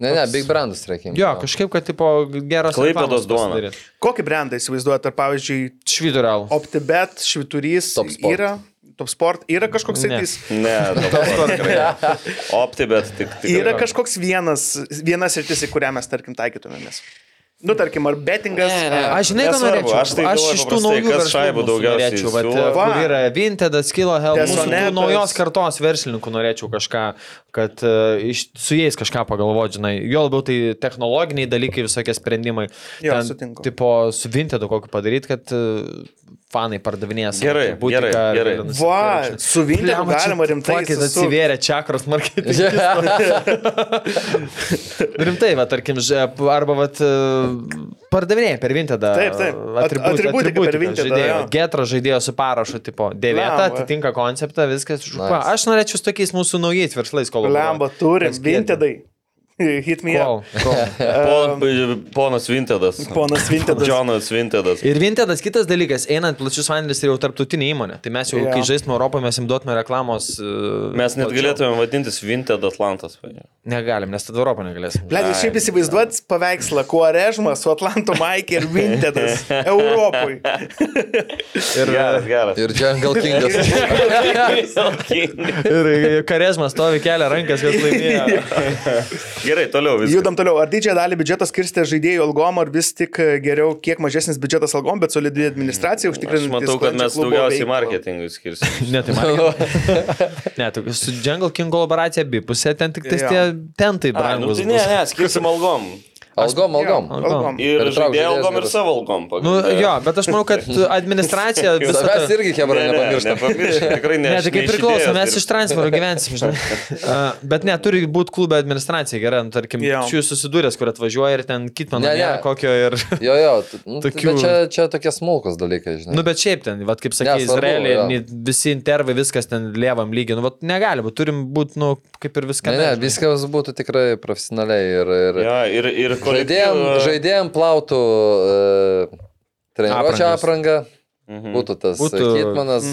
Speaker 6: Ne, ne, Big Brandas reikia.
Speaker 4: jo, kažkaip, kad, tipo, geras.
Speaker 5: Klaipėdos duona.
Speaker 3: Kokį brandą įsivaizduojate, ar pavyzdžiui,
Speaker 4: Šviduriau.
Speaker 3: OptiBet, Šviturys,
Speaker 6: Top Sport.
Speaker 3: yra, Top Sport, yra kažkoks
Speaker 4: Ne.
Speaker 3: tais.
Speaker 5: Ne, dabar. Opti, bet tik. tik
Speaker 3: Yra kažkoks vienas, vienas rytis, į kurią mes, tarkim, taikytumėmės. Nu, tarkim, ar bettingas.
Speaker 4: Aš žinai, ką
Speaker 5: Nesvarbu,
Speaker 4: norėčiau.
Speaker 5: aš tai galvoju
Speaker 4: iš tų
Speaker 5: paprastai,
Speaker 4: naujų
Speaker 5: kas
Speaker 4: verslų
Speaker 5: šaibų
Speaker 4: mūsų
Speaker 5: daugiausiai
Speaker 4: norėčiau. Vat,
Speaker 5: siūlo.
Speaker 4: kur
Speaker 3: Va.
Speaker 4: yra Vintedas, Kilo Helmut. Tų
Speaker 3: Tesonetas.
Speaker 4: naujos kartos verslininkų norėčiau kažką, kad uh, iš, su jais kažką pagalvoti, žinai. Jo labiau tai technologiniai dalykai, visokie sprendimai.
Speaker 3: Jo, sutinku.
Speaker 4: Tipo, su Vintedu kokį padaryti, kad uh, fanai pardavinės.
Speaker 5: Gerai, gerai, gerai.
Speaker 3: Va, su Vintedu galima rimtai.
Speaker 4: Tokį
Speaker 3: įsisukt.
Speaker 4: atsivėrė čakros marketingas. Rimtai, va, tarkim, že- arba va, pardavinėjai per Vintedą.
Speaker 3: Taip, taip. At-
Speaker 4: Atribut,
Speaker 3: atributika
Speaker 4: atributika,
Speaker 3: per Vintedą,
Speaker 4: Žaidėjo,
Speaker 3: jo.
Speaker 4: getro žaidėjo su parašu, tipo, dėvėta,
Speaker 3: Blemba.
Speaker 4: atitinka konceptą, viskas. Nice.
Speaker 6: Nice.
Speaker 4: Aš norėčiau su tokiais mūsų naujais verslais kol.
Speaker 3: Lemba turi, Vintedai. Hit me. up.
Speaker 4: Kol, kol.
Speaker 5: Pon- Ponas Vintedas.
Speaker 3: Ponas Vintedas.
Speaker 5: Džonas Vintedas.
Speaker 4: Ir Vintedas kitas dalykas, einant plačius vandenis ir jau tarptautinė įmonė. Tai mes jau,
Speaker 3: Jo.
Speaker 4: yeah. kai žaistume Europoje, mes jums duotume reklamos. e,
Speaker 5: Mes net
Speaker 4: plačiau.
Speaker 5: galėtume vadintis Vinted Atlantas. pavyzdžiui.
Speaker 4: Negalim, nes tada Europą negalėsim.
Speaker 3: Ble, jūs šiaip įsivaizduot paveikslą, kuo režmas su Atlanto Mike ir Vintedas Europui.
Speaker 4: Ir,
Speaker 5: Geras, geras.
Speaker 6: Ir Jungle Kingas.
Speaker 4: ir karezmas stovi kelią rankas, kad laimėjo.
Speaker 5: Gerai, toliau viskas.
Speaker 3: Judam toliau. Ar didžiąją dalį biudžeto skirstė žaidėjų algom, ar vis tik e, geriau kiek mažesnis biudžetas algom, bet solidi administracija
Speaker 5: Aš
Speaker 3: užtikrinant.
Speaker 5: matau, kad mes daugiausiai marketingui skirsim.
Speaker 4: Ne, tai man. ne, tu, su Jungle King kolaboracija abipusė, ten tik tais
Speaker 3: Jo.
Speaker 4: tie tentai
Speaker 5: Ai, nu,
Speaker 4: brangus.
Speaker 5: tai ne,
Speaker 4: bus.
Speaker 5: ne, skirsim algom.
Speaker 6: Algom, algom.
Speaker 3: Algom.
Speaker 5: Ir
Speaker 6: Bet
Speaker 5: žaidėjų
Speaker 6: trauk žaidėjas
Speaker 5: algom, ir
Speaker 6: geras.
Speaker 5: savo algom.
Speaker 4: Nu, jo, bet aš manau, kad administracija visą tą...
Speaker 6: Savęs irgi kebra nepamiršta.
Speaker 5: Nepamiršk, tikrai ne.
Speaker 4: Ne,
Speaker 5: aš
Speaker 4: tai kaip
Speaker 5: ne iš
Speaker 4: priklauso,
Speaker 5: idėjos
Speaker 4: mes
Speaker 5: dirbu.
Speaker 4: iš transporto gyvensim, žinai. A, Bet ne, turi būti klube administracija gera, nu, tarkim,
Speaker 3: Jo.
Speaker 4: yeah. jų susidūręs, kur atvažiuoja ir ten kitmano,
Speaker 6: Ne,
Speaker 4: ne,
Speaker 6: ne.
Speaker 4: ne. kokio ir...
Speaker 6: Jo, jo. t- Nu,
Speaker 4: Tokių-
Speaker 6: Tokių... čia, čia tokie smulkus dalykai, žinai.
Speaker 4: Nu, bet šiaip ten, vat, kaip sakė,
Speaker 6: svarbu,
Speaker 4: Izraelį,
Speaker 6: jo.
Speaker 4: ni- visi intervai, viskas ten lievam lygiai, nu, vat, negali, bet turim būti, nu, kaip ir viską.
Speaker 6: Ne, ne, viskas būtų tikrai profesionaliai ir, ir
Speaker 5: Jo, ir, ir
Speaker 6: žaidėjom, žaidėjom plautų uh, treniruočio
Speaker 4: Aprangas.
Speaker 6: aprangą,
Speaker 5: Mhm.
Speaker 6: būtų tas
Speaker 4: Būtų-
Speaker 6: būtų... hitmanas,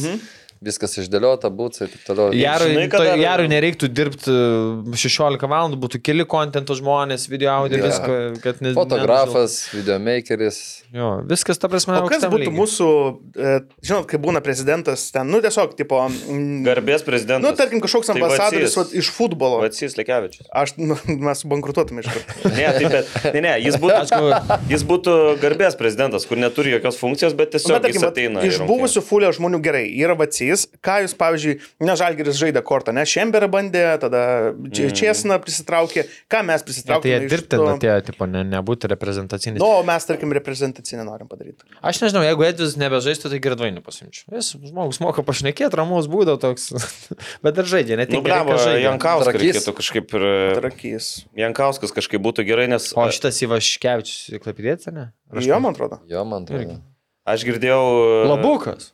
Speaker 6: viskas išdėliota, būtų ir taip toliau.
Speaker 4: Jarui,
Speaker 5: Žinai, ką
Speaker 4: to,
Speaker 5: dar-
Speaker 4: Jarui nereiktų dirbti 16 valandų, būtų keli kontento žmonės, video audio,
Speaker 6: Jo.
Speaker 4: yeah. visko, kad ne.
Speaker 6: Fotografas, videomakeris.
Speaker 4: ne- Jo, viskas, ta prasme,
Speaker 3: O kas
Speaker 4: aukštam
Speaker 3: būtų
Speaker 4: lygy.
Speaker 3: mūsų, e, žinot, kai būna prezidentas ten, nu tiesiog, tipo, mm,
Speaker 5: Garbės prezidentas.
Speaker 3: nu, tarkim, kažkoks
Speaker 5: Tai
Speaker 3: ambasadoris
Speaker 5: Vacys.
Speaker 3: vat iš futbolo.
Speaker 5: Vatsys Lekevičius.
Speaker 3: Aš, nu, mes bankrutuotume iš karto.
Speaker 5: Ne, tai bet, ne, ne, jis būtų,
Speaker 4: Aišku,
Speaker 5: jis būtų garbės prezidentas, kur neturi jokios funkcijos, bet tiesiog
Speaker 3: Na,
Speaker 5: bet,
Speaker 3: Nu, tarkim,
Speaker 5: tarkim, jis
Speaker 3: vat
Speaker 5: ateina. į
Speaker 3: iš
Speaker 5: rungtynes.
Speaker 3: buvusių fulio žmonių gerai, yra vacys, ką jūs, pavyzdžiui, ne Žalgeris žaidė kortą, ne Šemberą bandė, tada mm. Česna prisitraukė, ką mes
Speaker 4: Ne, tai
Speaker 3: prisitraukėme.
Speaker 4: jie
Speaker 3: iš
Speaker 4: dirbti,
Speaker 3: to?
Speaker 4: na, tie, tipo, ne, nebūtų reprezentacinis.
Speaker 3: Nu,
Speaker 4: No.
Speaker 3: o mes, tarkim, reprezentacinį norim padaryti.
Speaker 4: Aš nežinau, jeigu Edvis nebežaistų, tai girdvainį pasimčiau. Jis žmogus moka pašnekėti, ramus būdo toks. bet ir žaidžia, net
Speaker 5: Nu,
Speaker 4: tik
Speaker 5: blemo, Jankauskas
Speaker 6: Trakys.
Speaker 5: reikėtų kažkaip ir...
Speaker 3: Trakys.
Speaker 5: Jankauskas kažkaip būtų gerai, nes
Speaker 4: O šitas Ivaškevičius, klapidėtė, ne?
Speaker 3: Jo, man atrodo.
Speaker 6: Jo, man atrodo.
Speaker 5: aš girdėjau... e,
Speaker 4: Labukas.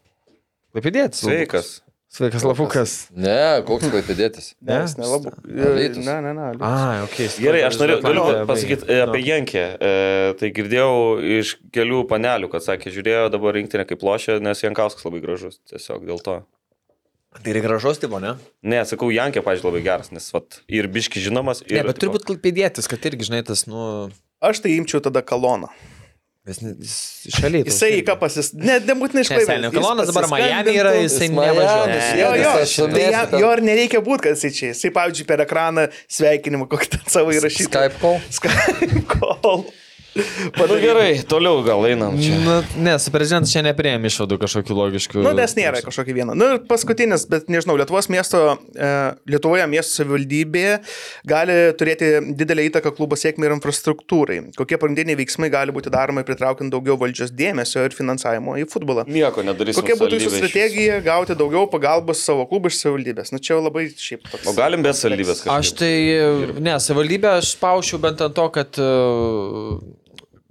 Speaker 4: Klapidėtė.
Speaker 5: Sveikas.
Speaker 4: Sveikas, labukas.
Speaker 6: Ne, koks klaipėdėtis.
Speaker 3: Ne,
Speaker 4: Ne?
Speaker 3: jis nelabu.
Speaker 6: Alytus.
Speaker 3: Ne, ne, ne. Alytus.
Speaker 4: A, ok.
Speaker 5: Gerai, aš noriu, galiu
Speaker 4: Atlantą
Speaker 5: pasakyti
Speaker 4: baigė.
Speaker 5: apie Jenkę. E, Tai girdėjau iš kelių panelių, kad sakė, žiūrėjo dabar rinktinę kaip lošia, nes Jankauskas labai gražus. Tiesiog dėl to.
Speaker 4: Tai yra gražos tipo, ne?
Speaker 5: Ne, sakau, Jankė, pažiūrėjau, labai geras, nes vat, ir biški žinomas. Ir,
Speaker 4: Ne, bet
Speaker 5: tipo,
Speaker 4: turbūt klipėdėtis, kad irgi, žinai, tas, nu,
Speaker 3: Aš tai imčiau tada kaloną.
Speaker 4: vis- jis šaliai. toks
Speaker 3: Jisai į
Speaker 4: irgi.
Speaker 3: ką pasis... Ne, nebūtinai iš
Speaker 4: Ne, Selnio
Speaker 3: Klaipėdos. Jis
Speaker 4: kolonas dabar
Speaker 3: pasiskambintų.
Speaker 4: Miami yra, jisai
Speaker 6: Jis
Speaker 4: nevažiuoja.
Speaker 6: Miami.
Speaker 4: Ne.
Speaker 3: Jo, jo,
Speaker 6: Jis
Speaker 3: tai jam,
Speaker 6: sumėstytas.
Speaker 3: jo ir nereikia būti, kad jisai čia. Jisai, pavyzdžiui, per ekraną sveikinimą kokį ten savo įrašytą.
Speaker 6: Skype call?
Speaker 3: Skype call.
Speaker 5: Nu, gerai, toliau gal einam čia.
Speaker 4: Nu, ne, su prezidentu čia neprieėmė išvadų kažkokių logiškų.
Speaker 3: Nu, nes nėra kažkokio vieno. Nu, ir paskutinis, bet nežinau, Lietuvos miesto, e, Lietuvoje miesto savivaldybė gali turėti didelį įtaką klubo sėkmė ir infrastruktūrai. Kokie pagrindiniai veiksmai gali būti daromi pritraukiant daugiau valdžios dėmesio ir finansavimo į futbolą?
Speaker 4: Mm.
Speaker 5: Nieko nedarysim.
Speaker 3: Kokia būtų jūsų
Speaker 5: savivaldybė iš
Speaker 3: strategija gauti daugiau pagalbos savo klubų iš savivaldybės? Na čia jau labai šiaip
Speaker 5: viso. O
Speaker 3: toks.
Speaker 5: galim be saldybės kažką.
Speaker 4: Aš tai, ne, savivaldybę aš paušiu bent ant to, kad uh,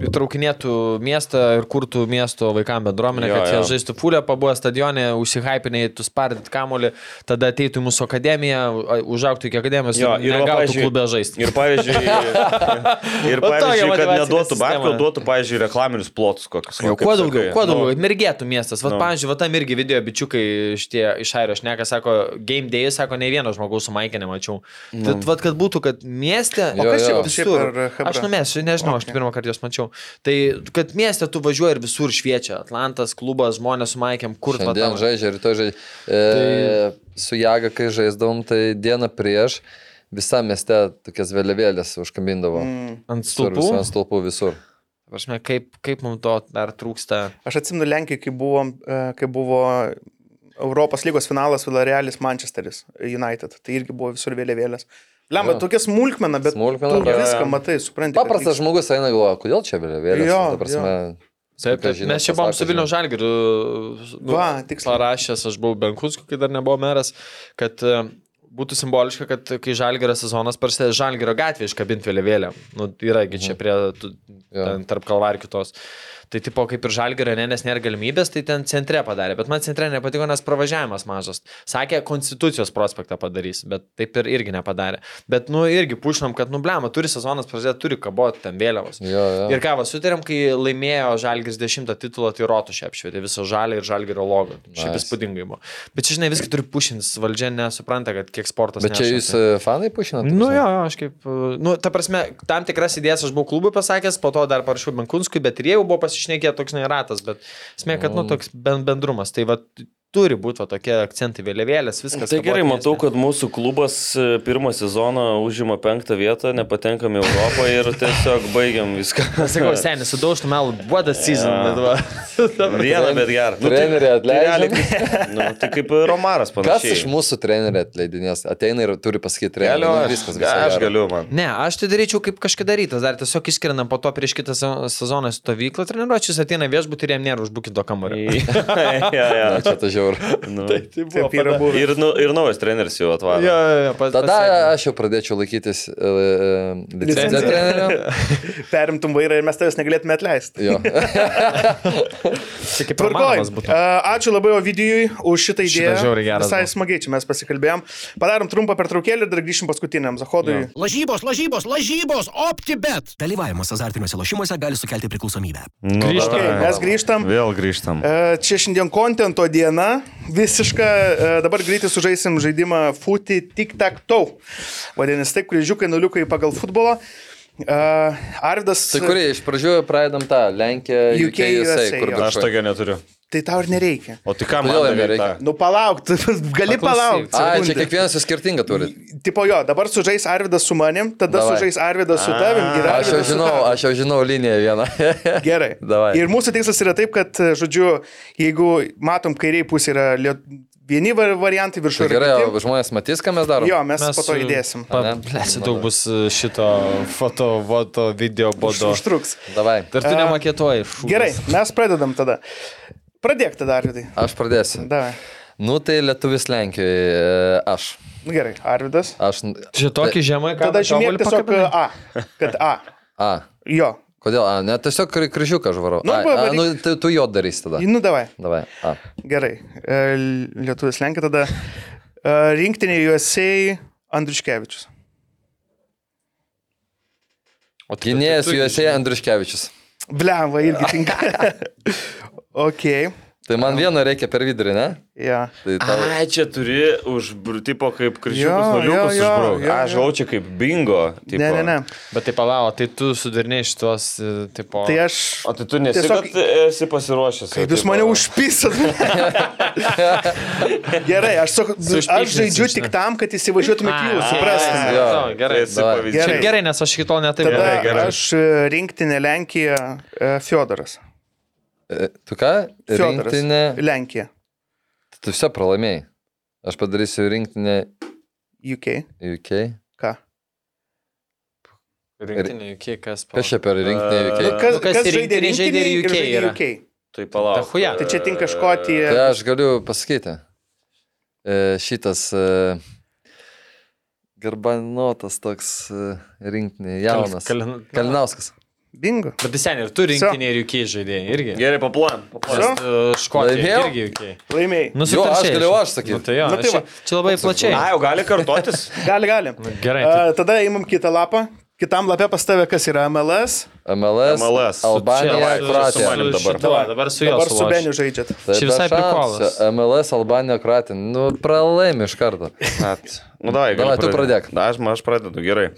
Speaker 4: įtraukinėtų miestą ir kurtų miesto vaikams bendruomenę,
Speaker 5: Jo,
Speaker 4: kad jie
Speaker 5: jo.
Speaker 4: žaistų fulę, pabuvo stadione, užsihypinai, tu spardyt kamolį, tada ateitų į mūsų akademiją, a- užaugtų iki akademijos
Speaker 5: Jo, ir va,
Speaker 4: gautų
Speaker 5: pavyzdžiui-
Speaker 4: klube žaisti.
Speaker 5: Ir pavyzdžiui, ir
Speaker 4: Va tokia
Speaker 5: pavyzdžiui kad
Speaker 4: motyvacinė
Speaker 5: neduotų
Speaker 4: sistema.
Speaker 5: babkių, duotų, pavyzdžiui, reklaminius plotus kokius.
Speaker 4: Jau,
Speaker 5: va, kaip
Speaker 4: kuo daugiau,
Speaker 5: sakai.
Speaker 4: kuo
Speaker 5: Nu,
Speaker 4: daugiau, kad mirgėtų miestas. Vat,
Speaker 5: Nu.
Speaker 4: pavyzdžiui, va tam irgi video bičiukai šitie iš airio šneka, sako, game day, sako, ne vieno žmogaus su maikė nemačiau.
Speaker 5: Nu.
Speaker 4: Tad, vat, kad būtų, kad mieste...
Speaker 6: O kas čia
Speaker 3: šiaip per chebra?
Speaker 4: Aš numesiu, nežinau, okay. aš tik pirmą kartą jos mačiau. Tai, kad mieste tu važiuoji ir visur šviečia. Atlantas, klubas, žmonės su maikėm, kur tu
Speaker 6: Šiandien žaidžia, rytoj žaidžia. E, Su Jaga, kai žaisdavom, tai dieną prieš visą miestę tokias vėliavėlės užkabindavo. Mm.
Speaker 4: Ant
Speaker 6: Stulpų?
Speaker 4: stulpų.
Speaker 6: Ant stulpų visur.
Speaker 4: Prasme, kaip, kaip mums to dar trūksta.
Speaker 3: Aš atsimenu Lenkiją, kai, buvom, e, kai buvo Europos lygos finalas Villarealis Manchesteris United. Tai irgi buvo visur vėliavėlės. Lemba,
Speaker 6: Jo.
Speaker 3: tokia smulkmena, bet
Speaker 6: Smulkmena,
Speaker 3: tu
Speaker 6: jo, jo.
Speaker 3: viską matai, supranti. kad tai
Speaker 6: Paprastas
Speaker 3: vyks-
Speaker 6: žmogus eina galvoja, kodėl čia vėliavėlės. Nu,
Speaker 3: Jo,
Speaker 6: Ta prasme,
Speaker 4: Taip,
Speaker 6: Ką
Speaker 4: taip.
Speaker 6: žinot,
Speaker 4: Mes čia buvom
Speaker 6: pasako,
Speaker 4: su Vilnių
Speaker 6: žinot.
Speaker 4: Žalgiriu. nu,
Speaker 3: Va, tiksliai.
Speaker 4: Parašęs, aš buvau Benkunsku, kai dar nebuvo meras, kad e, būtų simboliška, kad kai Žalgirio sezonas prasideda Žalgirio gatvė iškabinti vėliavėlę. Nu, yragi čia prie, tu,
Speaker 6: Mhm. Jo.
Speaker 4: ten, tarp kalvar kitos. Tai tipo kaip ir Žalgirio, ne, nes nėra galimybės, tai ten centre padarė. Bet man centre nepatiko, nes pravažiavimas mažas. Sakė, Konstitucijos prospektą padarys, bet taip ir irgi nepadarė. Bet, nu, irgi pušnam, kad, nu, blema, turi sezonas prasidėti, turi kaboti ten vėliavos.
Speaker 6: Jo, jo.
Speaker 4: Ir ką, va, sutarėm, kai laimėjo Žalgiris 10 titulą, tai rotušė apšvietė viso žalį ir žalgirio logo. Šiaip
Speaker 6: Nice.
Speaker 4: įspūdingai buvo. Bet čia, žinai, viską turi pušins, valdžia nesupranta, kad kiek sportas.
Speaker 6: Bet čia
Speaker 4: neša,
Speaker 6: jūs
Speaker 4: tai-
Speaker 6: e, fanai pušinat?
Speaker 4: Nu jo, jo, aš kaip, e, nu, ta prasme, tam tikras idėjas aš buvau klubui pasakęs, po to dar parašiau Benkunskui, bet ir jie jau buvo pasišnekėję toks neratas, bet smė, kad, nu, toks ben, bendrumas, tai va, turi būti va tokie akcentai, vėliavėlės, viskas.
Speaker 5: Tai
Speaker 4: kabot
Speaker 5: gerai,
Speaker 4: mieste.
Speaker 5: matau, kad mūsų klubas e, pirmą sezoną užima penktą vietą, nepatenkam į Europą ir tiesiog baigiam viską.
Speaker 4: Aš Sakau, seniai, sudaužtų melų, what a season,
Speaker 5: Jo.
Speaker 4: bet va.
Speaker 5: Vieną, bet gerą. Nu,
Speaker 6: Trenerį atleidžiam.
Speaker 5: atleidžiam. Nu, tai kaip Romaras
Speaker 6: Kas
Speaker 5: panašiai.
Speaker 6: iš mūsų trenerių atleidinės? Ateina ir turi pasakyti treneriui.
Speaker 5: Galiu,
Speaker 6: Nu,
Speaker 5: aš,
Speaker 6: viskas, visai
Speaker 5: aš
Speaker 6: gero.
Speaker 5: galiu, man.
Speaker 4: Ne, aš tai daryčiau kaip kažkada rytas, dar tiesiog išskiriam po to prieš kitą se- sezoną į stovyklą treniruočius, ateina viešbutį ir jam nėra užbukinto kambario.
Speaker 5: ja, ja.
Speaker 6: Na, Čia ta žiauri.
Speaker 5: Nu.
Speaker 4: Tai buvo
Speaker 3: Taip yra buvę.
Speaker 5: Ir, nu, ir naujas treneris jau atvaro.
Speaker 4: Jo, jo, jo, pas,
Speaker 6: Tada
Speaker 4: pasveikinu.
Speaker 6: aš jau pradėčiau laikytis e, e, licenciją
Speaker 3: Licenciją.
Speaker 6: trenerių.
Speaker 3: Perimtum vairą ir mes tavęs negalėtume atleisti.
Speaker 6: Jo.
Speaker 4: Čia kaip
Speaker 3: Tvarkoj.
Speaker 4: romanas būtų.
Speaker 3: A, Ačiū labai Ovidijui už šitą
Speaker 4: Šitas
Speaker 3: idėją.
Speaker 4: žiauriai geras
Speaker 3: Visai
Speaker 4: buvo.
Speaker 3: smagiai čia mes pasikalbėjom. Padarom trumpą pertraukėlį ir dar grįšim paskutiniam Zahodui.
Speaker 1: Lažybos, lažybos, lažybos, OptiBet.
Speaker 2: Dalyvavimas azartiniuose lošimuose gali sukelti priklausomybę.
Speaker 5: Nu,
Speaker 4: Grįžtam.
Speaker 5: dabar.
Speaker 3: Okay, mes grįžtam.
Speaker 5: Vėl grįžtam.
Speaker 3: E, Čia šiandien kontento diena, visiška, e, dabar greitai sužaisim žaidimą Futi Tik Tak Tau. Vadinasi, taip, kryžiukai, nuliukai pagal futbolą. E, Arvidas.
Speaker 6: Tai kurie iš pradžių pradedam tą Lenkiją,
Speaker 3: UK,
Speaker 6: UK, USA,
Speaker 3: USA,
Speaker 6: kur
Speaker 3: jo.
Speaker 5: Aš
Speaker 6: viršuj.
Speaker 5: tokio neturiu.
Speaker 3: Tai tau ir nereikia.
Speaker 5: O tai ką
Speaker 6: Kodėl
Speaker 5: man
Speaker 6: jam nereikia?
Speaker 5: reikia?
Speaker 3: Nu palauk, tu gali palaukti.
Speaker 6: Ai, čia
Speaker 3: sekundę.
Speaker 6: kiekvienas jūs skirtingą turit.
Speaker 3: Tipo jo, dabar sužais Arvidas su manim, tada
Speaker 6: Davai.
Speaker 3: sužais Arvidas su tavim. ir
Speaker 6: Aš jau
Speaker 3: Arvydas su
Speaker 6: žinau,
Speaker 3: tavim.
Speaker 6: aš jau žinau liniją vieną.
Speaker 3: Gerai.
Speaker 6: Davai.
Speaker 3: Ir mūsų tikslas yra taip, kad, e, žodžiu, jeigu matom, kairiai pusė yra liet... vieni var- variantai
Speaker 6: Tai
Speaker 3: viršuje.
Speaker 6: gerai, o žmonės matys, ką mes darom.
Speaker 3: Jo, mes, mes po to įdėsim.
Speaker 6: Ane?
Speaker 4: Plesi daug bus e, šito foto, foto, video,
Speaker 3: Už,
Speaker 4: bodo.
Speaker 3: užtruks.
Speaker 6: Davai.
Speaker 4: Dar tu nemakėtoji.
Speaker 3: Gerai, mes pradedam tada. Pradėk tada, Arvidai.
Speaker 6: Aš pradėsiu.
Speaker 3: Davai.
Speaker 6: Nu tai lietuvis Lenkijoje. e, Aš.
Speaker 3: Nu gerai, Arvidas.
Speaker 6: Aš.
Speaker 4: Čia tokį žemą, kad...
Speaker 3: Tada žymėk tiesiog A. Kad A.
Speaker 6: A.
Speaker 3: Jo.
Speaker 6: Kodėl? A, ne, tiesiog kry- kryžiuką aš varau.
Speaker 3: Nu,
Speaker 6: Ai,
Speaker 3: va,
Speaker 6: a,
Speaker 3: varyk.
Speaker 6: nu tai tu jo darysi tada.
Speaker 3: Nu davai.
Speaker 6: Davai. A.
Speaker 3: Gerai. E, Lietuvis Lenkia tada. E, Rinktinė juosiai Andriuškevičius.
Speaker 4: O tai-
Speaker 6: Gynėjas
Speaker 4: tai tu-
Speaker 6: USA Andriuškevičius.
Speaker 3: Blemva irgi tinka. ok.
Speaker 6: Tai man vieno reikia per vidurį, ne?
Speaker 3: Ja.
Speaker 6: Tai tau...
Speaker 5: Ai, čia turi už, tipo, kaip kryžiukus
Speaker 3: Jo,
Speaker 5: nuliukus
Speaker 3: jo, jo,
Speaker 5: užbraukti.
Speaker 3: jo,
Speaker 5: Aš
Speaker 3: jo.
Speaker 5: žaučiu kaip bingo. Tipo.
Speaker 3: Ne, ne, ne.
Speaker 4: Bet tai palau, tai tu sudarinėjai šitos, e, tipo...
Speaker 3: Tai aš.
Speaker 5: O tai tu nesi,
Speaker 3: Tiesiog-
Speaker 5: Tiesiog... kad esi pasiruošęs. jau,
Speaker 3: Kaip jūs
Speaker 5: tipo.
Speaker 3: mane užpysat? Gerai, aš, sak-
Speaker 4: Sušpykšinsit,
Speaker 3: aš žaidžiu
Speaker 4: žinai.
Speaker 3: tik tam, kad įsivažiuotumėt jūs, suprastumėt.
Speaker 6: Jo.
Speaker 4: Suprantu. Gerai.
Speaker 5: Tai esi
Speaker 6: Davai.
Speaker 5: pavyzdys.
Speaker 3: Gerai.
Speaker 4: Čia Gerai, nes aš iki tol netaip.
Speaker 3: Tada
Speaker 5: Gerai, gerai.
Speaker 3: aš e, rinktinė Lenkija e, Fiodoras.
Speaker 6: E, Tu ką?
Speaker 3: Fiodoras.
Speaker 6: Rinktinė.
Speaker 3: Lenkija.
Speaker 6: Tu visą pralaimėjai. Aš padarysiu rinktinę
Speaker 3: UK.
Speaker 6: UK.
Speaker 4: Nu,
Speaker 3: Ką?
Speaker 4: Rinktinė, kiek kas
Speaker 6: Kas čia per rinktinę
Speaker 5: E,
Speaker 6: UK?
Speaker 3: Nu, kas,
Speaker 4: nu, kas
Speaker 3: kas
Speaker 4: į
Speaker 3: žaidė
Speaker 4: rinktinį žaidė
Speaker 3: rinktinį
Speaker 4: ir
Speaker 3: ir
Speaker 4: UK
Speaker 3: žaidė
Speaker 4: yra.
Speaker 3: UK?
Speaker 5: Tai palauk.
Speaker 4: Ta chuja.
Speaker 3: Tai čia tinka
Speaker 6: Tai
Speaker 3: Škotija.
Speaker 6: aš galiu pasakyti. E, Šitas e, garbanotas toks e, rinktinė, jaunas.
Speaker 4: Kalin-
Speaker 6: Kalinauskas.
Speaker 3: Bingo.
Speaker 4: Bet vis ten ir tu rinktinė ir jukiai žaidėjai irgi.
Speaker 5: Gerai, paplojam.
Speaker 4: Nes,
Speaker 5: paplojam.
Speaker 3: Jo.
Speaker 4: e, Škotija
Speaker 6: Laimėjau.
Speaker 4: irgi jukiai.
Speaker 3: Laimėjai. Nu,
Speaker 6: Jo, aš galėjau aš sakyt.
Speaker 4: Nu, tai jo,
Speaker 3: Nu, tai
Speaker 4: tai
Speaker 3: va.
Speaker 4: čia labai plačiai.
Speaker 5: Na, jau gali kartotis.
Speaker 3: gali, gali.
Speaker 4: Gerai. Tai...
Speaker 3: A, tada imam kitą lapą. Kitam lapė pas tave, kas yra MLS.
Speaker 6: MLS,
Speaker 5: MLS. Su-
Speaker 6: Albanija,
Speaker 5: čia, su-
Speaker 6: Kroatija.
Speaker 5: su- manim dabar.
Speaker 4: Šita, va, dabar su juo.
Speaker 3: Dabar su Beniu žaidžiat.
Speaker 6: Tai
Speaker 4: Čia
Speaker 6: be
Speaker 4: visai
Speaker 6: šansų.
Speaker 4: prikolas.
Speaker 6: MLS, Albanija, Kroatija. Nu, pralaimi iš karto.
Speaker 5: At. Nu, davai, gal.
Speaker 6: Davai, tu pradėk.
Speaker 5: Na, aš, aš pradedu, gerai.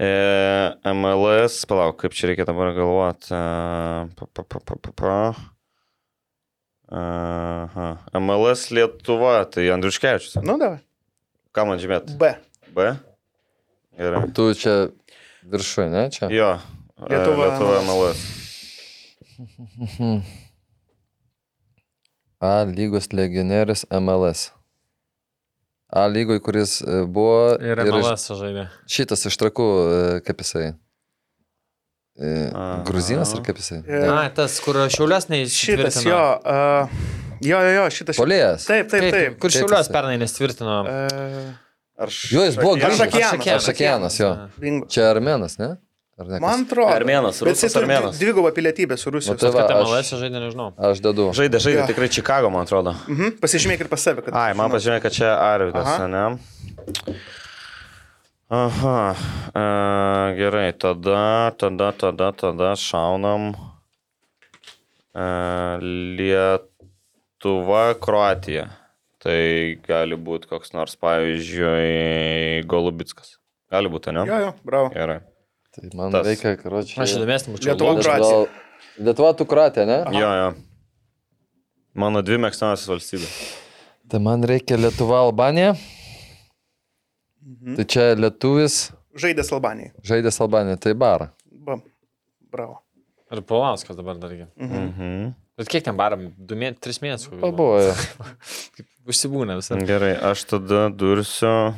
Speaker 5: E, MLS, palauk, kaip čia reikia dabar galvoti. Pa, pa, pa, pa, pa, pa. Aha. MLS Lietuva, tai Andriuškevičius.
Speaker 3: Nu, davai.
Speaker 5: Ką man žymėt?
Speaker 3: B.
Speaker 5: B. Gerai.
Speaker 6: Tu čia viršuje, ne? Čia.
Speaker 5: Jo. e,
Speaker 3: Lietuva,
Speaker 5: Lietuva
Speaker 3: MLS.
Speaker 5: MLS.
Speaker 6: A lygos legionierius MLS. A lygoj, kuris e, buvo.
Speaker 4: Ir
Speaker 6: iš-
Speaker 4: MLS žaidė.
Speaker 6: Šitas iš trakų, e, kaip jisai. E,
Speaker 5: Aha.
Speaker 6: Gruzinas ar kaip jisai?
Speaker 3: E,
Speaker 4: Na, tas, kur šiaulės neįšitvirtino.
Speaker 3: Šitas jo. a, Jo, jo, jo, šitas.
Speaker 6: Polėjas.
Speaker 3: Taip, taip, taip. E,
Speaker 4: Kur šiaulės
Speaker 6: Tėtis.
Speaker 4: pernai nestvirtino.
Speaker 3: A,
Speaker 5: Ar
Speaker 6: Jo, jis buvo
Speaker 3: Aš
Speaker 6: grįžęs.
Speaker 3: Aršakianas.
Speaker 6: Aršakianas, jo.
Speaker 3: Bingo.
Speaker 6: Čia armenas, ne? Ar ne? kas?
Speaker 3: Man atrodo.
Speaker 5: Armėnas,
Speaker 3: Bet
Speaker 5: rusas,
Speaker 3: jisai turi
Speaker 5: armėnas.
Speaker 3: dvi- Dvigubą pilietybę su
Speaker 6: Nu,
Speaker 3: Rusijos.
Speaker 6: tai va,
Speaker 4: Kad MLS
Speaker 6: aš,
Speaker 4: žaidė, nežinau.
Speaker 6: aš dedu.
Speaker 5: Žaidė, žaidė
Speaker 3: Jo.
Speaker 5: tikrai Čikago, man atrodo.
Speaker 3: Mhm, Pasižymėk ir pas save, kad.
Speaker 5: Ai, man
Speaker 3: žinau.
Speaker 5: pažymė, kad čia Arvidas,
Speaker 3: Aha.
Speaker 5: ne? Aha, e, gerai, tada, tada, tada, tada šaunam e, Lietuva, Kroatija. Tai gali būti koks nors, pavyzdžiui, Golubitskas. Gali būti, ne?
Speaker 3: Jo, jo, bravo.
Speaker 5: Gerai.
Speaker 6: Tai man
Speaker 5: Tas.
Speaker 6: reikia, karoči.
Speaker 4: Aš įdomesnį mačiau.
Speaker 3: Lietuva,
Speaker 4: Logas.
Speaker 3: Kroatija.
Speaker 6: Lietuva, tu kratė, ne?
Speaker 5: Jo, jo. Mano dvi mėgstamiausias valstybės.
Speaker 6: Tai man reikia Lietuva, Albanija.
Speaker 3: Mhm.
Speaker 6: Tai čia lietuvis
Speaker 3: Žaidęs Albanijai.
Speaker 6: žaidęs Albaniją, tai barą.
Speaker 3: Ba. Bravo.
Speaker 4: Ir Polauskas dabar dar irgi.
Speaker 5: Mhm.
Speaker 4: Bet kiek ten baram? 3 mėnesius. kokius buvo.
Speaker 6: Pabuvo. jo.
Speaker 4: Užsibūna visą.
Speaker 5: Gerai, aš tada dursiu.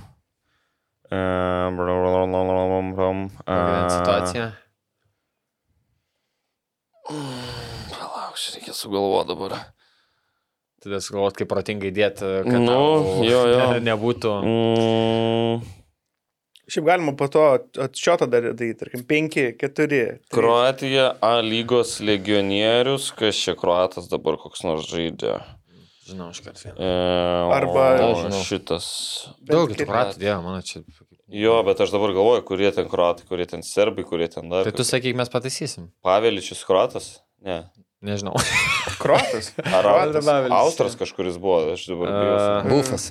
Speaker 5: e, bra- bra- bra- bra- bra- bra- bra- bra- a,
Speaker 4: Situacija.
Speaker 5: Palauk, čia reikia sugalvoti dabar.
Speaker 4: Tada sugalvot, kaip protingai dėti, kad
Speaker 5: Nu,
Speaker 4: tau
Speaker 5: jo, jo.
Speaker 4: ne- nebūtų.
Speaker 5: Mm,
Speaker 4: Tai-
Speaker 3: Šiaip galima po to atšiotą dar daryti, tarkim, tai- 5, 4.
Speaker 5: Kroatija A lygos legionierius, kas čia kroatas dabar koks nors žaidė.
Speaker 4: Žinau, iš karto.
Speaker 5: E, o,
Speaker 3: Arba-
Speaker 5: o,
Speaker 6: Nežinau.
Speaker 5: šitas.
Speaker 4: Daug
Speaker 3: kaip-
Speaker 4: kitų pratų, dievo, mano čia.
Speaker 5: Jo, bet aš dabar galvoju, kurie ten kroatai, kurie ten serbai, kurie ten dar.
Speaker 4: Tai tu sakyk, mes pataisysim.
Speaker 5: Paveličius kroatas? Ne.
Speaker 4: Nežinau.
Speaker 3: Kroatas.
Speaker 5: Ar
Speaker 3: Kroatas.
Speaker 5: Austras- Austras kažkuris buvo, aš dabar. bijau.
Speaker 6: Bufas.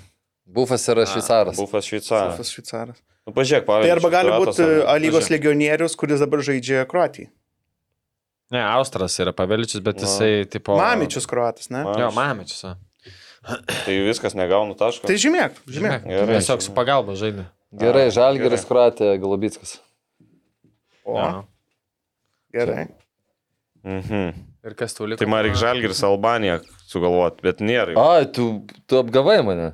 Speaker 6: Bufas yra
Speaker 4: E.
Speaker 6: šveicaras.
Speaker 5: Bufas šveicaras.
Speaker 3: Sofas šveicaras.
Speaker 5: Nu, pažiūrėk, pavyzdžiui.
Speaker 3: Tai arba gali
Speaker 5: Kroatas
Speaker 3: būti
Speaker 5: ar-
Speaker 3: A lygos legionierius, kuris dabar žaidžia Kroatijai.
Speaker 4: Ne, Austras yra Paveličius, bet
Speaker 5: Va.
Speaker 4: jisai tipo.
Speaker 3: Mamičius Kroatas, ne?
Speaker 5: Ma-
Speaker 4: Jo, Mamičius. va.
Speaker 5: Tai viskas negaunu taško.
Speaker 3: Tai žymėk, žymėk.
Speaker 5: Gerai.
Speaker 4: Tiesiog su pagalba žaidė.
Speaker 6: Gerai, Žalgeris, Kratė, Galubitskas.
Speaker 3: O,
Speaker 4: Jo.
Speaker 3: gerai.
Speaker 5: Mhm.
Speaker 4: Ir kas tau liko?
Speaker 5: Tai man reikia Žalgiris Albanija sugalvoti, bet nėra. jau.
Speaker 6: Ai, tu, tu apgavai mane.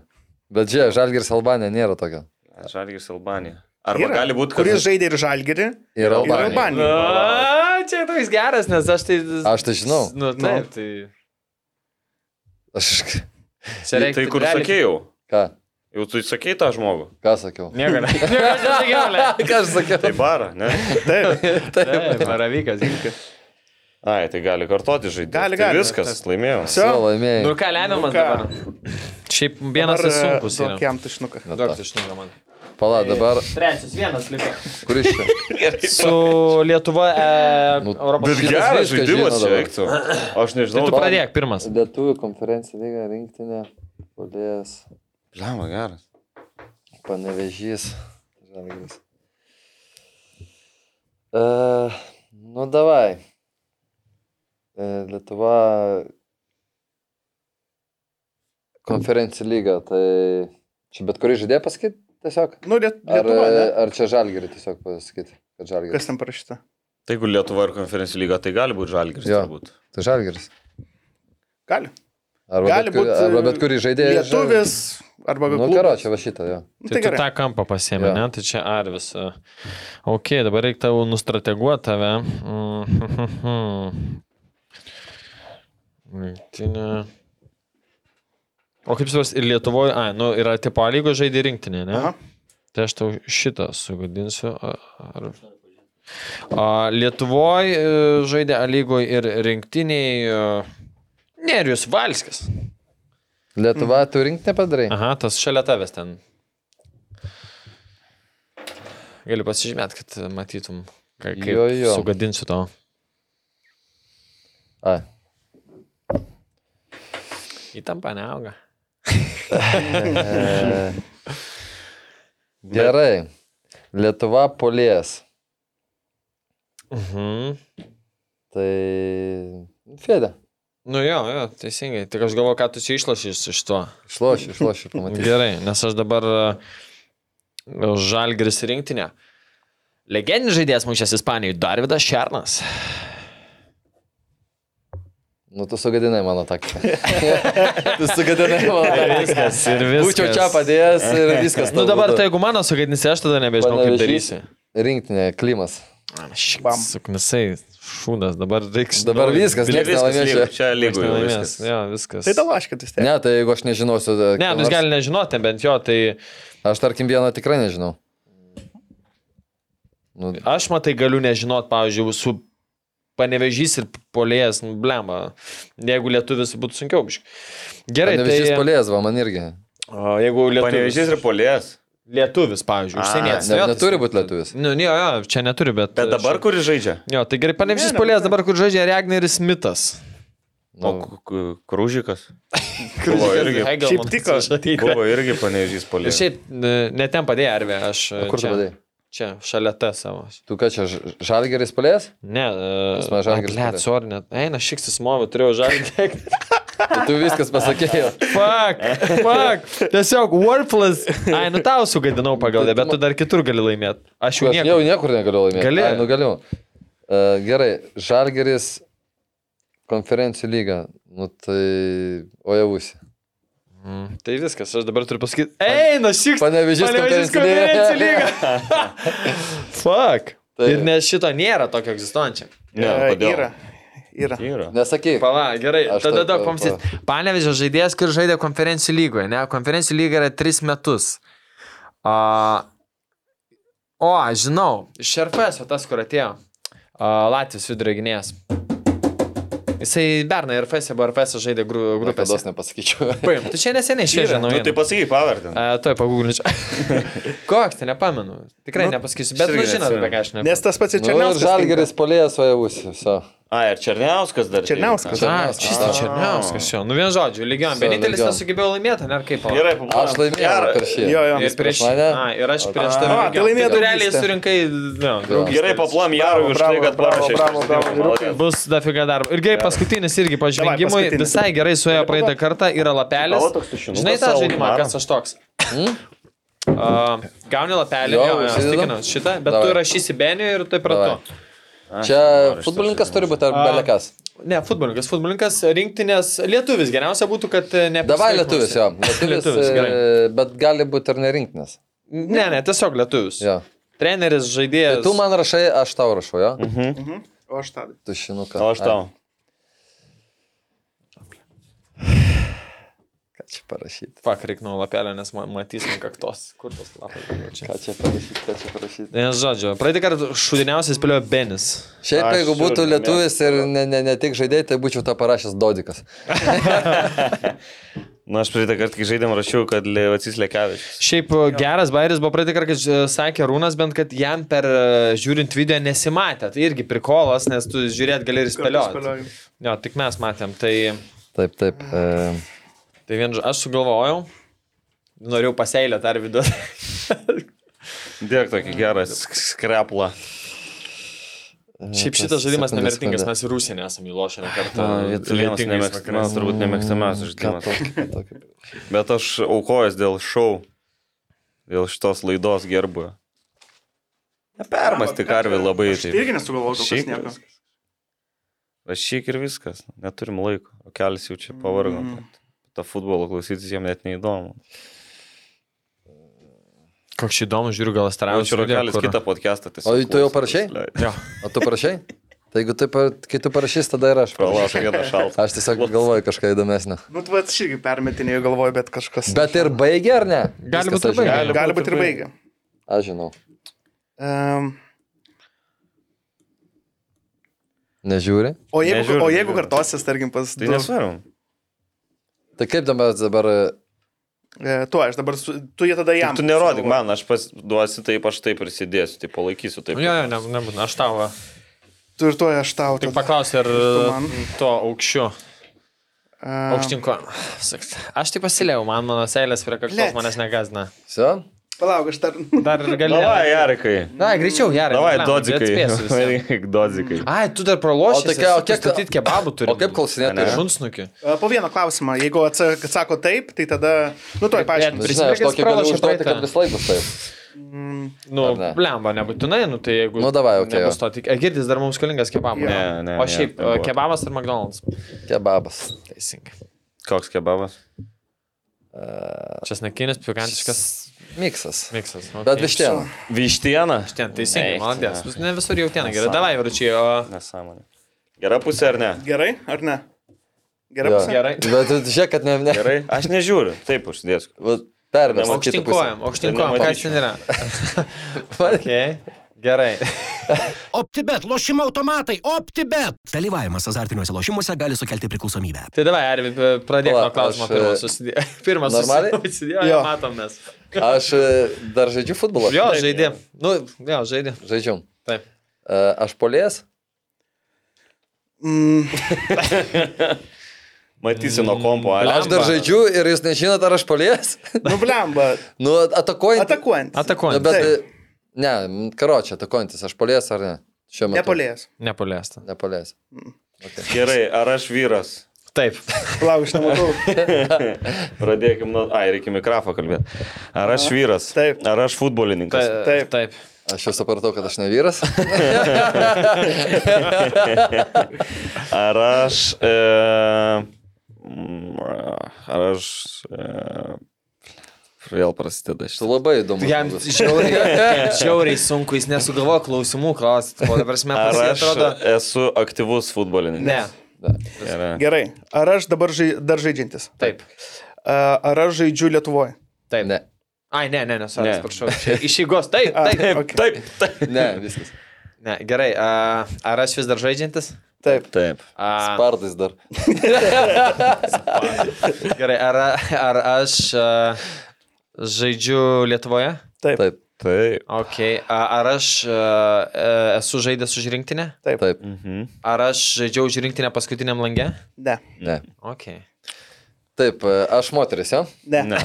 Speaker 6: Bet čia, Žalgeris, Albanija nėra tokia.
Speaker 5: Žalgiris Albanija. Arba
Speaker 3: Yra,
Speaker 5: gali būti, kad...
Speaker 3: Kuris žaidė ir Žalgerį,
Speaker 6: Ir
Speaker 3: ir
Speaker 6: Albanija.
Speaker 3: Albaniją.
Speaker 4: A, Nu, čia toks geras, nes aš tai...
Speaker 6: Aš tai žinau.
Speaker 4: Nu, taip, tai...
Speaker 6: Aš
Speaker 4: Čia reikia...
Speaker 5: Tai kur sakėjau?
Speaker 6: ką,
Speaker 5: Jau tu sakei tą žmogų.
Speaker 6: ką sakiau?
Speaker 4: Nieko. Nieko.
Speaker 6: Ką aš sakiau?
Speaker 5: Tai bara, ne?
Speaker 3: Taip,
Speaker 4: Maravykas.
Speaker 5: Ai, tai gali kartoti žaidimą.
Speaker 3: Gali,
Speaker 5: tai
Speaker 3: gali.
Speaker 5: viskas, laimėjau.
Speaker 6: Tu
Speaker 3: Sio.
Speaker 4: Nu
Speaker 6: laimėjai.
Speaker 4: ir ką lemiamas
Speaker 3: Nu ką?
Speaker 4: dabar? Šiaip vienas tai sunkus. yra.
Speaker 3: e, Tokiam tušnuką.
Speaker 6: Nu,
Speaker 4: Daug
Speaker 6: ta.
Speaker 4: taškų man.
Speaker 6: Pala, dabar
Speaker 4: Trečias, vienas liko.
Speaker 6: kuris čia?
Speaker 4: Su Lietuva e,
Speaker 6: Nu,
Speaker 4: Europos
Speaker 5: Bet
Speaker 6: Šitas
Speaker 5: geras
Speaker 6: viską
Speaker 5: žaidimas
Speaker 6: žino
Speaker 5: čia
Speaker 6: dabar.
Speaker 5: veiktų. Aš nežinau.
Speaker 4: Tai Tu pradėk pirmas.
Speaker 6: Lietuvių konferencija lyga rinktinė, Polėjas,
Speaker 5: Lama, geras.
Speaker 6: Panevežys, Žalgiris. Uh, nu, davai. Uh, Lietuva konferencija lyga, tai čia bet kurį žaidėją pasakyti tiesiog?
Speaker 3: Nu, Liet-
Speaker 6: Ar,
Speaker 3: Lietuva,
Speaker 5: e,
Speaker 3: ne?
Speaker 6: ar čia Žalgirį tiesiog pasakyti, kad Žalgiris?
Speaker 3: Kas ten parašyta?
Speaker 5: Tai jeigu Lietuva ir konferencijų lyga, tai gali būti Žalgiris.
Speaker 6: Jo.
Speaker 5: turbūt.
Speaker 6: Tai Žalgiris.
Speaker 3: Gali.
Speaker 6: Arba,
Speaker 3: Gali
Speaker 6: bet, kuri,
Speaker 3: būti
Speaker 6: arba bet kurį žaidėją. iš Žalgirio.
Speaker 3: Lietuvis, arba
Speaker 6: Nu,
Speaker 3: klubas.
Speaker 6: karo, čia va šitą, jo.
Speaker 3: Nu,
Speaker 4: Tai
Speaker 3: tai
Speaker 4: tu
Speaker 3: gerai.
Speaker 4: tą kampą pasiemi,
Speaker 6: Jo.
Speaker 4: ne? Tai čia Arvis. e. Ok, dabar reikia tavo nustrateguoti tave. Mm. Rinktinė. O kaip jūs ir Lietuvoje, ai, nu, yra tipo A lygos žaidė rinktinė, ne?
Speaker 3: Aha.
Speaker 4: Tai aš tau šitą sugadinsiu. a- Ar... A, Lietuvoje žaidė Alygoje ir rinktiniai Nerius Valskis.
Speaker 6: Lietuva,
Speaker 3: Mhm.
Speaker 6: tu rink nepadarai.
Speaker 4: Aha, tas šalia tavęs ten. Galiu pasižymėti, kad matytum, ka- kaip
Speaker 6: Jo, jo.
Speaker 4: sugadinsiu to.
Speaker 6: A,
Speaker 4: Įtampa neauga.
Speaker 6: gerai. Lietuva polės.
Speaker 4: Mhm.
Speaker 6: Tai Fedė.
Speaker 4: Nu jo, jo, teisingai. Tik aš galvoju, ką tu čia išlašys iš to.
Speaker 6: Šlošiu, šlošiu, pamatysiu.
Speaker 4: Gerai, nes aš dabar e, žalgris rinktinė. Legendinis žaidėjas mušęs Ispanijoje Darvidas Šernas.
Speaker 6: Nu, tu sugadinai mano taktiką. tu sugadinai mano taktiką.
Speaker 4: ir
Speaker 6: Būčiau čia padėjęs ir viskas.
Speaker 4: Nu
Speaker 6: tau
Speaker 4: dabar
Speaker 6: būtų.
Speaker 4: tai jeigu mano sugadinsi, aš tada nebežinau, kaip
Speaker 6: Panevėžys.
Speaker 4: darysi.
Speaker 6: Rinktinė, klimas.
Speaker 3: Bam.
Speaker 4: Suknisai, šūdas, dabar reiks.
Speaker 6: Dabar viskas,
Speaker 5: Čia
Speaker 6: niekas
Speaker 5: viskas
Speaker 6: nelaimės.
Speaker 5: lygu,
Speaker 6: čia.
Speaker 5: čia lygu jau
Speaker 4: Laimės.
Speaker 5: viskas.
Speaker 4: Jo, viskas.
Speaker 3: Tai dalaškit vis tiek.
Speaker 6: Ne, tai jeigu aš nežinosiu.
Speaker 4: Ne, nu jis gali nežinoti, bent jo, tai
Speaker 6: Aš tarkim vieną tikrai nežinau. Nu,
Speaker 4: aš matai galiu nežinoti, pavyzdžiui, su panevežys ir polėjas, nu, blemba, jeigu lietuvis būtų sunkiau. biškį. Gerai, tai
Speaker 6: Nevežys polės, va, man irgi.
Speaker 4: O, jeigu lietuvis,
Speaker 5: Panevežys ir polės.
Speaker 4: lietuvis pavyzdžiui,
Speaker 5: A,
Speaker 4: užsienietis.
Speaker 6: Ne,
Speaker 4: jo, tai-
Speaker 6: neturi būti lietuvis.
Speaker 4: Nu, ne, jo, jo, čia neturi, bet.
Speaker 5: Bet dabar kuris žaidžia?
Speaker 4: Jo, tai gerai, panevežys polės dabar, kur žaidžia Regneris Mitas.
Speaker 5: O
Speaker 6: Nu,
Speaker 5: K- K- Krūžikas. Buvo irgi,
Speaker 3: Šiaip tiko.
Speaker 4: tiko.
Speaker 5: buvo irgi panevežys
Speaker 4: Ir
Speaker 5: polės.
Speaker 4: šiaip, e, ne ten padėjai, Arvė, aš. e,
Speaker 6: o kur tu
Speaker 4: čia-
Speaker 6: padai?
Speaker 4: Čia, šalia T savo.
Speaker 6: Tu ką čia, žalgeris polės?
Speaker 4: Ne,
Speaker 6: Pas mane Žalgiris
Speaker 4: Ne,
Speaker 6: padėjo.
Speaker 4: sorry, net. Eina, šiksis movi, turėjau žalgį.
Speaker 6: Tu viskas pasakėjai.
Speaker 4: Fuck, fuck. Tiesiog worthless. Ai, nu tau sugadinau pagal, ją, bet tu dar kitur gali laimėti. Aš jau
Speaker 6: Aš jau
Speaker 4: nieko.
Speaker 6: niekur negaliu laimėti.
Speaker 4: Gali.
Speaker 6: Ai, nu galiu. Uh, gerai, žalgeris konferencijų lyga. Nu tai, ojavusi.
Speaker 4: Mm, Tai viskas, aš dabar turiu pasakyti. Eina, šiksis.
Speaker 6: Panevežys konferencijų lyga.
Speaker 4: lyga. Fuck.
Speaker 6: Taip.
Speaker 4: Ir nes šito nėra tokio egzistuojančio.
Speaker 5: Ne,
Speaker 3: E,
Speaker 5: kodėl?
Speaker 3: Yra. Yra.
Speaker 5: Yra.
Speaker 6: Nesakyk.
Speaker 4: Pala, gerai,
Speaker 6: Aš
Speaker 4: tada
Speaker 6: taip,
Speaker 4: daug
Speaker 6: pa-
Speaker 4: pamatysit. Panevežė žaidėjas, kuris žaidė konferencijų lygoje, ne? Konferencijų lyga yra 3 metus. A, o, aš žinau, Šerfes, o tas, kur atėjo. A, Latvijos vidurginės. Jisai Bernai ir E, Fese buvo, ir Fese žaidė gru, grupės.
Speaker 6: Grupės nepasakyčiau.
Speaker 4: Paim, tu čia neseniai šviežia
Speaker 5: Nu,
Speaker 4: nauja.
Speaker 5: tai pasakyk pavardę.
Speaker 4: Tuoj pagūglinčiau. Koks, tai nepamenu. Tikrai
Speaker 3: Nu,
Speaker 4: nepasakysiu, bet nu,
Speaker 5: aš irgi
Speaker 4: žinot,
Speaker 5: neatsimenu.
Speaker 4: apie ką aš nekalbu.
Speaker 3: Nes tas pats ir
Speaker 6: Nu, ir
Speaker 3: Černiauskas.
Speaker 6: žalgeris polės, ojavusi. So.
Speaker 5: A, ir Černiauskas dar. čia
Speaker 3: Černiauskas.
Speaker 5: yra.
Speaker 4: Na,
Speaker 6: Černiauskas.
Speaker 4: čistai Černiauskas čia. Nu, vien žodžiu, lygiam.
Speaker 6: Su
Speaker 4: Vienintelis
Speaker 6: lygiom.
Speaker 4: nesugebėjo laimėti, ar kaip? pala?
Speaker 5: Gerai, pamokas.
Speaker 6: Aš laimėjau per šį.
Speaker 3: Jo, jo.
Speaker 4: Ir prieš
Speaker 6: prieš
Speaker 4: mane.
Speaker 6: mane.
Speaker 4: A, ir aš prieš
Speaker 3: A,
Speaker 4: tave.
Speaker 3: tai
Speaker 4: lygiam.
Speaker 3: laimėjo
Speaker 4: tu realiai
Speaker 3: draugystę.
Speaker 4: surinkai... No,
Speaker 5: Gerai, paplam Jarui už
Speaker 3: Bravo,
Speaker 5: tai, kad
Speaker 3: bravo,
Speaker 5: parašė.
Speaker 3: bravo, bravo, vyrukai.
Speaker 4: Bus dafiga darbo. Ir gerai, paskutinis irgi pažvengimui.
Speaker 3: paskutinis.
Speaker 4: Visai gerai suėjo praeitą kartą, yra lapelis.
Speaker 5: Tavo toks tušinukas
Speaker 4: Žinai tą
Speaker 5: savo
Speaker 4: žaidimą,
Speaker 5: uždaro.
Speaker 4: kas aš toks? Uh, gauni lapelį,
Speaker 6: Jo,
Speaker 4: jo, jo,
Speaker 6: užsidedam.
Speaker 4: stikinu šitą, bet
Speaker 6: Davai.
Speaker 4: tu rašysi Benį ir taip prie to.
Speaker 6: Davai. Čia futbolininkas turi būti ar belekas.
Speaker 4: Ne, futbolininkas, futbolininkas, rinktinės lietuvis. Geriausia būtų, kad e, ne...
Speaker 6: Davai lietuvis, jo. Lietuvis,
Speaker 4: Lietuvis, gerai.
Speaker 6: e, bet gali būti ir nerinktinas.
Speaker 4: Ne, ne, tiesiog lietuvis.
Speaker 6: Jo.
Speaker 4: Treneris,
Speaker 6: Tai
Speaker 4: žaidėjas.
Speaker 6: tu man rašai, aš tau rašau, jo.
Speaker 3: O aš tą.
Speaker 6: Tu šinuką.
Speaker 5: O aš tau.
Speaker 6: Ką čia parašyti?
Speaker 4: Fak, reikia nuo lapelio, nes ma- matysim kaktos. Kur tas lapas buvo čia?
Speaker 6: Ką čia parašyti, ką čia parašyti?
Speaker 4: Nes žodžiu, praeitį kartą šudiniausiai spėliojo Benis.
Speaker 6: Šiaip
Speaker 5: Aš
Speaker 6: jeigu būtų
Speaker 5: žiūriu,
Speaker 6: lietuvis ir ne, ne, ne tik žaidėjai, tai būčiau tą parašęs Dodikas.
Speaker 5: Na, Nu, aš praeitą kartą, kai žaidėm, rašiau, kad Levacis Lekevičius.
Speaker 4: Šiaip jo. geras bairis buvo praeitį kartą, kad e, sakė Rūnas, bent kad jam per e, žiūrint video nesimatė. Tai irgi prikolas, nes tu žiūrėt gali ir spėlioti. Jo, tik mes matėm. Tai,
Speaker 6: Taip, taip. E,
Speaker 4: tai vien, žo- aš sugalvojau, norėjau paseilę dar video.
Speaker 5: Dėk tokį gerą sk- skreplą.
Speaker 4: Šiaip šitas žaidimas nemirtingas, mes ir Rusiją nesame įlošę ne kartą.
Speaker 5: Vienas
Speaker 4: Lemtingais
Speaker 5: nemėgst-
Speaker 4: vakarais.
Speaker 5: man turbūt
Speaker 3: Mm,
Speaker 5: nemėgstamiausias žaidimas.
Speaker 6: žaidimas.
Speaker 5: Bet aš aukojas dėl šou, dėl šitos laidos gerbuoju. Permasti karvį labai
Speaker 3: Aš
Speaker 5: Tai taip.
Speaker 3: irgi nesugalvojau, kol kas
Speaker 5: Šiaip
Speaker 3: nieko.
Speaker 5: Rašyk ir viskas, neturim laiko, o kelias jau čia pavargo.
Speaker 3: Mhm.
Speaker 5: Ta futbolo klausytis jiem net neįdomu.
Speaker 4: Koks čia įdomus, žiūriu, gal Astravas.
Speaker 5: Aš ir Rokelis kitą podcastą tiesiog.
Speaker 6: O tu jau
Speaker 5: klauso,
Speaker 6: parašei?
Speaker 5: pasileidžia.
Speaker 4: Jo.
Speaker 6: O tu parašai? Tai jeigu taip, kai tu parašys, tada ir aš. parašysiu.
Speaker 5: Pralašau vieną šaltą.
Speaker 6: Aš tiesiog galvoju kažką įdomesnio.
Speaker 3: Nu, tu vat, aš irgi permetinėjau galvoju, bet kažkas.
Speaker 6: Bet ir baigė, ar ne?
Speaker 4: Gali būt ir
Speaker 6: Viskas, aš žinau.
Speaker 4: baigė.
Speaker 3: Gali būti ir baigė.
Speaker 6: Aš žinau.
Speaker 3: Um,
Speaker 6: Nežiūri.
Speaker 3: O jeigu, o
Speaker 5: Nežiūrim,
Speaker 3: jeigu
Speaker 5: nežiūrim.
Speaker 3: kartosis, tarkim, pas...
Speaker 5: Tai nesvarbu.
Speaker 6: Tai kaip dabar, dabar
Speaker 3: E, Tu, aš dabar, su- tu jie tada jam.
Speaker 5: Tai Tu nerodyk man, aš pas, duosiu taip, aš taip prisidėsiu, tai palaikysiu taip.
Speaker 4: Jo, jo, Nu, ne, nebūna, aš tau. va.
Speaker 3: Tu ir tu, aš tau.
Speaker 4: Tik
Speaker 3: tada.
Speaker 4: paklausiu, ar
Speaker 3: Tu man.
Speaker 4: to aukščiu.
Speaker 3: E,
Speaker 4: Aukštinko. Aš tai pasilėjau, man mano seilės prie kaktos
Speaker 3: Blet.
Speaker 4: manęs negazina.
Speaker 6: visą?
Speaker 3: Palauk, aš dar.
Speaker 4: Dar ir galiu.
Speaker 5: Davai, Jarikai.
Speaker 4: Na, greičiau, gerai.
Speaker 5: Davai,
Speaker 4: blemba, atspėsiu visi.
Speaker 5: dodzikai. dodzikai.
Speaker 4: Ai, tu dar
Speaker 6: O
Speaker 4: praloši.
Speaker 6: tai ką- o kiek-
Speaker 4: statyti kebabų turi?
Speaker 6: O kaip klausinėti?
Speaker 5: Ne, ne.
Speaker 4: Žunsnukiu.
Speaker 3: E, Po vieną klausimą, jeigu atsa- atsako taip, tai tada... Nu, tuoj
Speaker 4: bet-
Speaker 3: paaiškinsiu.
Speaker 6: Žinai, aš
Speaker 4: Prisimeni,
Speaker 6: tokį
Speaker 4: kas
Speaker 6: galiu
Speaker 4: pralošė
Speaker 6: užduoti,
Speaker 4: praeitą?
Speaker 6: kad vis laikus taip.
Speaker 4: Nu,
Speaker 6: Ar ne?
Speaker 4: blemba, nebūtinai, nu tai jeigu...
Speaker 6: Nu, davai, okei,
Speaker 4: Nebus to tik... e, Girdis dar mums skolingas kebabas.
Speaker 5: Ne, ne,
Speaker 4: O
Speaker 5: ne,
Speaker 4: šiaip,
Speaker 5: nebuvo.
Speaker 4: e, kebabas ar McDonald's?
Speaker 6: Kebabas.
Speaker 4: Teisingai.
Speaker 5: Koks kebabas?
Speaker 4: Česnakinis, pikantiškas
Speaker 6: Miksas.
Speaker 4: miksas. Okay.
Speaker 6: Bet vištiena.
Speaker 5: Vištiena.
Speaker 4: Ten teisingai,
Speaker 5: Ne,
Speaker 4: maladės.
Speaker 5: ne.
Speaker 4: Vis- Ne visur jautiena gerai.
Speaker 5: Nesąmonė.
Speaker 4: Davai, varčiai, o...
Speaker 5: Nesąmonė. Gera pusė ar ne?
Speaker 3: Gerai, ar ne? Gerai,
Speaker 6: Jo.
Speaker 3: pusė?
Speaker 4: Gerai.
Speaker 6: Bet žiūrėk, kad ne... ne.
Speaker 5: Gerai. Aš nežiūriu. Taip, užsidėsiu.
Speaker 6: Pervės.
Speaker 4: Aukštin kojam, aukštin
Speaker 5: Tai
Speaker 4: kojam, ką
Speaker 5: nematyčiau.
Speaker 4: ten yra. Okay. Gerai.
Speaker 1: OptiBet, lošimo automatai, OptiBet.
Speaker 2: Dalyvavimas azartiniuose lošimuose gali sukelti priklausomybę.
Speaker 4: Tai davai, Arvi, pradėk
Speaker 6: Pala,
Speaker 4: nuo klausimo
Speaker 6: aš,
Speaker 4: pirmo.
Speaker 6: e,
Speaker 4: susidė- Pirmas
Speaker 6: normaliai?
Speaker 4: susidėjo,
Speaker 3: Jo.
Speaker 4: matomės.
Speaker 6: Aš e, dar žaidžiu futbolą.
Speaker 4: Jo, žaidė. Nu, jo, žaidė.
Speaker 6: Žaidžiu.
Speaker 4: Taip.
Speaker 6: E, Aš polės.
Speaker 3: Mm,
Speaker 5: Matysi nuo kompo. Ale.
Speaker 6: Aš dar
Speaker 4: Blemba.
Speaker 6: žaidžiu ir jūs nežinot, ar aš polės.
Speaker 3: nu, blemba.
Speaker 6: Nu, atakuojant.
Speaker 3: Atakuojant.
Speaker 6: Nu,
Speaker 4: Atakuojant.
Speaker 6: bet,
Speaker 3: Taip.
Speaker 6: e, ne, m, karočią, atakuojantis, aš polės ar ne? Šiuo metu.
Speaker 3: Nepalėjęs.
Speaker 4: Nepaliesta.
Speaker 6: Nepolės.
Speaker 5: Gerai, ar aš vyras?
Speaker 4: Taip.
Speaker 3: Palauk, aš nematau.
Speaker 5: Pradėkim nuo... Ai, reikia mikrofą kalbėti. Ar aš vyras?
Speaker 3: Taip.
Speaker 5: Ar aš futbolininkas?
Speaker 3: Taip.
Speaker 4: Taip.
Speaker 6: Aš jau supratau, kad aš ne vyras.
Speaker 5: Ar aš... E, mm, ar aš... E, vėl prasideda
Speaker 6: Tu
Speaker 5: šitą.
Speaker 6: labai įdomu.
Speaker 4: Jam žiauriai, žiauriai sunku, jis nesugalvo klausimų klausyti. O dabar mes
Speaker 5: Ar aš
Speaker 4: atrodo.
Speaker 5: esu aktyvus
Speaker 4: Ne.
Speaker 5: futbolininkas? Gerai.
Speaker 3: Gerai. Ar aš dabar žai, dar žaidžiantis?
Speaker 4: Taip.
Speaker 3: A, Ar aš žaidžiu Lietuvoje?
Speaker 4: Taip.
Speaker 6: Ne,
Speaker 4: Ai, ne, ne, nesu,
Speaker 5: Ne.
Speaker 4: atsiprašau. Čia Iš eigos. Taip,
Speaker 3: A,
Speaker 4: taip.
Speaker 3: ok.
Speaker 5: Taip, taip.
Speaker 6: ne, viskas.
Speaker 4: Ne, gerai. A, ar aš vis dar žaidžiantis?
Speaker 3: Taip.
Speaker 5: Taip.
Speaker 4: A,
Speaker 6: Spardais dar.
Speaker 4: gerai. Ar, ar aš a, žaidžiu Lietuvoje?
Speaker 3: Taip.
Speaker 6: Taip,
Speaker 5: Taip.
Speaker 4: Ok. A, ar aš a, e, esu žaidęs už rinktinę?
Speaker 3: Taip.
Speaker 6: taip,
Speaker 5: Mhm.
Speaker 4: Ar aš žaidžiau už rinktinę paskutiniam langę?
Speaker 3: Ne.
Speaker 6: ne.
Speaker 4: Ok.
Speaker 6: Taip, e, aš moteris, jo?
Speaker 3: Ne.
Speaker 5: Ne.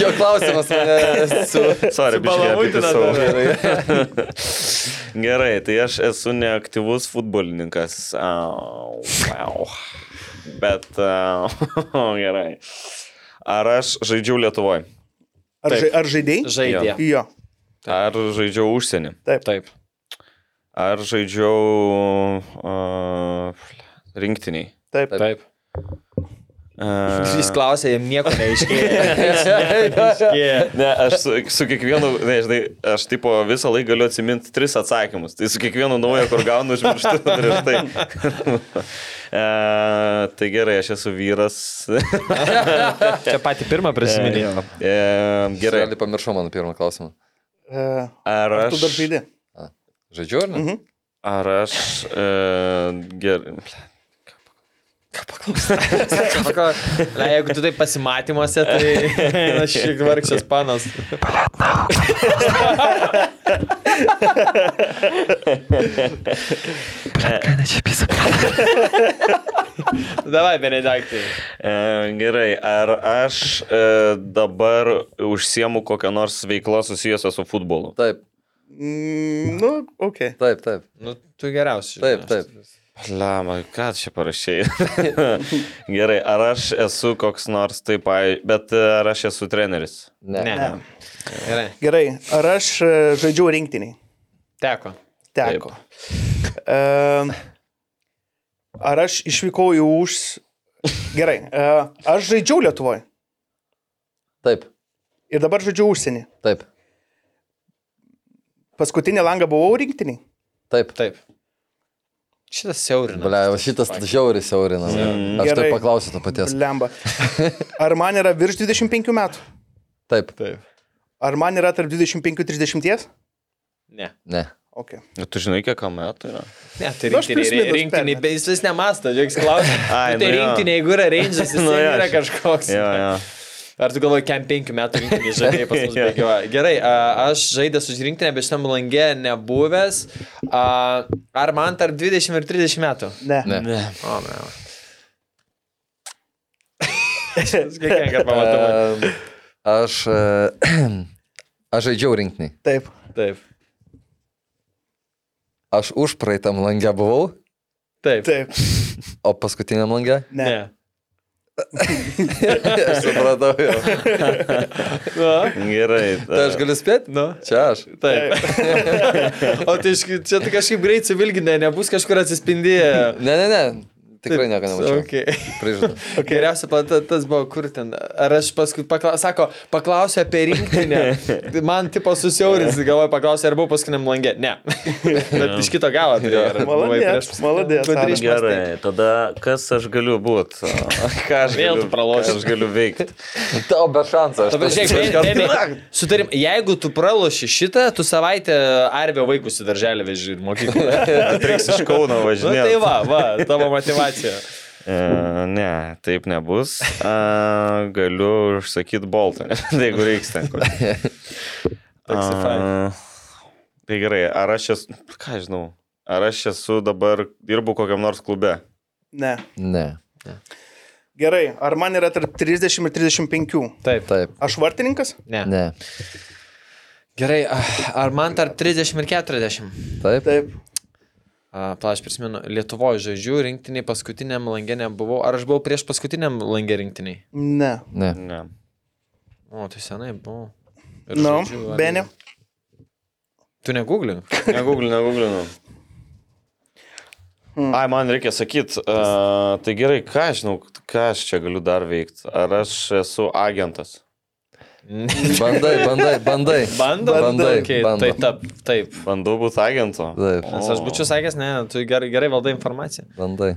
Speaker 6: Jo klausimas mane su...
Speaker 5: Sorry,
Speaker 4: Subalamūtina
Speaker 5: bičiuliai.
Speaker 6: Gerai.
Speaker 5: Gerai, tai aš esu neaktyvus futbolininkas. Au, au. Bet au, gerai. Ar aš žaidžiau Lietuvoje?
Speaker 3: Ar, žai, ar žaidėjai?
Speaker 4: Žaidė.
Speaker 3: Jo.
Speaker 5: Ar žaidžiau užsienį?
Speaker 4: Taip.
Speaker 5: Ar žaidžiau uh, rinktiniai?
Speaker 3: Taip.
Speaker 4: Taip.
Speaker 5: Uh,
Speaker 4: Jis klausė, jam nieko neaiškėjo.
Speaker 5: Ne, aš su, su kiekvienu, nežinai, aš tipo visą laiką galiu atsiminti tris atsakymus. Tai su kiekvienu naujo, kur gaunu užmirštu prieš tai. e, tai gerai, aš esu vyras.
Speaker 4: Čia patį pirmą prisiminėjau.
Speaker 5: E, gerai.
Speaker 6: Gerai, pamiršau mano pirmą klausimą.
Speaker 3: E,
Speaker 5: Ar
Speaker 3: Ar tu dar
Speaker 5: aš...
Speaker 3: žaidži?
Speaker 6: Žaidžiu ar ne?
Speaker 3: Mhm.
Speaker 5: Ar aš... E, gerai.
Speaker 4: Sako, na, jeigu tu taip pasimatymuose, tai aš šiek vargšas panas. Davai, Benediktai.
Speaker 5: E, gerai. Ar aš e, dabar užsiemu kokią nors veiklą susijusią su futbolu?
Speaker 6: Taip,
Speaker 3: Mm, nu, ok.
Speaker 6: taip, taip,
Speaker 4: Nu, tu geriausias.
Speaker 6: taip, taip.
Speaker 5: Lama, ką tu čia parašiai? Gerai, ar aš esu koks nors taip, ai, bet e, ar aš esu treneris?
Speaker 6: Ne.
Speaker 4: Ne.
Speaker 3: Ne.
Speaker 4: Gerai,
Speaker 3: Gerai. Ar aš e, žaidžiu rinktiniai?
Speaker 4: teko.
Speaker 3: Teko. E, ar aš išvykau į už... Gerai. E, aš žaidžiau Lietuvoje
Speaker 6: Taip,
Speaker 3: ir dabar žaidžiu užsienį.
Speaker 6: taip,
Speaker 3: Paskutinį langą buvau rinktiniai.
Speaker 6: taip.
Speaker 4: Taip. tai Šitas siaurina.
Speaker 6: Ble, va šitas žiauriai siaurina.
Speaker 4: Mm.
Speaker 6: Aš
Speaker 3: Gerai.
Speaker 6: taip paklausiu to paties.
Speaker 3: Lemba. Ar man yra virš 25 metų?
Speaker 6: Taip,
Speaker 4: Taip.
Speaker 3: Ar man yra tarp 25 ir 30?
Speaker 4: Ne.
Speaker 6: Ne.
Speaker 3: Okay.
Speaker 5: Bet Nu, tu žinai, kiek kam metų yra?
Speaker 4: Ne, tai
Speaker 3: Nu, aš
Speaker 4: rinktiniai,
Speaker 3: plius minus
Speaker 4: ri- rinktiniai,
Speaker 3: permetu.
Speaker 4: bet jis vis nemasta, džiaugs klausimas.
Speaker 5: Ai,
Speaker 4: Tai
Speaker 5: nu jo.
Speaker 4: rinktiniai, jeigu yra rangers, jis
Speaker 5: Nu
Speaker 4: nu,
Speaker 5: jo,
Speaker 4: yra
Speaker 5: aš-
Speaker 4: kažkoks.
Speaker 5: Jo, jo.
Speaker 4: Ar tu galvoji, kiam penkių metų rinktinį žaidėjai pas mus
Speaker 5: Jo.
Speaker 4: bėgioja? Gerai, a, aš žaidęs už rinktinę, bet šitam langė nebuvęs. A, Ar man tarp 20 ir 30 metų?
Speaker 3: Ne.
Speaker 6: Ne.
Speaker 5: Ne.
Speaker 4: O, ne. Kiek kad pamatau.
Speaker 6: E, Aš, e, aš žaidžiau rinkiniai.
Speaker 3: Taip.
Speaker 4: Taip.
Speaker 6: Aš už praeitam langę buvau,
Speaker 4: Taip.
Speaker 3: Taip.
Speaker 6: o paskutiniam langę
Speaker 3: Ne.
Speaker 4: Ne.
Speaker 3: ne.
Speaker 6: aš supratau jau.
Speaker 4: Nu,
Speaker 5: Gerai.
Speaker 6: Tai aš galiu spėti?
Speaker 4: nu.
Speaker 6: Čia aš.
Speaker 4: Taip. o tai iš- čia tai kažkaip greit suvilginė, nebus kažkur atsispindėję.
Speaker 6: Ne, ne, ne. Tikrai nieko nemačiau. Okay.
Speaker 4: Okay.
Speaker 6: Prižadu.
Speaker 4: Okay. Geriausia, pat, tas buvo kur ten. Ar aš paskui pakla... sako, paklausė apie rinktinę. Man tipo susiaurins, galvoju, paklausė, ar buvau paskutiniam langė. Ne. Bet iš kito galo. Tai ar buvai
Speaker 3: Maladės,
Speaker 4: prieš paskutinį?
Speaker 3: maladės,
Speaker 4: Tu
Speaker 3: Ana.
Speaker 4: trys
Speaker 5: Gerai,
Speaker 4: pastai.
Speaker 5: tada kas aš galiu būti? Ką aš
Speaker 4: Vėl
Speaker 5: galiu,
Speaker 4: tu praloši.
Speaker 5: ką Aš galiu veikti.
Speaker 6: Tau be šansų.
Speaker 4: Dabar žiūrėk, bent- bent- bent- Sutarim, jeigu tu praloši šitą, tu savaitę arvio vaikus į darželį veži ir mokyklą.
Speaker 5: Reiks iš Kauno
Speaker 4: Nu,
Speaker 5: važinėti.
Speaker 4: tai va, va, tavo motivacija.
Speaker 5: E, ne, taip nebus. E, galiu užsakyti boltą, tai jeigu reiks ten. ko.
Speaker 4: Taksifai.
Speaker 5: E, Tai gerai, ar aš esu, ką aš žinau, ar aš esu dabar, dirbu kokiam nors klube?
Speaker 3: ne.
Speaker 6: Ne.
Speaker 3: Gerai, ar man yra tarp 30 ir 35?
Speaker 4: Taip.
Speaker 6: Taip.
Speaker 3: Aš vartininkas?
Speaker 4: Ne.
Speaker 6: Ne.
Speaker 4: Gerai, ah, ar man tarp 30 ir 40?
Speaker 6: Taip.
Speaker 3: Taip.
Speaker 4: Plaš prisimenu, Lietuvoje žaidžiu rinktiniai paskutiniam langė nebuvau. Ar aš buvau prieš paskutiniam langė rinktiniai?
Speaker 3: Ne.
Speaker 6: Ne.
Speaker 5: Ne.
Speaker 4: O, tai senai buvau. Ir
Speaker 3: Nu,
Speaker 4: žaidžiu, ar-
Speaker 3: Benė.
Speaker 4: Tu negooglink.
Speaker 5: Negooglinu, negooglinu. Ai, man reikia sakyti, uh, tai gerai, ką aš žinau, ką aš čia galiu dar veikti? Ar aš esu agentas?
Speaker 6: Bandai, bandai, bandai.
Speaker 4: Bandau.
Speaker 6: Bandai,
Speaker 4: Okay,
Speaker 6: bandau.
Speaker 4: Tai tap, taip.
Speaker 5: Bandau būti agentu.
Speaker 6: Taip.
Speaker 4: Nes aš būčiau sakęs, ne, tu gerai, gerai valdai informaciją.
Speaker 6: Bandai.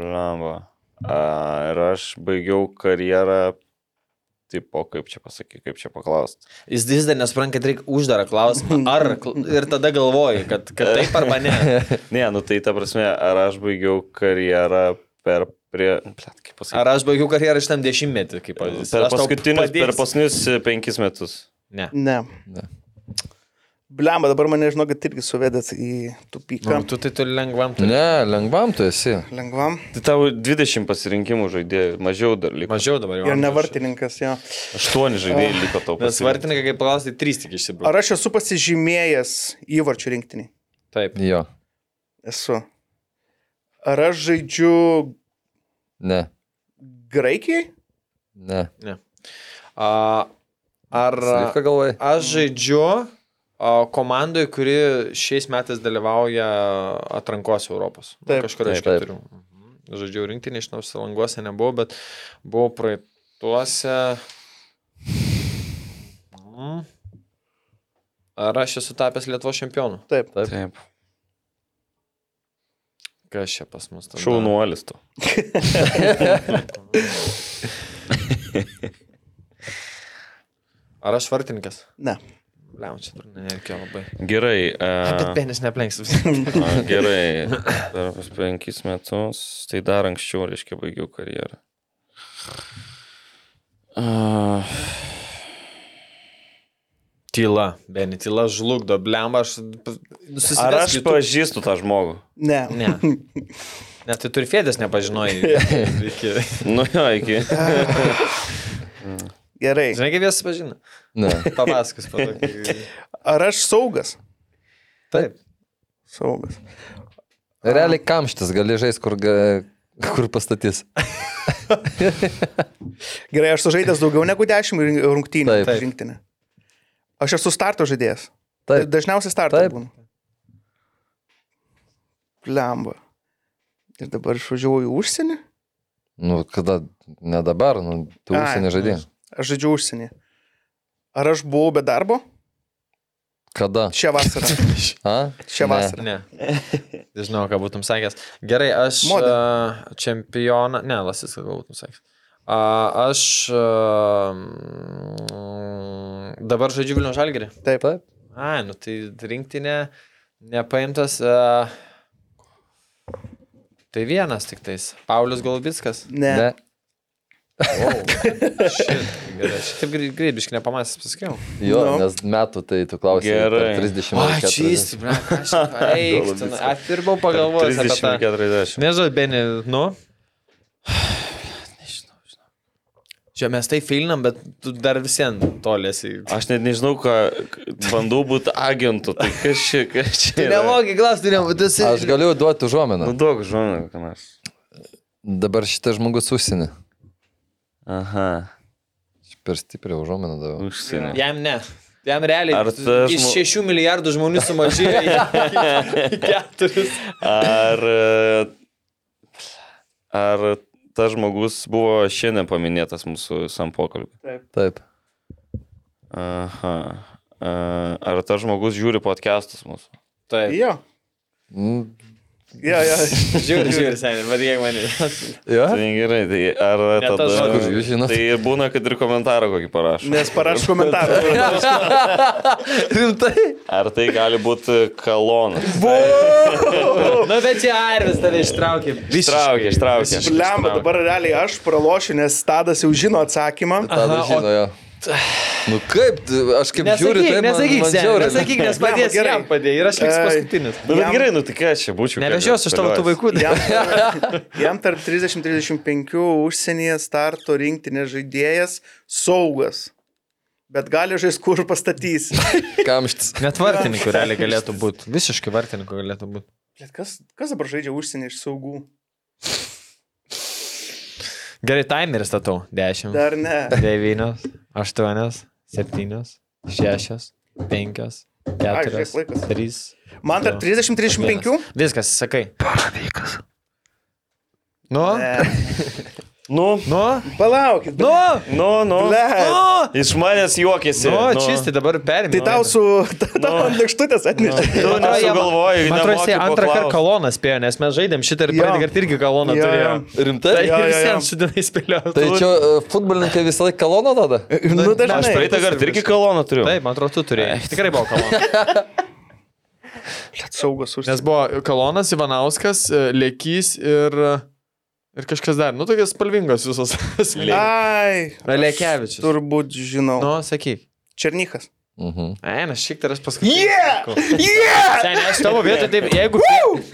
Speaker 5: Lamba. A, ir aš baigiau karjerą, tipo, kaip čia pasakyti, kaip čia paklausti.
Speaker 4: Jis vis dar nesupranka, kad reikia uždarą klausimą. Ar kl- ir tada galvoji, kad, kad taip arba ne.
Speaker 5: Ne, nu tai ta prasme, ar aš baigiau karjerą per, prie, plet, kaip pasakyti,
Speaker 4: Ar aš baigiau karjerą šitam dešimtmetį, kaip pavyzdys.
Speaker 5: per
Speaker 4: Aš tau
Speaker 5: paskutinius, per
Speaker 4: padėsiu.
Speaker 5: paskutinius e, penkis metus.
Speaker 4: Ne.
Speaker 3: Ne.
Speaker 6: Ne.
Speaker 3: Blemba, dabar mane žinau, kad irgi suvedat į tupyką.
Speaker 4: Nu, tu tai tu lengvam. turi.
Speaker 6: Ne, lengvam tu esi.
Speaker 3: Lengvam.
Speaker 5: Tai tavo 20 pasirinkimų žaidėjų, mažiau dar liko.
Speaker 4: Mažiau dabar jau.
Speaker 6: nu,
Speaker 3: Ir ne
Speaker 4: amžiaus.
Speaker 3: vartininkas, jo.
Speaker 5: 8 žaidėjai
Speaker 4: Ah,
Speaker 5: liko tau.
Speaker 4: Nes
Speaker 5: pasirinkti.
Speaker 4: vartininkai, kaip klausai, trys tik išsibraukė.
Speaker 3: Ar aš esu pasižymėjęs įvarčių rinktinį?
Speaker 4: Taip.
Speaker 6: Jo.
Speaker 3: Esu. Ar aš žaidžiu
Speaker 6: Ne.
Speaker 3: Graikijai?
Speaker 6: Ne.
Speaker 4: A, ar
Speaker 6: Sveika galvai.
Speaker 4: aš žaidžiu a, komandoje, kuri šiais metais dalyvauja atrankos Europos? Nu,
Speaker 3: Taip.
Speaker 4: Kažkur iš
Speaker 6: Taip, taip.
Speaker 4: keturių. Mhm. Žaidžiau rinktinį, žinau, salanguose nebuvau, bet buvau praeituose. Mhm. Ar aš esu tapęs Lietuvo čempionu?
Speaker 3: Taip.
Speaker 6: Taip.
Speaker 5: Taip.
Speaker 4: Kas čia pas mus? tada?
Speaker 5: Šaunuolis tu.
Speaker 4: Ar aš vartininkas?
Speaker 3: Ne.
Speaker 4: Liam, čia turbūt nereikia labai.
Speaker 5: Gerai.
Speaker 4: A, bet
Speaker 5: Uh,
Speaker 4: penis neplenks.
Speaker 5: A, Gerai, dar pas penkis metus, tai dar anksčiau, reiškia, baigiau karjerą. A,
Speaker 4: Tyla, Beni, tyla žlugdo, blemba, aš susitikau.
Speaker 5: Ar aš pažįstu tą žmogų?
Speaker 3: Ne.
Speaker 4: Ne. Net tai turfėdės nepažinojai. Iki-
Speaker 5: Nu, jo, iki.
Speaker 3: Gerai.
Speaker 4: Žinai, kaip jie susipažino?
Speaker 6: Ne.
Speaker 4: Papasakos po to. kai-
Speaker 3: Ar aš saugas?
Speaker 4: Taip.
Speaker 3: Saugas.
Speaker 6: Realiai kamštis, gali žaisti, kur, ga- kur pastatys.
Speaker 3: Gerai, aš sužaidęs daugiau negu 10 rin- rungtynių
Speaker 6: Taip.
Speaker 3: rinktinį. Aš esu starto žaidėjas.
Speaker 6: Taip.
Speaker 3: Dažniausiai starto
Speaker 6: Taip.
Speaker 3: būnu. Lemba. Ir dabar išvažiavau į užsienį.
Speaker 6: Nu, kada, ne dabar, nu,
Speaker 3: Ai,
Speaker 6: tu užsienį žaidėjai.
Speaker 3: Aš žaidžiu užsienį. Ar aš buvau be darbo?
Speaker 6: Kada?
Speaker 3: Šią vasarą.
Speaker 6: A?
Speaker 3: Šią
Speaker 6: Ne.
Speaker 3: vasarą.
Speaker 4: Ne. Žinau, ką būtum sakęs. Gerai, aš
Speaker 3: Moda.
Speaker 4: a, čempioną. Ne, lasis, ką būtum sakęs. A, aš a, mm, dabar žaidžiu Vilnių Žalgirį.
Speaker 3: Taip.
Speaker 6: Taip.
Speaker 4: A, nu tai rinktinė nepaimtas. Uh, tai vienas tik tais. Paulius Golubitskas.
Speaker 3: Ne. ne.
Speaker 4: Gerai, aš taip greibiškai nepamastęs pasakiau.
Speaker 6: Jo,
Speaker 3: Nu.
Speaker 6: no. nes metų tai tu klausai.
Speaker 5: Gerai.
Speaker 6: tarp 30
Speaker 4: O,
Speaker 6: ir 40.
Speaker 4: čysti, bra. aš čia- eik tu, nu, Aš pirmau pagalvojęs apie tą.
Speaker 5: 30-40.
Speaker 4: Nežinau, Beni, nu. Nežinau, žinau. Čia mes tai filinam, bet tu dar visien tolėsi.
Speaker 5: Aš net nežinau, ką k- bandau būti agentu. Tai kas čia, kas čia.
Speaker 4: Tai
Speaker 5: yra?
Speaker 4: nemogi, klausti, ne, tu esi.
Speaker 6: Aš galiu duoti
Speaker 5: Nu,
Speaker 6: užuominą.
Speaker 5: daug žmonių, ką nors.
Speaker 6: Dabar šitas žmogus užsienį.
Speaker 5: Aha,
Speaker 6: Per stiprią užuominą
Speaker 5: Nu.
Speaker 6: davau.
Speaker 5: užsienio.
Speaker 4: Jam ne. Jam realiai.
Speaker 5: Ar
Speaker 4: Ar
Speaker 5: tas
Speaker 4: tas... Iš
Speaker 5: žmo-
Speaker 4: 6 milijardų žmonių sumažėjo į- į 4.
Speaker 5: Ar, e, ar tas žmogus buvo šiandien paminėtas mūsų sam pokalbį?
Speaker 6: Taip.
Speaker 5: Aha. E, Ar tas žmogus žiūri podcastus mūsų?
Speaker 4: Taip.
Speaker 3: Jo.
Speaker 6: Mm.
Speaker 3: Jo, jo.
Speaker 4: Žiūri, žiūri, seniai, vadėk mane.
Speaker 6: Jo?
Speaker 5: Tai gerai, tai ar
Speaker 4: Ne tas
Speaker 5: tada...
Speaker 4: žmogus,
Speaker 6: jūs žinot.
Speaker 5: Tai būna, kad ir komentarą kokį parašo.
Speaker 3: Nes parašau komentarą.
Speaker 6: Rimtai?
Speaker 5: Ar tai gali būti kalonas?
Speaker 4: Na, Nu, bet čia Arvis tave ištraukė.
Speaker 5: Ištraukė, ištraukė.
Speaker 3: Lemba, dabar realiai aš pralošiu, nes Tadas jau žino atsakymą.
Speaker 6: Tada
Speaker 4: Aha, o-
Speaker 6: žino jo. Nu kaip, tu- aš kaip žiūriu,
Speaker 4: Nesakyk,
Speaker 6: tai man,
Speaker 4: nesakyk,
Speaker 6: man
Speaker 4: seniai,
Speaker 6: žiauriai.
Speaker 4: nesakyk, nes padės
Speaker 3: gerai.
Speaker 4: jam padėjai ir aš liksiu
Speaker 3: Ai.
Speaker 4: paskutinis.
Speaker 5: Na, bet
Speaker 3: Jam-
Speaker 5: gerai, nu tai ką aš čia būčiau.
Speaker 4: Nevežiosiu aš tavo tų vaikų.
Speaker 3: Jam, jam tarp 30-35 užsienyje starto rinktinės žaidėjas saugas. Bet gali žaisti, kur pastatys.
Speaker 6: Kamštis.
Speaker 4: Net vartininkų realiai galėtų būti. Visiškai vartininkų galėtų būti.
Speaker 3: Bet kas, kas dabar žaidžia užsienį iš saugų?
Speaker 4: Gerai, timerį statau. 10.
Speaker 3: Dar ne.
Speaker 4: 9, 8, 7, 6, 5,
Speaker 3: Ai,
Speaker 4: 4,
Speaker 3: žiūrėk, laikas.
Speaker 4: 3.
Speaker 3: Man tarp 30-35?
Speaker 4: Viskas, sakai. Paravykas. Nu,
Speaker 3: Ne.
Speaker 5: Nu,
Speaker 4: nu,
Speaker 3: Palaukit.
Speaker 4: nu,
Speaker 5: nu, nu.
Speaker 3: Ble.
Speaker 4: nu.
Speaker 5: Iš manęs juokiasi.
Speaker 4: Nu, čistį dabar perimė.
Speaker 3: Tai tau su...
Speaker 4: nu.
Speaker 3: Tau ant lėkštutės atnešė.
Speaker 5: Tu nesugalvoji,
Speaker 4: Man atrodo, jis
Speaker 5: nemoki
Speaker 4: antrą kartą
Speaker 5: paklaust.
Speaker 4: kaloną spėjo, nes mes žaidėm šitą ir
Speaker 3: Jo.
Speaker 4: praeitą kartą irgi kaloną
Speaker 3: Jo,
Speaker 4: turėjo.
Speaker 6: Rimtai?
Speaker 4: Tai
Speaker 3: jo, jo.
Speaker 4: visiems šitinai spėliau.
Speaker 6: Tai čia e, futbolininkai visą laiką kaloną tada?
Speaker 4: E,
Speaker 3: Nu,
Speaker 5: Aš
Speaker 3: dažnai.
Speaker 5: praeitą kartą irgi kaloną turiu.
Speaker 4: Taip, man atrodo, tu turėjai. Tikrai buvo kalonas.
Speaker 3: Saugas užsienis.
Speaker 4: Nes buvo kalonas, Ivanauskas, e, Lekys ir, ir kažkas dar. Nu, tokias spalvingos visos. asmenybės.
Speaker 3: Ai.
Speaker 4: Lelekevičius.
Speaker 3: Turbūt žinau.
Speaker 4: Nu, sakyk.
Speaker 3: Černykas.
Speaker 6: Mhm.
Speaker 4: Eina, šiktaras paskutinis. Yeah! Yeah! Seniai, aš tavo vietą taip, jeigu,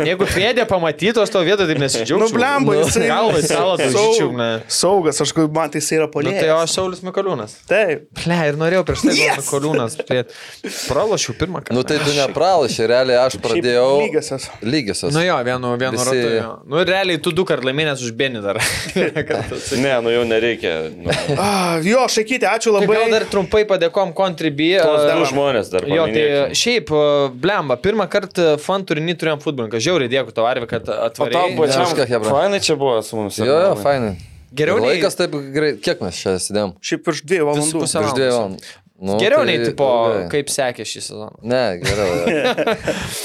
Speaker 4: jeigu Fedė pamatytų, aš tavo vietą taip nesidžiaugčiau.
Speaker 3: Nu, blemba, jisai-
Speaker 4: Galvai salą tai
Speaker 3: Sau-
Speaker 4: žačiau, ne.
Speaker 3: Saugas, aš kaip man tai jis yra
Speaker 4: Nu, tai o
Speaker 3: polėjas.
Speaker 4: aš Saulis Mikoliūnas.
Speaker 3: Taip.
Speaker 4: Ple, ir norėjau prieš tai yes! Mikoliūnas. Pralašiau pirmą kartą.
Speaker 6: Nu tai tu nepralašė, realiai aš pradėjau.
Speaker 3: Lygiasias.
Speaker 6: Lygiosios.
Speaker 4: Nu jo, vienu, vienu
Speaker 6: Visi-
Speaker 4: Visi... ratu. Jo. Nu ir realiai tu du kart laimėjęs už Benį dar.
Speaker 5: Ne, nu jau nereikia. Nu,
Speaker 3: Ah, jo, šakyti, ačiū
Speaker 4: Tai
Speaker 3: labai.
Speaker 4: Gal dar trumpai padėkom Contribui.
Speaker 5: Tuos du žmonės dar.
Speaker 4: e, Jo, tai
Speaker 5: paminėkim.
Speaker 4: šiaip, a, blemba, pirmą kartą fan turinį turėjom futbolininką. Žiauriai dėkui tau, Arvi, kad
Speaker 5: O tau
Speaker 4: atvažiavai.
Speaker 5: pačiam.
Speaker 6: Viską, chebra.
Speaker 5: Fainai čia buvo su mumis.
Speaker 6: Jo, jo, fainai.
Speaker 4: Geriau
Speaker 6: Ir
Speaker 4: nei-
Speaker 6: Laikas taip greit. Kiek mes čia sėdėm?
Speaker 3: Šiaip virš dviejų
Speaker 4: Visų
Speaker 3: valandų.
Speaker 4: pusę
Speaker 6: Už dviejų
Speaker 4: valandos.
Speaker 6: valandų. Nu,
Speaker 4: Geriau
Speaker 6: tai
Speaker 4: nei, tipo,
Speaker 6: ilgai.
Speaker 4: kaip sekė šį sezoną.
Speaker 6: Ne, geriau.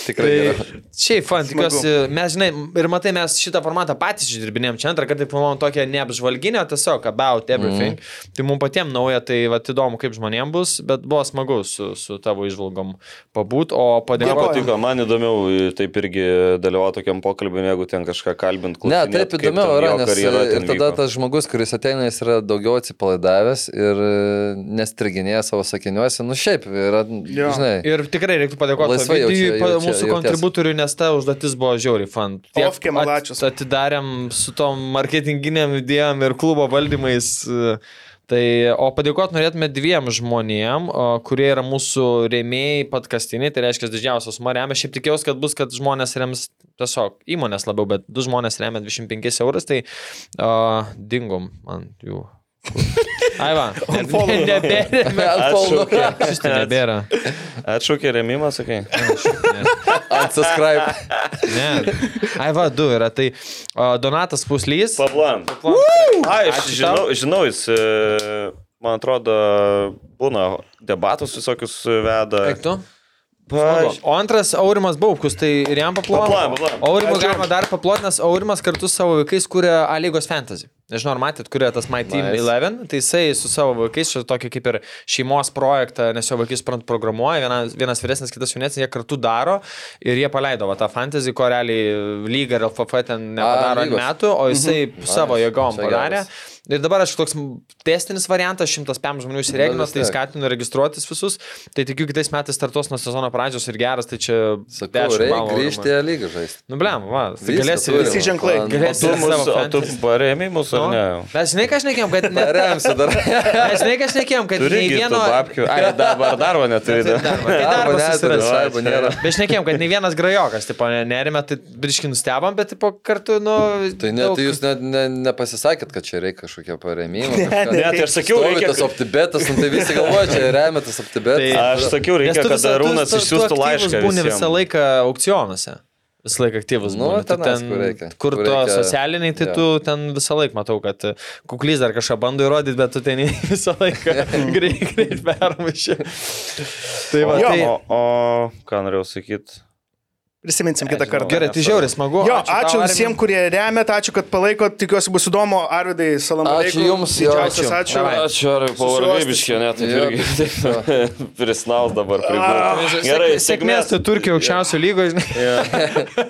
Speaker 6: Tikrai geriau.
Speaker 4: Tai šiaip, fan,
Speaker 3: Smagu.
Speaker 4: tikiuosi, mes, žinai, ir matai, mes šitą formatą patys išdirbinėjom. Čia antrą kartą, pamanau, tokią neapžvalginę, tiesiog about everything. Mm. Tai mums patiems nauja, tai vat, įdomu, kaip žmonėms bus, bet buvo smagu su, su tavo išvalgom pabūt, o
Speaker 5: Man
Speaker 4: padėkoti.
Speaker 5: patiko, man įdomiau taip irgi dalyvauti tokiam pokalbiui, negu ten kažką kalbint.
Speaker 6: Ne,
Speaker 5: klausinėt,
Speaker 6: taip
Speaker 5: kaip
Speaker 6: įdomiau
Speaker 5: ten
Speaker 6: yra,
Speaker 5: jo
Speaker 6: nes
Speaker 5: karjera
Speaker 6: ir
Speaker 5: ten
Speaker 6: tada
Speaker 5: vyko.
Speaker 6: tas žmogus, kuris ateina, jis yra daugiau atsipalaidavęs ir e, nestriginėja savo sakiniuose. Nu šiaip, yra,
Speaker 3: Jo.
Speaker 6: žinai,
Speaker 4: Ir tikrai reiktų padėkoti
Speaker 6: Laisvai
Speaker 4: Ovidijui,
Speaker 6: jaučia-
Speaker 4: pa-
Speaker 6: jaučia-
Speaker 4: mūsų
Speaker 6: jauties.
Speaker 4: kontributoriui, nes ta užduotis buvo žiauriai fan.
Speaker 3: Ofke, malačius.
Speaker 4: atidarėm su tom marketinginiam idėjom ir klubo valdymais. e, Tai, o padėkoti norėtume dviem žmonėm, o, kurie yra mūsų rėmėjai podkastiniai, tai reiškia didžiausios suma remia. Šiaip tikėjausi, kad bus, kad žmonės rems tiesiog įmonės labiau, bet du žmonės remia 25 eurus, tai uh, dingom man jų. Aiva,
Speaker 3: follow.
Speaker 4: nebėra.
Speaker 5: Atšaukė.
Speaker 4: Šis tai nebėra.
Speaker 5: Atšaukė remimą, sakai.
Speaker 6: atsiskraip.
Speaker 4: Ne. Ai, va, du yra. Tai o, Donatas Puslys.
Speaker 5: Pablan. Ai, aš
Speaker 4: Ačiū
Speaker 5: žinau, žinau, jis, e, man atrodo, būna debatus visokius veda.
Speaker 4: Eik tu.
Speaker 5: Pa-
Speaker 4: O antras Aurimas Baubkus, tai ir jam paplojam.
Speaker 5: Paplojam, paplojam.
Speaker 4: Aurimui galima dar paplot, nes Aurimas kartu su savo vaikais kūrė A lygos fantasy. Nežinau, ar matėt, kurio tas My Team
Speaker 6: Nice.
Speaker 4: 11, tai jisai su savo vaikais, čia tokį kaip ir šeimos projektą, nes jo vaikai, suprant, programuoja, vienas, vienas vyresnis, kitas jaunesnis, jie kartu daro ir jie paleido va, tą fantasy, ko realiai lyga ir LFF ten nepadaro ant
Speaker 6: lygos.
Speaker 4: metų, o jisai mhm. savo
Speaker 6: Nice.
Speaker 4: jėgom
Speaker 6: Čia
Speaker 4: padarė.
Speaker 6: geras.
Speaker 4: Ir dabar aš toks testinis variantas, šimtas pėm žmonių įsiregino,
Speaker 6: vis
Speaker 4: tai
Speaker 6: tiek.
Speaker 4: skatinu registruotis visus, tai tikiu kitais metais startos nuo sezono pradžios ir geras, tai čia...
Speaker 6: Sakau,
Speaker 4: dešimt
Speaker 6: reikia
Speaker 4: balų,
Speaker 6: grįžti
Speaker 4: Aurimai.
Speaker 6: į lygą žaisti.
Speaker 4: Nu, blem, va, tai
Speaker 6: Viską
Speaker 4: galėsi
Speaker 6: turim.
Speaker 3: Visi ženklai.
Speaker 5: O
Speaker 6: Ant-
Speaker 5: tu,
Speaker 4: Galėsi
Speaker 5: mus,
Speaker 4: savo
Speaker 5: o tu
Speaker 4: fantasy.
Speaker 5: paremi mus, ar ne?
Speaker 4: Nu, Mes žinai, ką šnekėjom, kad ne,
Speaker 6: Remsi dar.
Speaker 4: Mes žinai, ką šnekėjom, kad
Speaker 5: Turi
Speaker 4: nei
Speaker 5: irgi
Speaker 4: vieno...
Speaker 5: tų babkių. Ai, dabar darbo neturi.
Speaker 4: Tai
Speaker 5: da.
Speaker 4: darbas, tai
Speaker 6: Darbo
Speaker 4: darbas
Speaker 6: neturi,
Speaker 4: susirasi.
Speaker 6: šaibų nėra.
Speaker 4: Bet šnekėjom, kad nei vienas grajokas, tipo, ne- nerime, tai biški nustebom, bet tipo, kartu, nu...
Speaker 6: Tai net tai jūs net ne, nepasisakėt, kad čia reikia kažkokio paremimo. kažką.
Speaker 5: Ne, tai aš sakiau,
Speaker 6: Stovi
Speaker 5: reikia,
Speaker 6: tas optibetas, nu, tai visi galvoja, čia remia tas optibetas.
Speaker 4: Tai-
Speaker 5: Aš sakiau, reikia, kad Rūnas išsiųstų laišką.
Speaker 4: Būni
Speaker 5: visiem.
Speaker 4: visą laiką aukcionuose. Visą laiką aktyvus.
Speaker 6: Nu,
Speaker 4: būni. Tu
Speaker 6: tenais, kur reikia.
Speaker 4: Kur
Speaker 6: Kur
Speaker 4: to
Speaker 6: reikia-
Speaker 4: socialiniai, tai
Speaker 6: jo.
Speaker 4: tu ten visą laiką matau, kad e, kuklys dar kažką bando įrodyti, bet tu ten jį visą laiką greit, greit permuši. Tai va,
Speaker 3: Jo,
Speaker 4: tai...
Speaker 5: O, o ką norėjau sakyti?
Speaker 3: Prisiminsim kitą kartą.
Speaker 4: Gerai, tai žiauriai smagu.
Speaker 3: Jo,
Speaker 4: tau,
Speaker 3: ačiū, ačiū
Speaker 4: Arminai.
Speaker 3: visiems, kurie remet, ačiū, kad palaikot, tikiuosi bus įdomu, Arvidai, Salamonai.
Speaker 6: Ačiū jums, jo,
Speaker 3: didžiausias
Speaker 4: ačiū.
Speaker 3: ačiū.
Speaker 4: Davai.
Speaker 3: ačiū.
Speaker 5: Tai Ačiū, ar tai
Speaker 3: Susiuostys.
Speaker 5: pavargėbiškė, net
Speaker 6: Jo,
Speaker 5: irgi prisnaus dabar. prigulk. Gerai,
Speaker 4: Sėk- Sėkmės, tu Turkijos aukščiausio lygoje. žinai.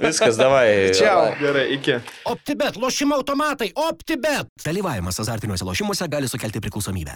Speaker 5: Viskas, davai.
Speaker 3: Čia.
Speaker 4: Gerai, iki.
Speaker 1: OptiBet, lošimo automatai, OptiBet.
Speaker 2: Dalyvavimas azartiniuose lošimuose gali sukelti priklausomybę.